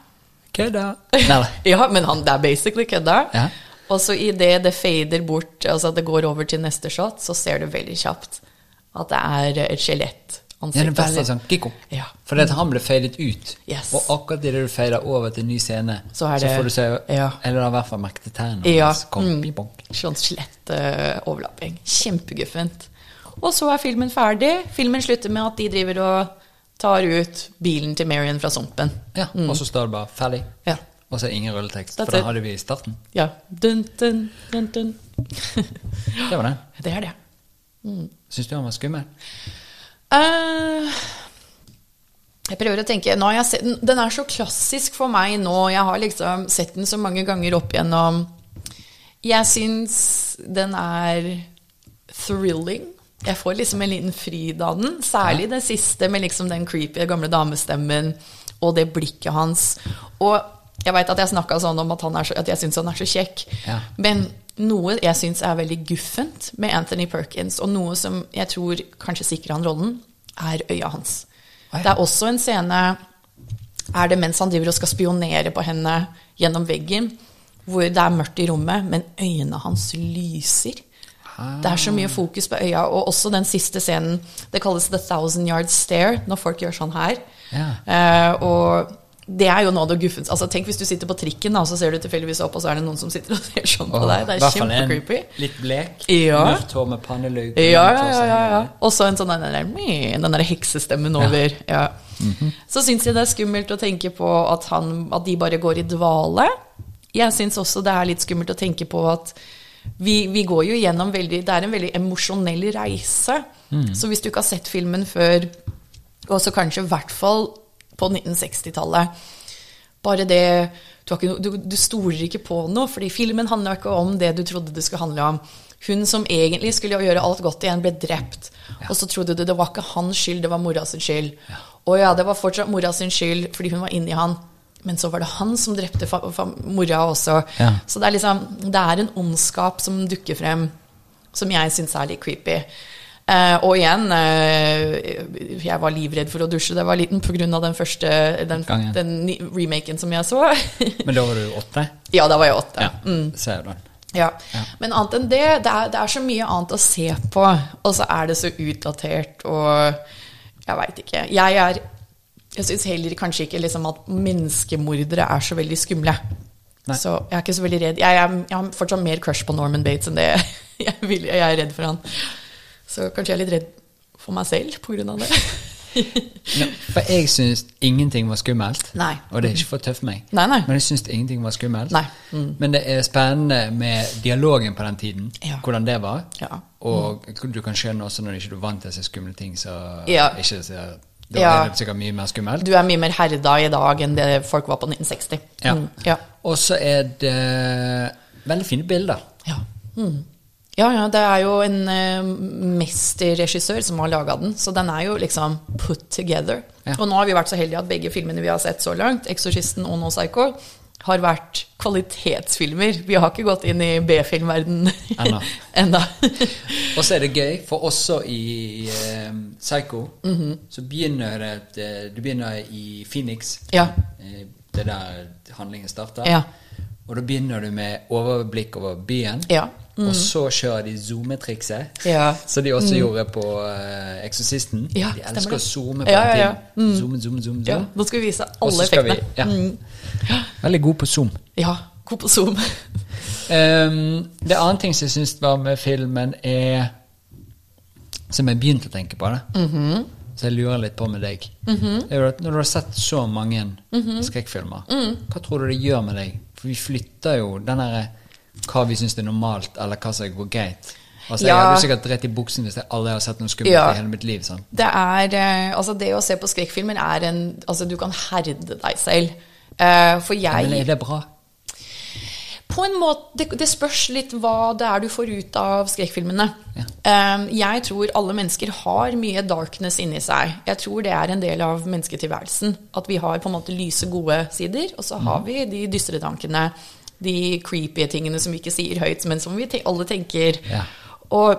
Speaker 1: Kødda! Nei, nei.
Speaker 2: Ja, men han, det er basically kødda.
Speaker 1: Ja.
Speaker 2: Og så idet det fader bort, altså at det går over til neste shot, så ser du veldig kjapt at det er et skjelett.
Speaker 1: Ja, det er
Speaker 2: Ansikt,
Speaker 1: veldig
Speaker 2: altså.
Speaker 1: sånn kikko.
Speaker 2: Ja.
Speaker 1: Fordi at han ble fadet ut.
Speaker 2: Yes.
Speaker 1: Og akkurat idet du fader over til en ny scene,
Speaker 2: Så er det-
Speaker 1: får du se
Speaker 2: Ja.
Speaker 1: Eller da i hvert fall merke til tærne
Speaker 2: Ja,
Speaker 1: hans. Kom,
Speaker 2: mm.
Speaker 1: pipong.
Speaker 2: Sånn skjelettoverlapping. Kjempeguffent. Og så er filmen ferdig. Filmen slutter med at de driver og tar ut bilen til Marion fra sumpen.
Speaker 1: Ja, Og så står det bare 'ferdig',
Speaker 2: Ja.
Speaker 1: og så er det ingen rulletekst.
Speaker 2: Mm. That's
Speaker 1: For den
Speaker 2: it.
Speaker 1: hadde vi i starten.
Speaker 2: ja. Dun, dun, dun, dun.
Speaker 1: Det var den.
Speaker 2: Det er det.
Speaker 1: Syns du han var skummel?
Speaker 2: Eh, jeg prøver å tenke nå har jeg sett, den- Den er så klassisk for meg nå. Jeg har liksom sett den så mange ganger opp igjennom. Jeg syns den er thrilling. jeg får liksom en liten fryd av den. Særlig det siste med liksom den creepy gamle damestemmen og det blikket hans. Og jeg veit at jeg snakka sånn om at, han er så, at jeg syns han er så kjekk,
Speaker 1: Ja.
Speaker 2: men noe jeg syns er veldig guffent med Anthony Perkins, og noe som jeg tror kanskje sikrer han rollen, er øya hans.
Speaker 1: Å ja.
Speaker 2: Det er også en scene Er det mens han driver og skal spionere på henne gjennom veggen, hvor det er mørkt i rommet, men øynene hans lyser. Det er så mye fokus på øya, og også den siste scenen. Det kalles The Thousand Yard Stare, når folk gjør sånn her.
Speaker 1: Ja.
Speaker 2: Eh, og det er jo noe av det guffens. Altså, tenk hvis du sitter på trikken, da, og så ser du tilfeldigvis opp, og så er det noen som sitter og ser sånn på deg. Det
Speaker 1: I
Speaker 2: er
Speaker 1: hvert fall en
Speaker 2: kjempecreepy.
Speaker 1: Litt blek.
Speaker 2: Ja.
Speaker 1: Mørkt hår med pannelugg.
Speaker 2: Ja, ja, ja. ja, ja. Og så en sånn den der, meh, den der heksestemmen over. Ja. Mhm. Så syns jeg det er skummelt å tenke på at, han, at de bare går i dvale. Jeg syns også det er litt skummelt å tenke på at vi, vi går jo gjennom veldig Det er en veldig emosjonell reise. Så hvis du ikke har sett filmen før, og så kanskje i hvert fall på 1960-tallet bare det du, har ikke, no- du, du stoler ikke på noe, fordi filmen handler ikke om det du trodde det skulle handle om. Hun som egentlig skulle gjøre alt godt igjen, ble drept. Og så trodde du det var ikke hans skyld, det var mora sin skyld. Og ja, det var fortsatt mora sin skyld fordi hun var inni han. Men så var det han som drepte fa fa mora også.
Speaker 1: Ja.
Speaker 2: Så det er liksom Det er en ondskap som dukker frem, som jeg syns er litt creepy. Eh, og igjen, eh, jeg var livredd for å dusje da jeg var liten pga. den første den,
Speaker 1: Gangen.
Speaker 2: den ny- remaken som jeg så.
Speaker 1: Men da var du åtte?
Speaker 2: ja, da var jeg åtte.
Speaker 1: Ja.
Speaker 2: Ja. Mm.
Speaker 1: Ser du den.
Speaker 2: Men annet enn det, det er, det er så mye annet å se på, og så er det så utdatert, og jeg veit ikke. Jeg er Jeg syns heller kanskje ikke liksom at menneskemordere er så veldig skumle.
Speaker 1: Nei.
Speaker 2: Så jeg er ikke så veldig redd. Jeg, er, jeg har fortsatt mer crush på Norman Bates enn det jeg, vil, jeg er redd for han. Så kanskje jeg er litt redd for meg selv på grunn av det.
Speaker 1: Ja, for jeg syns ingenting var skummelt.
Speaker 2: Nei.
Speaker 1: Og det er ikke for tøft for meg.
Speaker 2: Nei, nei.
Speaker 1: Men jeg syns ingenting var skummelt.
Speaker 2: Nei. Mm.
Speaker 1: Men det er spennende med dialogen på den tiden,
Speaker 2: Ja.
Speaker 1: hvordan det var.
Speaker 2: Ja.
Speaker 1: Og du kan skjønne også når du ikke er vant til å se skumle ting, så
Speaker 2: Ja.
Speaker 1: ikke så, da
Speaker 2: Ja.
Speaker 1: er det sikkert mye mer skummelt.
Speaker 2: Du er mye mer herda i dag enn det folk var på 1960.
Speaker 1: Ja.
Speaker 2: Mm, ja.
Speaker 1: Og så er det veldig fine bilder.
Speaker 2: Ja. Mm. ja, ja, det er jo en eh, mesterregissør som har laga den, så den er jo liksom put together.
Speaker 1: Ja.
Speaker 2: Og nå har vi vært så heldige at begge filmene vi har sett så langt, 'Exorcisten' og 'No Psycho', har vært kvalitetsfilmer. Vi har ikke gått inn i B-filmverdenen
Speaker 1: Ennå.
Speaker 2: ennå.
Speaker 1: Og så er det gøy, for også i eh, Psycho
Speaker 2: Mhm.
Speaker 1: så begynner det eh, Du begynner i Phoenix.
Speaker 2: Ja.
Speaker 1: Eh, Det er der handlingen starter.
Speaker 2: Ja.
Speaker 1: Og da begynner du med overblikk over byen.
Speaker 2: Ja. Mhm.
Speaker 1: Og så kjører de zoometrikset,
Speaker 2: Ja. Mhm.
Speaker 1: som de også gjorde på eh, Eksorsisten.
Speaker 2: Ja,
Speaker 1: de
Speaker 2: stemmer
Speaker 1: elsker
Speaker 2: det.
Speaker 1: å zoome på
Speaker 2: Ja,
Speaker 1: den
Speaker 2: ja, ja.
Speaker 1: tiden. Zoom, zoom, zoom,
Speaker 2: ja.
Speaker 1: zoom.
Speaker 2: Nå skal vi vise
Speaker 1: Og så
Speaker 2: alle
Speaker 1: skal vi-
Speaker 2: effektene.
Speaker 1: ja.
Speaker 2: Mm.
Speaker 1: Veldig god på zoom.
Speaker 2: ja. God på Zoom.
Speaker 1: Ehm, det andre ting som jeg syns var med filmen, er Som jeg begynte å tenke på, det.
Speaker 2: Mhm.
Speaker 1: Så jeg lurer litt på med deg. er jo at når du har sett så mange
Speaker 2: Mhm.
Speaker 1: skrekkfilmer,
Speaker 2: Mm.
Speaker 1: hva tror du det gjør med deg? For vi flytter jo den derre hva vi syns er normalt, eller hva som går greit. Altså, Jeg
Speaker 2: Ja.
Speaker 1: hadde sikkert dritt i buksen hvis jeg aldri har sett noe skummelt
Speaker 2: Ja.
Speaker 1: i hele mitt liv. sånn. sant?
Speaker 2: Det er eh, Altså, det å se på skrekkfilmer er en Altså, du kan herde deg selv. Eh, for jeg
Speaker 1: Men er det bra?
Speaker 2: på en måte, det, det spørs litt hva det er du får ut av skrekkfilmene. Um, jeg tror alle mennesker har mye darkness inni seg. Jeg tror det er en del av mennesketilværelsen. At vi har på en måte lyse, gode sider, og så
Speaker 1: Mhm.
Speaker 2: har vi de dystre tankene. De creepy tingene som vi ikke sier høyt, men som vi te alle tenker.
Speaker 1: Ja.
Speaker 2: Og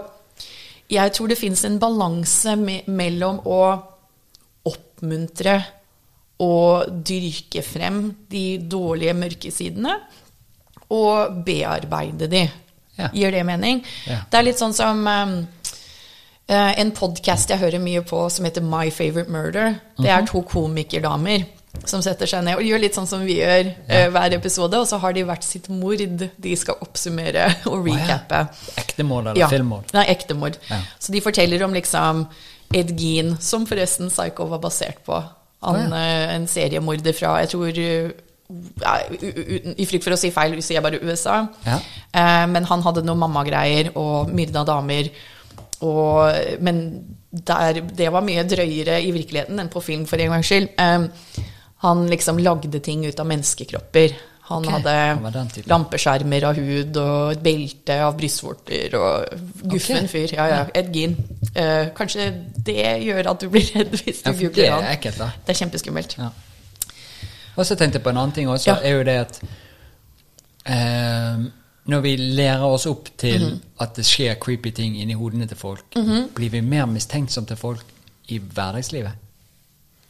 Speaker 2: jeg tror det fins en balanse me mellom å oppmuntre og dyrke frem de dårlige mørke sidene, og bearbeide de.
Speaker 1: Ja.
Speaker 2: Gir det mening?
Speaker 1: Ja.
Speaker 2: Det er litt sånn som um, eh, en podkast jeg hører mye på som heter My Favorite Murder. Det
Speaker 1: Mhm.
Speaker 2: er to komikerdamer som setter seg ned og gjør litt sånn som vi gjør eh, hver episode, og så har de hvert sitt mord de skal oppsummere og recappe.
Speaker 1: Ektemål eller filmmål?
Speaker 2: Nei, ektemord.
Speaker 1: Ja.
Speaker 2: Så de forteller om liksom Ed Gein, som forresten Psycho var basert på. Han,
Speaker 1: Å, ja.
Speaker 2: eh, En seriemorder fra, jeg tror eh, ja, u- u- uten, I frykt for å si feil, sier jeg bare USA.
Speaker 1: Ja.
Speaker 2: Eh, men han hadde noen mammagreier og myrda damer. Og, men der, det var mye drøyere i virkeligheten enn på film, for en gangs skyld. Eh, han liksom lagde ting ut av menneskekropper. Han
Speaker 1: Ok, han var
Speaker 2: hadde
Speaker 1: den typen.
Speaker 2: lampeskjermer av hud og et belte av brystvorter og guffen
Speaker 1: Ok.
Speaker 2: fyr. Ja, ja. Ed Gein. eh, kanskje det gjør at du blir redd hvis du
Speaker 1: Ja, for det
Speaker 2: googler
Speaker 1: er
Speaker 2: han.
Speaker 1: ekkelt, da.
Speaker 2: Det er kjempeskummelt.
Speaker 1: Ja. Og så tenkte jeg på en annen ting også,
Speaker 2: Ja.
Speaker 1: er jo det at eh, når vi lærer oss opp til
Speaker 2: Mhm.
Speaker 1: at det skjer creepy ting inni hodene til folk, blir vi mer mistenksom til folk i hverdagslivet?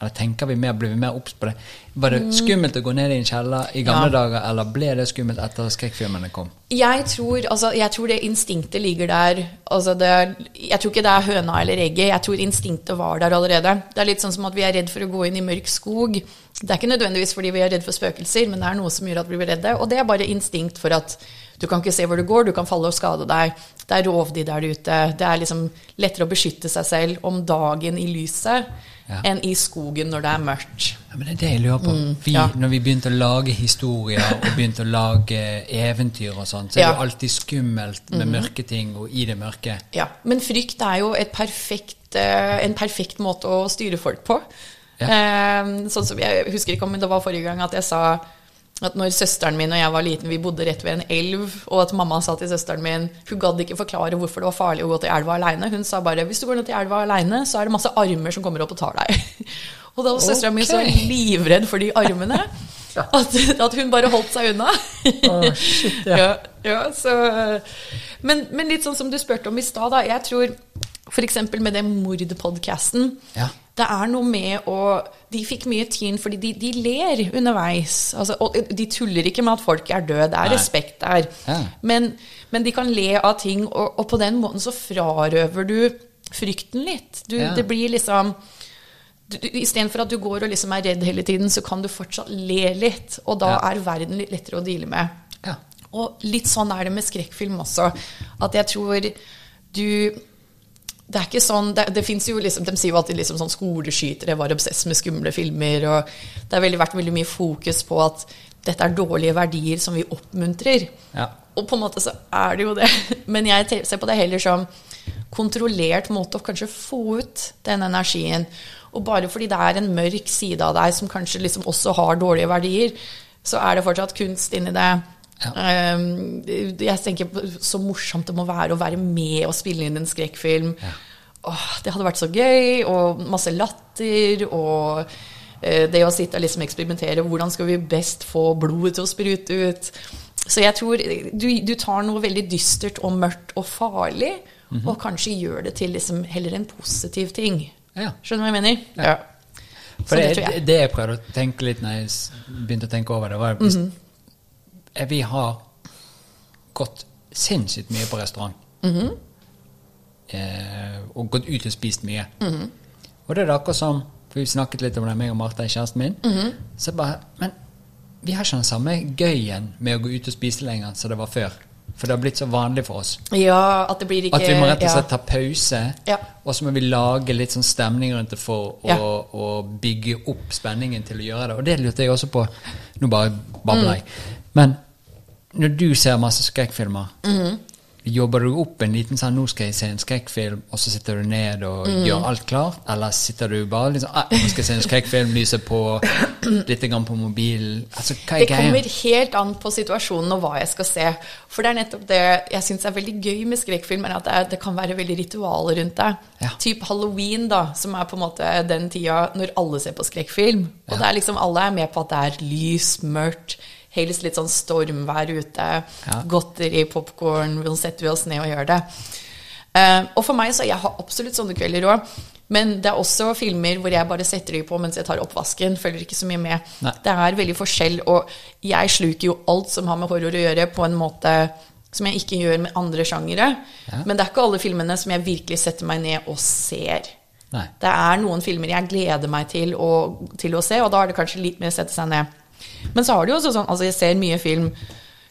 Speaker 1: Eller tenker vi mer, blir vi mer obs på det? Var
Speaker 2: Mm.
Speaker 1: det skummelt å gå ned i en kjeller i gamle dager, eller ble det skummelt etter at skrekkfilmene kom?
Speaker 2: Jeg tror, altså, jeg tror det instinktet ligger der. Altså, det, er- jeg tror ikke det er høna eller egget. Jeg tror instinktet var der allerede. Det er litt sånn som at vi er redd for å gå inn i mørk skog. Det er ikke nødvendigvis fordi vi er redd for spøkelser, men det er noe som gjør at vi blir redde. Og det er bare instinkt for at du kan ikke se hvor du går, du kan falle og skade deg. Det er rovdyr der ute. Det er liksom lettere å beskytte seg selv om dagen i lyset
Speaker 1: Ja.
Speaker 2: enn i skogen når det er mørkt.
Speaker 1: Ja, men det er det jeg lurer på. vi,
Speaker 2: Mm. ja.
Speaker 1: Når vi begynte å lage historier og begynte å lage eventyr og sånt, så er det
Speaker 2: Ja. Mhm.
Speaker 1: jo alltid skummelt med mørke ting og i det mørke.
Speaker 2: Ja, Men frykt er jo et perfekt, eh, en perfekt måte å styre folk på.
Speaker 1: Ja.
Speaker 2: Eh, Sånn som Jeg husker ikke om det var forrige gang at jeg sa at når søsteren min og jeg var liten, vi bodde rett ved en elv, og at mamma sa til søsteren min Hun gadd ikke forklare hvorfor det var farlig å gå til elva aleine. Hun sa bare hvis du går ned til elva aleine, så er det masse armer som kommer opp og tar deg. Og da var søstera mi så
Speaker 1: Ok.
Speaker 2: livredd for de armene at, at hun bare holdt seg unna.
Speaker 1: Å, shit, ja.
Speaker 2: ja, ja, så, men, men litt sånn som du spurte om i stad, da. Jeg tror f.eks. med den mordpodkasten
Speaker 1: Ja.
Speaker 2: Det er noe med å De fikk mye tyn fordi de, de ler underveis. Altså, og de tuller ikke med at folk er døde. Det er
Speaker 1: Nei.
Speaker 2: respekt der.
Speaker 1: Ja.
Speaker 2: Men, men de kan le av ting, og, og på den måten så frarøver du frykten litt. Du,
Speaker 1: Ja.
Speaker 2: Det blir liksom du- du- Istedenfor at du går og liksom er redd hele tiden, så kan du fortsatt le litt. Og
Speaker 1: Ja.
Speaker 2: da er verden litt lettere å deale med.
Speaker 1: Ja.
Speaker 2: Og litt sånn er det med skrekkfilm også. At jeg tror du det er ikke sånn, det, det finnes jo liksom, De sier jo alltid liksom sånn skoleskytere var obsess med skumle filmer. og Det har veldig, vært veldig mye fokus på at dette er dårlige verdier som vi oppmuntrer.
Speaker 1: Ja.
Speaker 2: Og på en måte så er det jo det. Men jeg te- ser på det heller som kontrollert måte å kanskje få ut den energien. Og bare fordi det er en mørk side av deg som kanskje liksom også har dårlige verdier, så er det fortsatt kunst inni det.
Speaker 1: Ja.
Speaker 2: Ehm, jeg tenker på så morsomt det må være å være med og spille inn en skrekkfilm. Åh, det hadde vært så gøy, og masse latter, og eh, det å sitte og liksom eksperimentere. Hvordan skal vi best få blodet til å sprute ut? Så jeg tror du, du tar noe veldig dystert og mørkt og farlig,
Speaker 1: Mhm.
Speaker 2: og kanskje gjør det til liksom heller en positiv ting.
Speaker 1: Ja.
Speaker 2: Skjønner du hva jeg mener?
Speaker 1: Ja.
Speaker 2: Så
Speaker 1: For
Speaker 2: det
Speaker 1: det,
Speaker 2: tror jeg.
Speaker 1: det jeg prøvde å tenke litt når jeg s- begynte å tenke over det, var hvis
Speaker 2: Mhm.
Speaker 1: eh, Vi har gått sinnssykt mye på restaurant.
Speaker 2: Mhm.
Speaker 1: eh, og gått ut og spist mye.
Speaker 2: Mhm.
Speaker 1: Og det er det akkurat som For vi snakket litt om det, meg og Martha, kjæresten min.
Speaker 2: Mhm.
Speaker 1: Så bare Men vi har ikke den samme gøyen med å gå ut og spise lenger som det var før. For det har blitt så vanlig for oss.
Speaker 2: Ja, at det blir ikke
Speaker 1: At vi må rett og
Speaker 2: ja.
Speaker 1: slett ta pause,
Speaker 2: Ja.
Speaker 1: og så må vi lage litt sånn stemning rundt det for å,
Speaker 2: Ja.
Speaker 1: å bygge opp spenningen til å gjøre det. Og det lurte jeg også på. Nå bare
Speaker 2: Mm.
Speaker 1: babler jeg. Men når du ser masse skrekkfilmer,
Speaker 2: Mhm.
Speaker 1: jobber du opp en liten sånn 'nå skal jeg se en skrekkfilm', og så sitter du ned og
Speaker 2: Mhm.
Speaker 1: gjør alt klart? Eller sitter du bare liksom ah, 'nå skal jeg se en skrekkfilm', lyset på, litt grann på mobilen Altså, hva er
Speaker 2: Det kommer
Speaker 1: greia?
Speaker 2: helt an på situasjonen og hva jeg skal se. For det er nettopp det jeg syns er veldig gøy med skrekkfilm, er at det, er, det kan være veldig ritualer rundt det.
Speaker 1: Ja.
Speaker 2: Typ halloween, da, som er på en måte den tida når alle ser på skrekkfilm. Og det er liksom, alle er med på at det er lys, mørkt, helst litt sånn stormvær ute,
Speaker 1: Ja.
Speaker 2: godteri, popkorn, hvordan setter vi oss ned og gjør det? Eh, og for meg så jeg har absolutt sånne kvelder òg. Men det er også filmer hvor jeg bare setter de på mens jeg tar oppvasken. Følger ikke så mye med.
Speaker 1: Nei.
Speaker 2: Det er veldig forskjell, og jeg sluker jo alt som har med horror å gjøre, på en måte som jeg ikke gjør med andre sjangere.
Speaker 1: Ja.
Speaker 2: Men det er ikke alle filmene som jeg virkelig setter meg ned og ser.
Speaker 1: Nei.
Speaker 2: Det er noen filmer jeg gleder meg til å, til å se, og da er det kanskje litt mer å sette seg ned. Men så har det jo også sånn, altså jeg ser mye film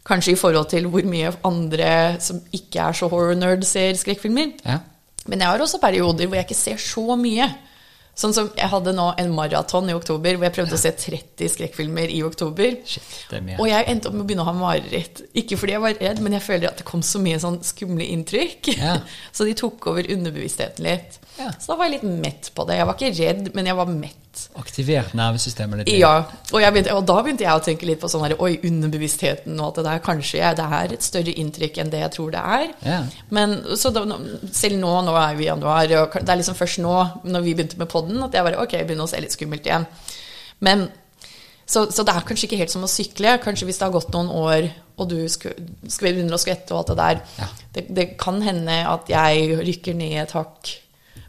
Speaker 2: kanskje i forhold til hvor mye andre som ikke er så horror-nerd, ser skrekkfilmer.
Speaker 1: Ja.
Speaker 2: Men jeg har også perioder hvor jeg ikke ser så mye. Sånn som Jeg hadde nå en maraton i oktober hvor jeg prøvde å se 30 skrekkfilmer i oktober.
Speaker 1: Shit, det er mye.
Speaker 2: Og jeg endte opp med å begynne å ha mareritt. Ikke fordi jeg var redd, men jeg føler at det kom så mye sånn skumle inntrykk.
Speaker 1: Ja.
Speaker 2: Så de tok over underbevisstheten litt.
Speaker 1: Ja.
Speaker 2: Så da var jeg litt mett på det. Jeg var ikke redd, men jeg var mett. litt.
Speaker 1: Aktivert nervesystemet litt.
Speaker 2: Ja, og, jeg begynte, og da begynte jeg å tenke litt på sånn her, oi, underbevisstheten, og at det der kanskje er, det er et større inntrykk enn det jeg tror det er.
Speaker 1: Ja.
Speaker 2: Men så da, selv nå, nå er vi i januar, og det er liksom først nå, når vi begynte med podden, at jeg bare, ok, jeg begynner å se litt skummelt igjen. Men, så, så det er kanskje ikke helt som å sykle, kanskje hvis det har gått noen år, og du sku- sku- begynner å skvette og alt det der,
Speaker 1: Ja.
Speaker 2: det, det kan hende at jeg rykker ned et hakk.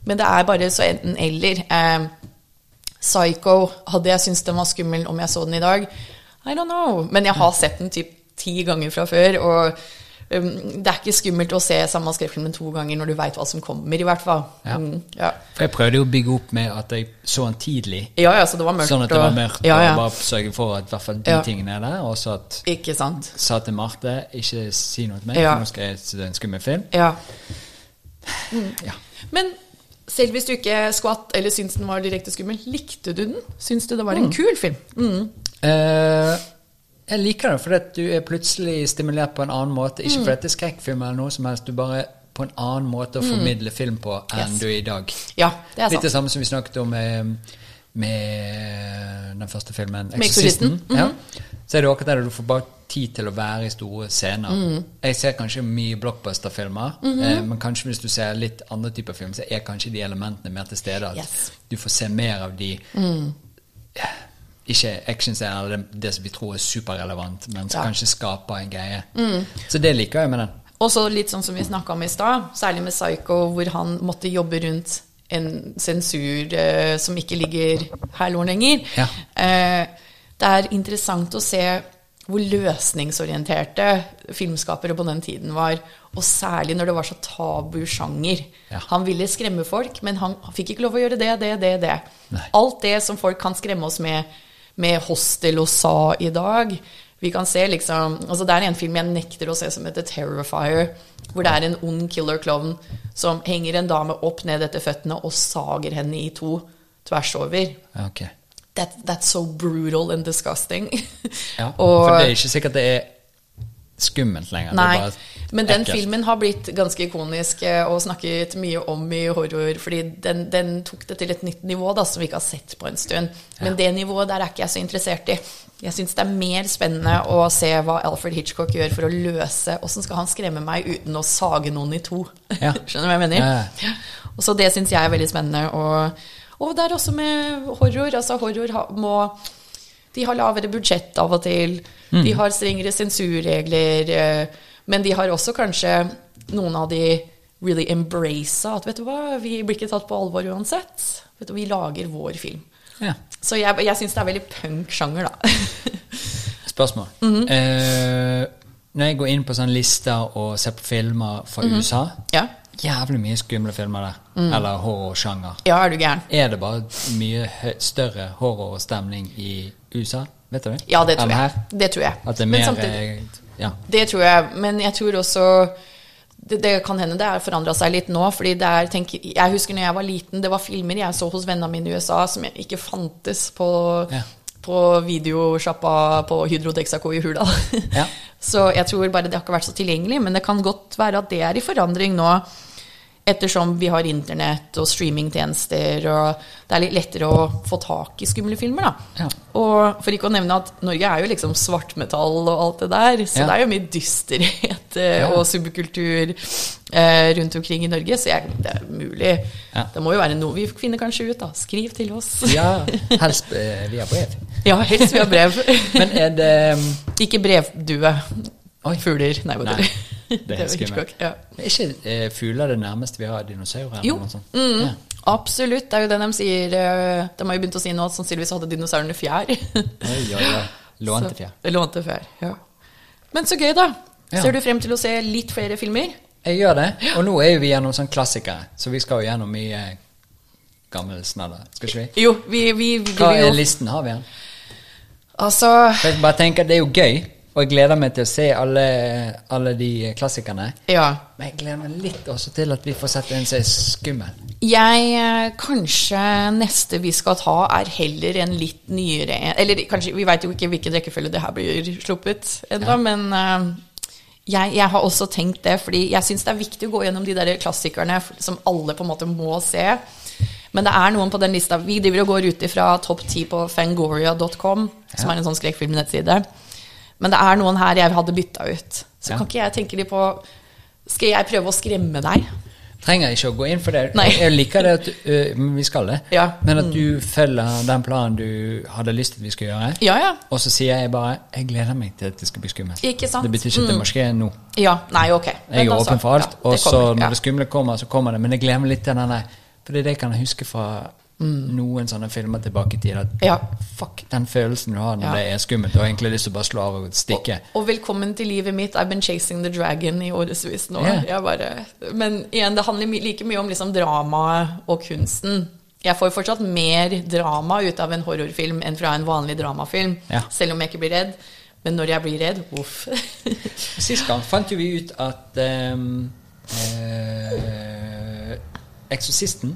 Speaker 2: Men det er bare så enten eller. Eh, Psycho, hadde jeg syntes den var skummel om jeg så den i dag? I don't know. Men jeg har sett den typ ti ganger fra før, og um, det er ikke skummelt å se samme skrekkfilmen to ganger når du veit hva som kommer, i hvert fall.
Speaker 1: Ja.
Speaker 2: Mm, ja.
Speaker 1: For jeg prøvde jo å bygge opp med at jeg så den tidlig,
Speaker 2: ja, ja, så det var mørkt.
Speaker 1: sånn at det
Speaker 2: og-
Speaker 1: var mørkt,
Speaker 2: Ja, ja.
Speaker 1: og bare sørge for at i hvert fall de
Speaker 2: Ja.
Speaker 1: tingene er der, og så at
Speaker 2: Ikke sant.
Speaker 1: sa til Marte, ikke si noe til meg,
Speaker 2: Ja.
Speaker 1: for nå skal jeg se en skummel film.
Speaker 2: Ja.
Speaker 1: Ja.
Speaker 2: Men selv hvis du ikke skvatt eller syntes den var direkte skummel, likte du den? Syns du det var en kul film? Mm.
Speaker 1: Eh, jeg liker det, fordi at du er plutselig stimulert på en annen måte.
Speaker 2: Mm.
Speaker 1: Ikke fordi at det er skrekkfilm eller noe som helst, du bare på en annen måte å formidle film på enn
Speaker 2: Yes.
Speaker 1: du er i dag.
Speaker 2: Ja, det er
Speaker 1: Litt det
Speaker 2: sant.
Speaker 1: samme som vi snakket om med, med den første filmen,
Speaker 2: Med Exorcisten. Mhm.
Speaker 1: 'Exorcisten'. ja. Så er det akkurat det, du får bare tid til å være i store scener.
Speaker 2: Mhm.
Speaker 1: Jeg ser kanskje mye blockbuster-filmer, eh, men kanskje hvis du ser litt andre typer film, så er kanskje de elementene mer til stede. At
Speaker 2: Yes. Mhm.
Speaker 1: du får se mer av de Ikke actionscener eller det, det som vi tror er superrelevant, men som
Speaker 2: Ja. Mhm.
Speaker 1: kanskje skaper en greie. Så det liker jeg med den.
Speaker 2: Og så litt sånn som vi snakka om i stad, særlig med Psycho, hvor han måtte jobbe rundt en sensur eh, som ikke ligger her loren lenger.
Speaker 1: Ja.
Speaker 2: Eh, det er interessant å se hvor løsningsorienterte filmskapere på den tiden var. Og særlig når det var så tabu sjanger.
Speaker 1: Ja.
Speaker 2: Han ville skremme folk, men han, han fikk ikke lov å gjøre det, det, det, det.
Speaker 1: Nei.
Speaker 2: Alt det som folk kan skremme oss med, med Hostel og Sa i dag. Vi kan se liksom, altså Det er en film jeg nekter å se som heter Terrifier, hvor det er en ond killer klovn som henger en dame opp ned etter føttene og sager henne i to tvers over.
Speaker 1: Ok.
Speaker 2: That, that's so brutal and disgusting.
Speaker 1: Ja.
Speaker 2: Og-
Speaker 1: For det er ikke sikkert det er skummelt lenger. det er
Speaker 2: Nei,
Speaker 1: bare
Speaker 2: men den
Speaker 1: ekkelt.
Speaker 2: filmen har blitt ganske ikonisk eh, og snakket mye om i horror, fordi den, den tok det til et nytt nivå da, som vi ikke har sett på en stund. Men det nivået der er ikke jeg så interessert i. Jeg syns det er mer spennende å se hva Alfred Hitchcock gjør for å løse Åssen skal han skremme meg uten å sage noen i to?
Speaker 1: Ja.
Speaker 2: Skjønner du hva jeg mener?
Speaker 1: Ja, ja.
Speaker 2: Og så det syns jeg er veldig spennende. Og, og det er også med horror. Altså horror ha, må De har lavere budsjett av og til.
Speaker 1: Mm.
Speaker 2: De har strengere sensurregler. eh, Men de har også kanskje noen av de really embraca at vet du hva, vi blir ikke tatt på alvor uansett. Vet du, vi lager vår film.
Speaker 1: Ja.
Speaker 2: Så jeg, jeg syns det er veldig punk-sjanger, da.
Speaker 1: Spørsmål.
Speaker 2: Mhm.
Speaker 1: Eh, når jeg går inn på sånne lister og ser på filmer fra
Speaker 2: Mhm.
Speaker 1: USA
Speaker 2: ja.
Speaker 1: Jævlig mye skumle filmer der.
Speaker 2: Mhm.
Speaker 1: Eller horrorsjanger.
Speaker 2: ja, er du gæren?
Speaker 1: Er det bare mye hø- større horrorstemning i USA? Vet du det?
Speaker 2: Ja, det tror
Speaker 1: Enn
Speaker 2: jeg.
Speaker 1: her?
Speaker 2: Det tror jeg.
Speaker 1: At det er
Speaker 2: Men
Speaker 1: mer
Speaker 2: samtidig-
Speaker 1: eh, Ja.
Speaker 2: Det tror jeg, men jeg tror også det, det kan hende det har forandra seg litt nå. fordi det er, tenk, Jeg husker når jeg var liten, det var filmer jeg så hos vennene mine i USA som jeg ikke fantes på,
Speaker 1: Ja.
Speaker 2: på videosjappa på Hydro Dexaco i Hurdal.
Speaker 1: Ja.
Speaker 2: så jeg tror bare det har ikke vært så tilgjengelig, men det kan godt være at det er i forandring nå. Ettersom vi har internett og streamingtjenester, og det er litt lettere å få tak i skumle filmer. da.
Speaker 1: Ja.
Speaker 2: Og for ikke å nevne at Norge er jo liksom svartmetall og alt det der, så
Speaker 1: Ja.
Speaker 2: det er jo mye dysterhet eh,
Speaker 1: Ja.
Speaker 2: og subkultur eh, rundt omkring i Norge, så jeg, det er mulig.
Speaker 1: Ja.
Speaker 2: Det må jo være noe vi finner kanskje ut, da. Skriv til oss.
Speaker 1: ja helst eh, via brev.
Speaker 2: Ja, helst via brev.
Speaker 1: Men er det
Speaker 2: ikke brevdue.
Speaker 1: Oi.
Speaker 2: Fugler. Nei, hva
Speaker 1: Nei,
Speaker 2: heter det?
Speaker 1: det er
Speaker 2: var
Speaker 1: skummelt.
Speaker 2: Hitchcock, Ja.
Speaker 1: Er ikke eh, fugler det nærmeste vi har dinosaurer?
Speaker 2: Jo.
Speaker 1: Eller noe sånt?
Speaker 2: Mm,
Speaker 1: Ja.
Speaker 2: Absolutt. Det er jo det de sier eh, De har jo begynt å si nå at sannsynligvis hadde dinosaurene fjær.
Speaker 1: Oi, oi, oi. Lånte fjær.
Speaker 2: Så- Lånte fjær, ja. Men så gøy, da.
Speaker 1: Ja.
Speaker 2: Ser du frem til å se litt flere filmer?
Speaker 1: Jeg gjør det. Og nå er jo vi gjennom sånn klassikere, så vi skal jo gjennom mye eh, gammel snadder. Skal ikke vi?
Speaker 2: Jo, vi, vi, vi,
Speaker 1: Hva
Speaker 2: vi
Speaker 1: er
Speaker 2: jo.
Speaker 1: listen har vi igjen?
Speaker 2: Altså
Speaker 1: For Jeg bare tenker, Det er jo gøy, og jeg gleder meg til å se alle, alle de klassikerne.
Speaker 2: Ja.
Speaker 1: Men jeg gleder meg litt også til at vi får sett en som er skummel.
Speaker 2: Jeg eh, Kanskje neste vi skal ta, er heller en litt nyere en. Eller kanskje Vi veit jo ikke hvilken rekkefølge det her blir sluppet ennå,
Speaker 1: Ja.
Speaker 2: men eh, jeg, jeg har også tenkt det, fordi jeg syns det er viktig å gå gjennom de der klassikerne f- som alle på en måte må se. Men det er noen på den lista. Vi driver og går ut ifra topp 10 på fangoria.com, som er en sånn skrekkfilmnettside. Men det er noen her jeg hadde bytta ut. Så
Speaker 1: Ja.
Speaker 2: kan ikke jeg tenke litt på Skal jeg prøve å skremme deg?
Speaker 1: Trenger ikke å gå inn for det.
Speaker 2: Nei.
Speaker 1: Jeg liker det at ø, men Vi skal det.
Speaker 2: Ja. Mm.
Speaker 1: Men at du følger den planen du hadde lyst til at vi skulle gjøre.
Speaker 2: Ja, ja.
Speaker 1: Og så sier jeg bare 'jeg gleder meg til at det skal bli skummelt'.
Speaker 2: Ikke sant? Mm.
Speaker 1: Det betyr ikke at det må skje nå.
Speaker 2: Ja, nei, ok.
Speaker 1: Jeg er
Speaker 2: Men altså,
Speaker 1: åpen for alt.
Speaker 2: ja, det
Speaker 1: og så
Speaker 2: kommer,
Speaker 1: når
Speaker 2: ja.
Speaker 1: det skumle kommer, så kommer det. Men jeg glemmer litt den der For det er det jeg kan huske fra noen sånne filmer tilbake i tid. At
Speaker 2: Ja.
Speaker 1: fuck den følelsen du har når
Speaker 2: Ja.
Speaker 1: det er skummelt, og egentlig har lyst til å bare slå av og stikke.
Speaker 2: Og velkommen til livet mitt. I've been chasing the dragon i årevis nå.
Speaker 1: Ja.
Speaker 2: Jeg bare, men igjen, det handler my like mye om liksom dramaet og kunsten. Jeg får fortsatt mer drama ut av en horrorfilm enn fra en vanlig dramafilm.
Speaker 1: Ja.
Speaker 2: Selv om jeg ikke blir redd. Men når jeg blir redd, uff.
Speaker 1: Sist gang fant jo vi ut at ehm, eh, Eksorsisten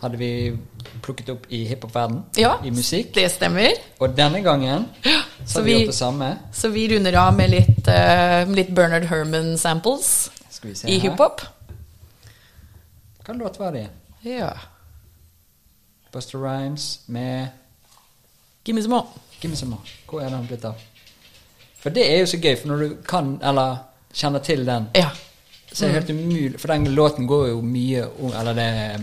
Speaker 1: hadde vi plukket opp i hiphop-verden,
Speaker 2: ja,
Speaker 1: i musikk.
Speaker 2: det stemmer.
Speaker 1: Og denne gangen så
Speaker 2: Så
Speaker 1: har vi
Speaker 2: vi-
Speaker 1: gjort det samme.
Speaker 2: Så vi runder av med litt, eh, litt Bernard Herman-samples
Speaker 1: Skal vi se
Speaker 2: i
Speaker 1: her.
Speaker 2: hiphop.
Speaker 1: Hva låt var det?
Speaker 2: Ja.
Speaker 1: Buster Rhymes med
Speaker 2: Give me some more.
Speaker 1: Give me some more. Hvor er den blitt av? For det er jo så gøy, for når du kan, eller kjenner til den,
Speaker 2: Ja.
Speaker 1: så er det helt umulig For den låten går jo mye om Eller det er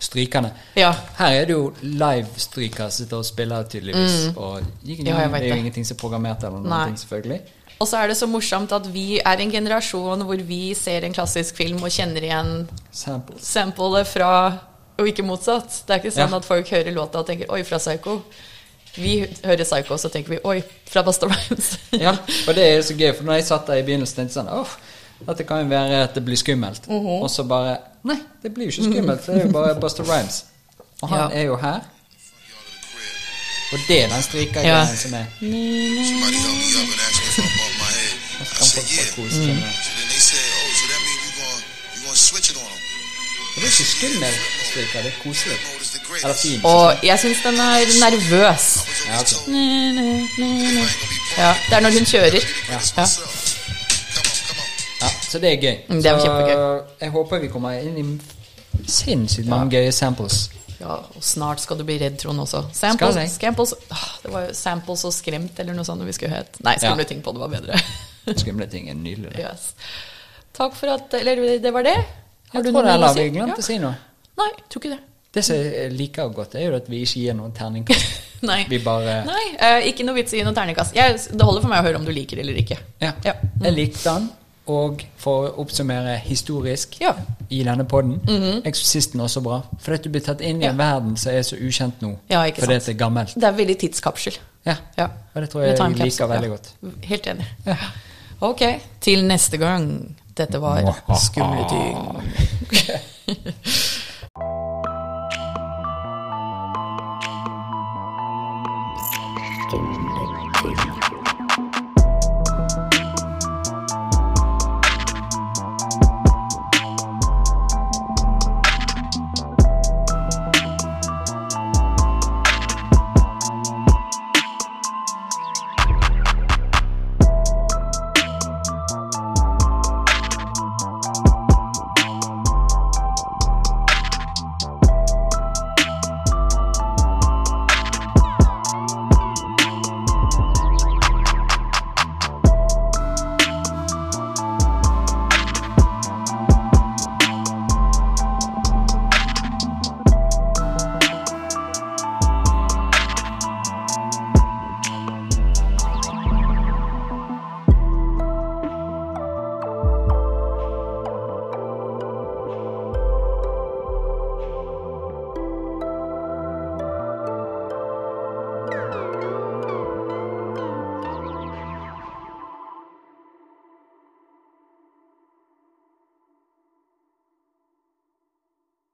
Speaker 1: strykende.
Speaker 2: Ja.
Speaker 1: Her er det jo live-stryker som sitter og spiller, tydeligvis. Og
Speaker 2: Mm. Ja, jeg vet
Speaker 1: det er jo
Speaker 2: det.
Speaker 1: ingenting som er programmert, eller noen
Speaker 2: Nei.
Speaker 1: ting, selvfølgelig.
Speaker 2: Og så er det så morsomt at vi er en generasjon hvor vi ser en klassisk film og kjenner igjen
Speaker 1: Samples.
Speaker 2: samplet fra Og ikke motsatt. Det er ikke sånn
Speaker 1: Ja.
Speaker 2: at folk hører låta og tenker 'oi, fra Psycho'. Vi hører Psycho, så tenker vi 'oi, fra Busta Rhymes'.
Speaker 1: Ja, og det er jo så gøy, for når jeg satt der i begynnelsen, tenkte jeg sånn Åh, dette kan jo være at det blir skummelt.
Speaker 2: Mhm.
Speaker 1: Og så bare Nei, det blir jo ikke skummelt. Det er jo bare Buster Rhymes. Og han
Speaker 2: Ja.
Speaker 1: er jo her. Og det er den stryka
Speaker 2: Ja.
Speaker 1: som er
Speaker 3: Somebody called me up and asked me if I bought my head. I
Speaker 1: kan få
Speaker 3: said,
Speaker 1: folk
Speaker 3: yeah.
Speaker 1: kose seg
Speaker 2: Mm.
Speaker 1: med.
Speaker 3: So then they said, oh, so that means you going you gonna switch it on them.
Speaker 1: Og Det er ikke skummel stryka, det er koselig.
Speaker 3: Mode is the greatest.
Speaker 1: Eller fin.
Speaker 2: Og jeg syns den er nervøs.
Speaker 3: I was
Speaker 1: Ja,
Speaker 3: always
Speaker 1: ok.
Speaker 3: told I ain't gonna be
Speaker 2: Ja, Det er når hun kjører.
Speaker 3: part of
Speaker 2: Ja.
Speaker 3: myself. Come on, come on.
Speaker 1: Ja, så det er gøy.
Speaker 2: Mm, det er
Speaker 1: så eh,
Speaker 2: kjempegøy.
Speaker 1: jeg håper vi kommer inn i sinnssykt mange gøye samples.
Speaker 2: Ja, og snart skal du bli redd, Trond, også. Samples,
Speaker 1: Skal jeg?
Speaker 2: samples ah, Det var jo 'Samples og skremt' eller noe sånt vi skulle hett. Nei, skumle
Speaker 1: Ja.
Speaker 2: ting på det var bedre.
Speaker 1: Skumle ting er nydelig. det.
Speaker 2: yes. Takk for at Eller det var det? Har
Speaker 1: Jeg
Speaker 2: du
Speaker 1: tror
Speaker 2: noe
Speaker 1: det,
Speaker 2: mer å
Speaker 1: eller
Speaker 2: si?
Speaker 1: vi glemte å si noe.
Speaker 2: Nei, jeg tror ikke det.
Speaker 1: Det som jeg liker godt, er jo at vi ikke gir noen terningkast.
Speaker 2: Nei.
Speaker 1: Vi bare
Speaker 2: Nei, eh, ikke noe vits i noen terningkast. Jeg, det holder for meg å høre om du liker det eller ikke.
Speaker 1: Ja.
Speaker 2: Ja. Mm.
Speaker 1: Jeg likte den. Og for å oppsummere historisk
Speaker 2: Ja. Mhm.
Speaker 1: i denne podden, Eksorsisten er også bra. Fordi at du blir tatt inn i en verden som er så ukjent nå.
Speaker 2: Ja, ikke
Speaker 1: fordi
Speaker 2: sant.
Speaker 1: at det er gammelt.
Speaker 2: Det er veldig tidskapsel.
Speaker 1: Ja.
Speaker 2: Ja.
Speaker 1: Og det tror jeg
Speaker 2: Med
Speaker 1: jeg
Speaker 2: time
Speaker 1: liker
Speaker 2: capsule,
Speaker 1: veldig
Speaker 2: ja.
Speaker 1: godt.
Speaker 2: Helt enig. Ok, til neste gang. Dette var Skumle ting.